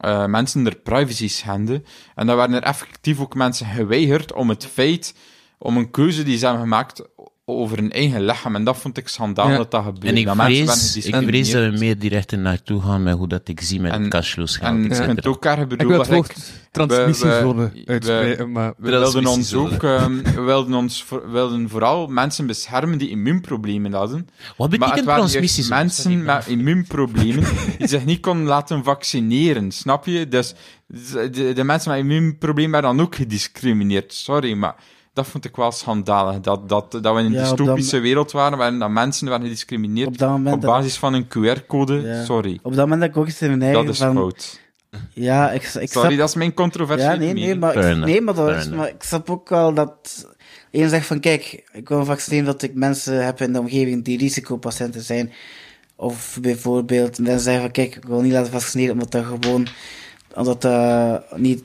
[SPEAKER 2] eh, mensen er privacy schenden. En dan werden er effectief ook mensen geweigerd om het feit, om een keuze die ze hebben gemaakt o- over hun eigen lichaam. En dat vond ik schandaal
[SPEAKER 3] Ja.
[SPEAKER 2] dat dat gebeurde.
[SPEAKER 4] en ik
[SPEAKER 2] dat mensen werden
[SPEAKER 4] vrees, ik vrees dat
[SPEAKER 2] gediscrimineerd.
[SPEAKER 4] we meer direct er naartoe gaan met hoe dat ik zie met
[SPEAKER 2] En-
[SPEAKER 4] het cashflow-schaal,
[SPEAKER 2] En eh,
[SPEAKER 4] et
[SPEAKER 2] je
[SPEAKER 4] cetera.
[SPEAKER 2] kunt ook haar
[SPEAKER 3] Ik
[SPEAKER 2] bedoelen.
[SPEAKER 3] wil het woord transmissiezone
[SPEAKER 2] we- we-
[SPEAKER 3] uitspreken, maar...
[SPEAKER 2] We wilden ons
[SPEAKER 4] Transmissiezone.
[SPEAKER 2] ook, ehm, we wilden, ons voor- we wilden vooral mensen beschermen die immuunproblemen hadden.
[SPEAKER 4] Wat
[SPEAKER 2] Maar
[SPEAKER 4] betekent
[SPEAKER 2] het waren juist
[SPEAKER 4] transmissies?
[SPEAKER 2] mensen met immuunproblemen die zich niet konden laten vaccineren, snap je? Dus de, de mensen met immuunproblemen werden dan ook gediscrimineerd, sorry, maar dat vond ik wel schandalig, dat, dat, dat we in een
[SPEAKER 5] Ja, op
[SPEAKER 2] dystopische
[SPEAKER 5] dat-
[SPEAKER 2] wereld waren waarin dat mensen werden gediscrimineerd op,
[SPEAKER 5] Op dat moment dat-
[SPEAKER 2] basis van een QR-code,
[SPEAKER 5] Ja.
[SPEAKER 2] Oh, sorry.
[SPEAKER 5] Op dat moment dat ik ook iets in mijn
[SPEAKER 2] Dat
[SPEAKER 5] eigen
[SPEAKER 2] is
[SPEAKER 5] van...
[SPEAKER 2] fout.
[SPEAKER 5] Ja, ik, ik
[SPEAKER 2] Sorry,
[SPEAKER 5] snap...
[SPEAKER 2] dat is mijn controversie.
[SPEAKER 5] ja, nee, nee, maar,
[SPEAKER 4] Fair
[SPEAKER 5] ik,
[SPEAKER 4] enough,
[SPEAKER 5] nee, maar, dat
[SPEAKER 4] fair
[SPEAKER 5] is,
[SPEAKER 4] enough.
[SPEAKER 5] maar ik snap ook wel dat... één zegt van kijk, ik wil een vaccin dat ik mensen heb in de omgeving die risicopatiënten zijn. Of bijvoorbeeld mensen zeggen van kijk, ik wil niet laten vaccineren omdat dat gewoon omdat dat eh, niet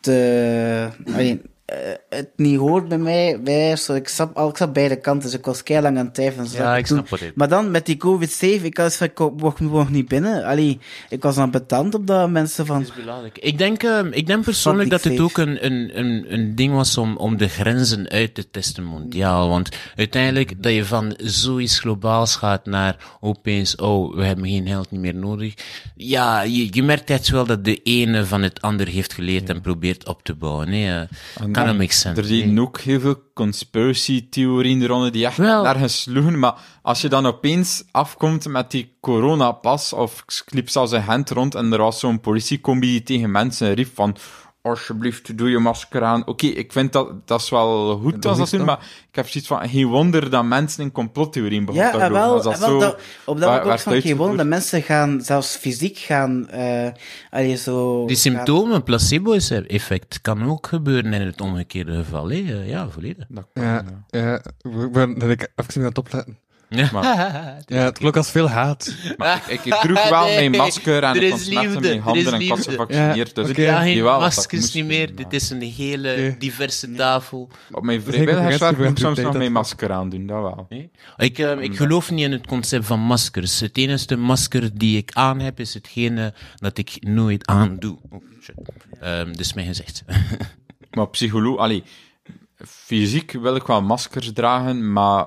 [SPEAKER 5] te, alleen, eh, het niet hoort bij mij. Wij, zo, ik, zat, al, ik zat beide kanten, dus ik was keihard lang aan het twijfelen. Zo,
[SPEAKER 4] Ja,
[SPEAKER 5] wat
[SPEAKER 4] ik snap
[SPEAKER 5] doen.
[SPEAKER 4] wat je bedoelt.
[SPEAKER 5] Maar dan met die COVID-safe, ik was van, ik mocht, mocht niet binnen. Allee, ik was dan betant op dat mensen van...
[SPEAKER 4] is belangrijk. Ik denk, ehm, ik denk persoonlijk
[SPEAKER 5] Fuck
[SPEAKER 4] dat
[SPEAKER 5] die
[SPEAKER 4] het ook
[SPEAKER 5] safe.
[SPEAKER 4] een, een, een, een ding was om, om de grenzen uit te testen mondiaal. Want uiteindelijk dat je van zoiets globaals gaat naar opeens, oh, we hebben geen geld niet meer nodig. Ja, je, je merkt echt wel dat de ene van het ander heeft geleerd en probeert op te bouwen. Nee, eh, kan dat make sense.
[SPEAKER 2] Er zijn
[SPEAKER 4] Nee.
[SPEAKER 2] ook heel veel conspiracy-theorieën eronder die echt
[SPEAKER 4] Wel.
[SPEAKER 2] nergens sloegen. Maar als je dan opeens afkomt met die coronapas, of ik liep zelfs een hand rond en er was zo'n politiecombi die tegen mensen riep van alsjeblieft, doe je masker aan. Oké, ik vind dat, dat is wel goed als dat
[SPEAKER 3] liefst
[SPEAKER 2] doen,
[SPEAKER 3] dan.
[SPEAKER 2] maar ik heb zoiets van, geen wonder dat mensen in complottheorieën begonnen
[SPEAKER 5] Ja,
[SPEAKER 2] te
[SPEAKER 5] en
[SPEAKER 2] geloven.
[SPEAKER 5] wel,
[SPEAKER 2] Als dat
[SPEAKER 5] en wel
[SPEAKER 2] zo
[SPEAKER 5] dat, op dat
[SPEAKER 2] wa-
[SPEAKER 5] moment ook
[SPEAKER 2] werd
[SPEAKER 5] van gewoon
[SPEAKER 2] uitgevoerd.
[SPEAKER 5] dat mensen gaan zelfs fysiek gaan... eh allee, zo,
[SPEAKER 4] Die
[SPEAKER 5] gaan-
[SPEAKER 4] symptomen, placebo-effect, kan ook gebeuren in het omgekeerde geval. hè. Eh, Ja, volledig.
[SPEAKER 2] Dat kan,
[SPEAKER 3] Ja, ja. Ik ben dat ik even niet aan het opletten.
[SPEAKER 4] Ja.
[SPEAKER 3] Ja, het klonk als veel haat.
[SPEAKER 2] Maar ik, ik droeg wel
[SPEAKER 4] Nee.
[SPEAKER 2] mijn masker en
[SPEAKER 4] Er
[SPEAKER 2] ik
[SPEAKER 4] is
[SPEAKER 2] was net in
[SPEAKER 4] liefde,
[SPEAKER 2] mijn
[SPEAKER 4] er is
[SPEAKER 2] handen en ik was
[SPEAKER 4] liefde.
[SPEAKER 2] gevaccineerd.
[SPEAKER 3] Ja,
[SPEAKER 2] dus
[SPEAKER 3] oké.
[SPEAKER 2] ik
[SPEAKER 4] Ja, geen
[SPEAKER 2] deed wel wat ik
[SPEAKER 4] maskers
[SPEAKER 2] moest
[SPEAKER 4] niet
[SPEAKER 2] doen,
[SPEAKER 4] meer.
[SPEAKER 2] maar-
[SPEAKER 4] Dit is een hele
[SPEAKER 3] Nee.
[SPEAKER 4] diverse tafel.
[SPEAKER 2] Op mijn
[SPEAKER 3] denk ik
[SPEAKER 2] vrijwilligerswerk
[SPEAKER 3] ook echt
[SPEAKER 2] moet ik soms
[SPEAKER 3] prioriteit
[SPEAKER 2] nog mijn
[SPEAKER 3] dat-
[SPEAKER 2] masker aandoen, dat wel.
[SPEAKER 4] Nee. Ik, ehm, ik geloof niet in het concept van maskers. Het enige masker die ik aan heb, is hetgene dat ik nooit aandoe. Oh, shit. Ehm, dus mijn gezicht.
[SPEAKER 2] Maar psycholoog, allee, fysiek wil ik wel maskers dragen, maar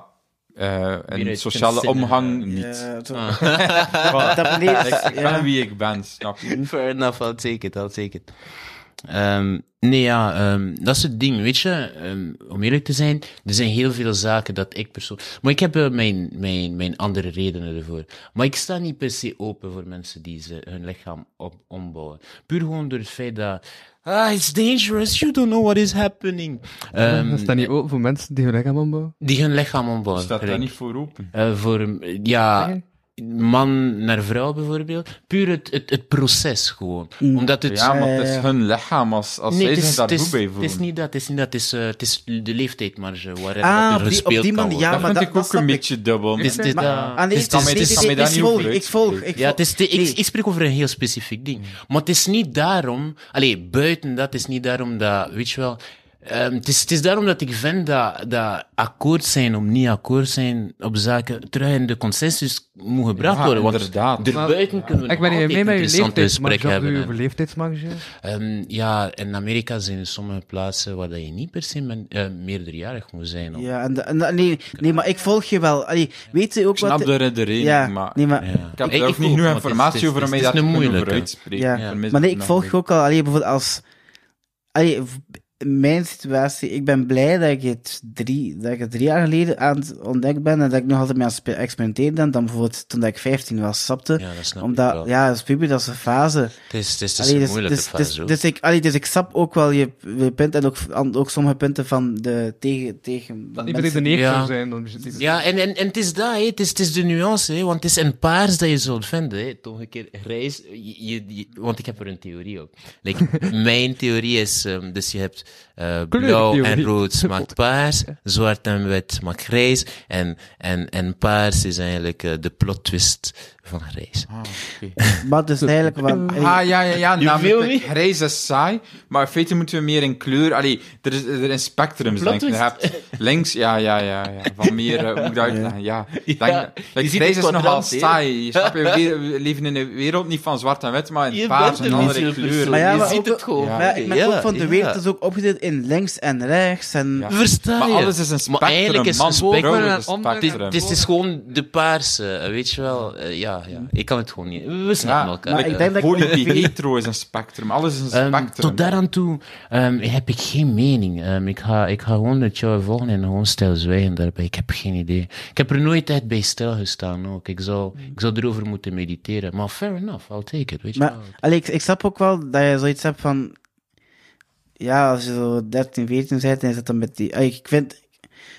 [SPEAKER 2] eh in
[SPEAKER 4] kunt
[SPEAKER 2] sociale
[SPEAKER 4] zinnen,
[SPEAKER 2] omgang
[SPEAKER 5] Ja,
[SPEAKER 2] niet.
[SPEAKER 5] zo.
[SPEAKER 4] Ah.
[SPEAKER 2] Voilà.
[SPEAKER 5] Dat beleefd,
[SPEAKER 2] Ik ben
[SPEAKER 5] ja.
[SPEAKER 2] wie ik ben, snap je?
[SPEAKER 4] Fair enough, I'll take it, I'll take it. Ehm, nee, ja, ehm, dat is het ding, weet je. Ehm, om eerlijk te zijn, er zijn heel veel zaken dat ik persoonlijk... Maar ik heb eh, mijn, mijn, mijn andere redenen ervoor. Maar ik sta niet per se open voor mensen die ze, hun lichaam op, ombouwen. Puur gewoon door het feit dat... Ah, it's dangerous, you don't know what is happening. Ehm,
[SPEAKER 3] Is dat niet open voor mensen die hun lichaam ombouwen?
[SPEAKER 4] die hun lichaam ombouwen.
[SPEAKER 2] Staat daar
[SPEAKER 4] gelijk.
[SPEAKER 2] niet voor open.
[SPEAKER 4] Eh, voor, eh, ja,
[SPEAKER 3] Nee.
[SPEAKER 4] man naar vrouw bijvoorbeeld. Puur het, het, het proces gewoon. Omdat het...
[SPEAKER 2] Ja, maar het
[SPEAKER 5] ja,
[SPEAKER 2] is
[SPEAKER 5] ja.
[SPEAKER 2] hun lichaam als, als zij
[SPEAKER 4] het
[SPEAKER 2] zich
[SPEAKER 4] is,
[SPEAKER 2] daar
[SPEAKER 4] het is-
[SPEAKER 2] goed bij
[SPEAKER 4] het is
[SPEAKER 2] voelen.
[SPEAKER 4] niet dat, het is niet dat, het is, eh, het is de leeftijdmarge waarin dat
[SPEAKER 5] Ah,
[SPEAKER 4] er
[SPEAKER 5] op die- op
[SPEAKER 4] gespeeld
[SPEAKER 5] die
[SPEAKER 4] kan worden.
[SPEAKER 5] manier, ja,
[SPEAKER 2] Dat
[SPEAKER 5] maar
[SPEAKER 2] vind
[SPEAKER 5] dat-
[SPEAKER 2] ik
[SPEAKER 5] dat
[SPEAKER 2] ook
[SPEAKER 5] snap
[SPEAKER 2] een
[SPEAKER 5] ik.
[SPEAKER 2] beetje dubbel.
[SPEAKER 4] Het is dit,
[SPEAKER 5] Maar-
[SPEAKER 4] eh,
[SPEAKER 5] ah, nee,
[SPEAKER 4] het is-
[SPEAKER 5] nee,
[SPEAKER 2] het is-
[SPEAKER 5] nee,
[SPEAKER 2] kan
[SPEAKER 5] nee,
[SPEAKER 2] mij daar
[SPEAKER 5] ik
[SPEAKER 2] niet
[SPEAKER 5] volg,
[SPEAKER 2] over
[SPEAKER 5] Ik volg, ik
[SPEAKER 2] uitspreken.
[SPEAKER 4] ja, het is, de- ik,
[SPEAKER 5] Nee. Mm.
[SPEAKER 4] ik spreek over een heel specifiek ding. Maar het is niet daarom... Allee, buiten dat, het is niet daarom dat... Weet je wel... ehm, het, is, het is daarom dat ik vind dat, dat akkoord zijn om niet akkoord zijn op zaken terug in de consensus moet gebracht
[SPEAKER 2] Ja,
[SPEAKER 4] worden. Want
[SPEAKER 2] inderdaad.
[SPEAKER 4] erbuiten kunnen we
[SPEAKER 3] Ik ben
[SPEAKER 4] nog
[SPEAKER 3] hier mee
[SPEAKER 4] altijd
[SPEAKER 3] met je
[SPEAKER 4] interessante
[SPEAKER 3] leeftijdsmarge.
[SPEAKER 4] gesprekken hebben. hè.
[SPEAKER 3] Over leeftijdsmarge.
[SPEAKER 4] Ehm, ja, in Amerika zijn er sommige plaatsen waar dat je niet per se men- eh, meerderjarig moet zijn. om-
[SPEAKER 5] Ja, en, de- en de- nee, nee, maar ik volg je wel. Allee, weet je ook
[SPEAKER 2] Ik snap
[SPEAKER 5] wat...
[SPEAKER 2] de redenering,
[SPEAKER 5] ja,
[SPEAKER 2] maar
[SPEAKER 5] nee, maar...
[SPEAKER 4] Ja.
[SPEAKER 2] ik heb
[SPEAKER 4] Ik-
[SPEAKER 2] er
[SPEAKER 4] ik
[SPEAKER 2] ook niet
[SPEAKER 4] voel-
[SPEAKER 2] genoeg
[SPEAKER 4] want het is- het
[SPEAKER 2] informatie
[SPEAKER 4] is-
[SPEAKER 2] over om mij
[SPEAKER 4] het is
[SPEAKER 2] daar te
[SPEAKER 4] een
[SPEAKER 2] kunnen over
[SPEAKER 4] moeilijke.
[SPEAKER 2] uitspreken.
[SPEAKER 5] Ja.
[SPEAKER 2] Ik vermis
[SPEAKER 5] Maar nee,
[SPEAKER 2] het
[SPEAKER 5] ik
[SPEAKER 4] nou,
[SPEAKER 2] nog
[SPEAKER 5] volg je ook al. Allee, bijvoorbeeld als... Allee, v- mijn situatie... Ik ben blij dat ik het drie, dat ik het drie jaar geleden aan het ontdekken ben en dat ik nog altijd mee aan het spe- experimenteren ben dan bijvoorbeeld toen dat ik 15 was, snapte.
[SPEAKER 4] Ja, dat snap ik
[SPEAKER 5] Omdat,
[SPEAKER 4] wel.
[SPEAKER 5] ja, als puber, dat is een fase.
[SPEAKER 4] Het is, het is, het is
[SPEAKER 5] Allee,
[SPEAKER 4] een
[SPEAKER 5] dus,
[SPEAKER 4] moeilijke
[SPEAKER 5] dus,
[SPEAKER 4] fase.
[SPEAKER 5] dus,
[SPEAKER 4] hoor.
[SPEAKER 5] dus ik, allee, dus ik snap ook wel je, je punt en ook, an- ook sommige punten van de tegen... tegen
[SPEAKER 3] Dat
[SPEAKER 5] mensen-
[SPEAKER 3] iedereen de neef
[SPEAKER 4] Ja.
[SPEAKER 3] zou zijn. Dan is het niet-
[SPEAKER 4] ja, en, en, en het is dat, hè. Het, is, het is de nuance, hè. want het is een paars dat je zult vinden. Hè. Het omgekeerde grijs, je, je- je- want ik heb er een theorie op. Like, mijn theorie is, ehm, dus je hebt eh, blauw en
[SPEAKER 3] Kleurtheorie.
[SPEAKER 4] rood maakt paars, zwart en wit maakt grijs, en, en, en paars is eigenlijk eh, de plot twist van grijs.
[SPEAKER 5] Maar dus eigenlijk... Want, allee,
[SPEAKER 2] Ah, ja, ja, ja.
[SPEAKER 4] wil
[SPEAKER 2] Namelijk,
[SPEAKER 4] niet?
[SPEAKER 2] grijs is saai, maar in feite moeten we meer in kleur... Allee, er is, er is spectrums, denk ik. Je hebt links, ja, ja, ja, ja. Van meer, eh, hoe moet ik dat uitleggen? Ja. Ik Denk,
[SPEAKER 4] Ja, je
[SPEAKER 2] like,
[SPEAKER 4] ziet
[SPEAKER 2] grijs
[SPEAKER 4] het
[SPEAKER 2] is nogal
[SPEAKER 4] kwadrant, hè?
[SPEAKER 2] saai. Je snapt, we le- we leven in een wereld niet van zwart en wit, maar in paars en andere kleuren.
[SPEAKER 5] Maar ja,
[SPEAKER 4] je
[SPEAKER 5] maar
[SPEAKER 4] ziet
[SPEAKER 5] ook-
[SPEAKER 4] het gewoon.
[SPEAKER 5] maar ja, ik ben
[SPEAKER 4] Ja,
[SPEAKER 5] ook van de wereld
[SPEAKER 4] ja.
[SPEAKER 5] is ook opgedeeld in links en rechts en...
[SPEAKER 2] Ja.
[SPEAKER 4] Versta
[SPEAKER 2] Maar
[SPEAKER 4] je?
[SPEAKER 2] alles is een
[SPEAKER 4] Maar eigenlijk
[SPEAKER 2] spectrum,
[SPEAKER 4] is
[SPEAKER 2] man.
[SPEAKER 4] een spectrum.
[SPEAKER 2] Bro,
[SPEAKER 3] en
[SPEAKER 2] het is een
[SPEAKER 3] onder-
[SPEAKER 2] spectrum.
[SPEAKER 4] Het is, het is gewoon de paarse, eh, weet je wel. Eh, ja, ja, ik kan het gewoon niet. We snappen
[SPEAKER 2] Ja,
[SPEAKER 4] elkaar.
[SPEAKER 5] maar
[SPEAKER 4] Eh,
[SPEAKER 5] ik denk dat ik...
[SPEAKER 2] Poly- hetero is een spectrum. Alles is een
[SPEAKER 4] ehm,
[SPEAKER 2] spectrum.
[SPEAKER 4] tot daaraan toe ehm, heb ik geen mening. Ehm, ik, ga, ik ga gewoon het jou volgen en gewoon stilzwijgen daarbij. Ik heb geen idee. Ik heb er nooit echt bij stilgestaan ook. Ik zou, ik zou erover moeten mediteren. Maar fair enough, I'll take it, weet je
[SPEAKER 5] Maar
[SPEAKER 4] wel.
[SPEAKER 5] allee, ik, ik snap ook wel dat je zoiets hebt van... Ja, als je zo 13, 14 bent, dan is dat dan met die... allee, ik vind...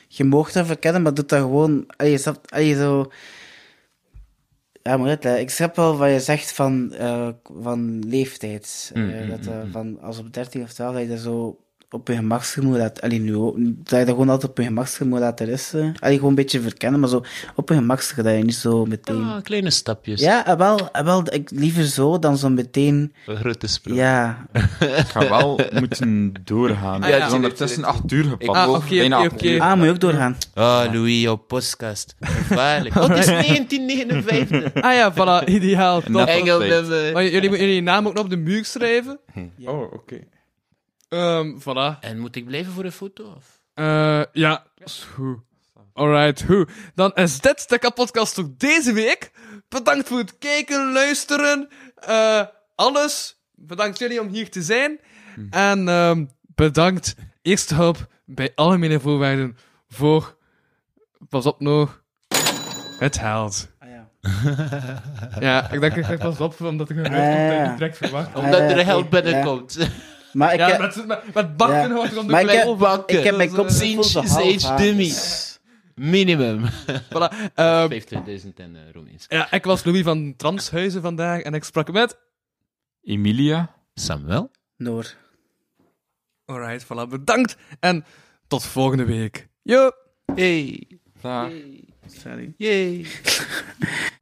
[SPEAKER 5] Je mag dat verkennen, maar doe dat gewoon... Allee, je snapt... Allee, zo... Ja, maar het, ik snap wel wat je zegt
[SPEAKER 4] Mm,
[SPEAKER 5] van, eh, van leeftijd. Eh, dat, eh, van, als op 13 of 12 dat je dat zo op je gemaksgemoe laat. Allee, nu ook. niet, Dat je dat gewoon altijd op je gemaksgemoe laat er is. eh. Allee, gewoon een beetje verkennen, maar zo op je gemaksgemoe dat je niet zo meteen.
[SPEAKER 4] Ah, kleine stapjes.
[SPEAKER 5] Ja, eh, wel, eh, wel, ik liever zo dan zo meteen.
[SPEAKER 4] Grote sprongen.
[SPEAKER 5] Ja,
[SPEAKER 2] Ik ga wel moeten
[SPEAKER 4] ja,
[SPEAKER 2] doorgaan. het is
[SPEAKER 4] tuurlijk,
[SPEAKER 2] ondertussen acht uur
[SPEAKER 3] Ah,
[SPEAKER 2] gepakt.
[SPEAKER 3] oké, oké,
[SPEAKER 2] Bijna acht
[SPEAKER 3] oké.
[SPEAKER 2] uur.
[SPEAKER 5] ah, moet je ook doorgaan.
[SPEAKER 4] Ah, Louis, jouw podcast. Gevaarlijk. Wat Oh, is 1959?
[SPEAKER 3] Ah ja, voilà, ideaal.
[SPEAKER 2] Net
[SPEAKER 3] Top.
[SPEAKER 2] als
[SPEAKER 4] Engel,
[SPEAKER 2] tijd.
[SPEAKER 3] Maar jullie moeten jullie naam ook nog op de muur schrijven.
[SPEAKER 2] Oh, oké.
[SPEAKER 3] Ehm voilà.
[SPEAKER 4] En moet ik blijven voor een foto? Of?
[SPEAKER 3] Eh, ja, is goed. Alright, goed. Dan is dit de kapotkast voor deze week. Bedankt voor het kijken, luisteren, eh, alles. Bedankt jullie om hier te zijn.
[SPEAKER 5] Hmm.
[SPEAKER 3] En ehm, bedankt Eerste Hulp bij alle mijn voorwaarden voor, pas op nog, het haalt.
[SPEAKER 5] Ah, ja.
[SPEAKER 3] Ja, ik denk ik zeg pas op, omdat ik een
[SPEAKER 5] Ah, ja.
[SPEAKER 3] reis niet direct verwacht.
[SPEAKER 4] Omdat
[SPEAKER 5] Ah, ja,
[SPEAKER 4] er geld
[SPEAKER 5] oké, ja.
[SPEAKER 4] binnenkomt.
[SPEAKER 5] Maar ik
[SPEAKER 3] Ja,
[SPEAKER 5] heb,
[SPEAKER 3] met, met, met bakken
[SPEAKER 5] Ja.
[SPEAKER 3] hoort er om de
[SPEAKER 5] Maar ik
[SPEAKER 3] klei
[SPEAKER 5] heb-
[SPEAKER 3] over.
[SPEAKER 5] ik heb mijn dus-
[SPEAKER 3] Dat
[SPEAKER 5] kop
[SPEAKER 3] is, eh,
[SPEAKER 5] vol te
[SPEAKER 4] Sage
[SPEAKER 5] half aan.
[SPEAKER 4] dummy. Minimum.
[SPEAKER 3] Voilà. ehm,
[SPEAKER 4] 25.000 en uh, Romeins.
[SPEAKER 3] Ja, ik was Louis van Transhuizen vandaag en ik sprak met...
[SPEAKER 2] Emilia?
[SPEAKER 4] Samuel?
[SPEAKER 5] Noor.
[SPEAKER 3] Alright, voilà, bedankt en tot volgende week. Yo!
[SPEAKER 4] Hey.
[SPEAKER 2] Dag.
[SPEAKER 5] Sorry.
[SPEAKER 4] Yay.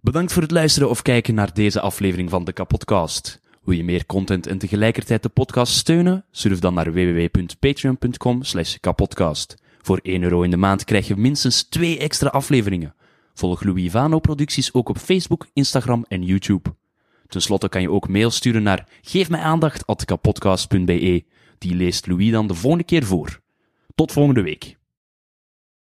[SPEAKER 6] Bedankt voor het luisteren of kijken naar deze aflevering van de Kapodcast. Wil je meer content en tegelijkertijd de podcast steunen? Surf dan naar www.patreon.com slash kapodcast. Voor 1 euro in de maand krijg je minstens 2 extra afleveringen. Volg Louis Ivano producties ook op Facebook, Instagram en YouTube. Ten slotte kan je ook mail sturen naar geefmijaandacht.kapodcast.be. Die leest Louis dan de volgende keer voor. Tot volgende week.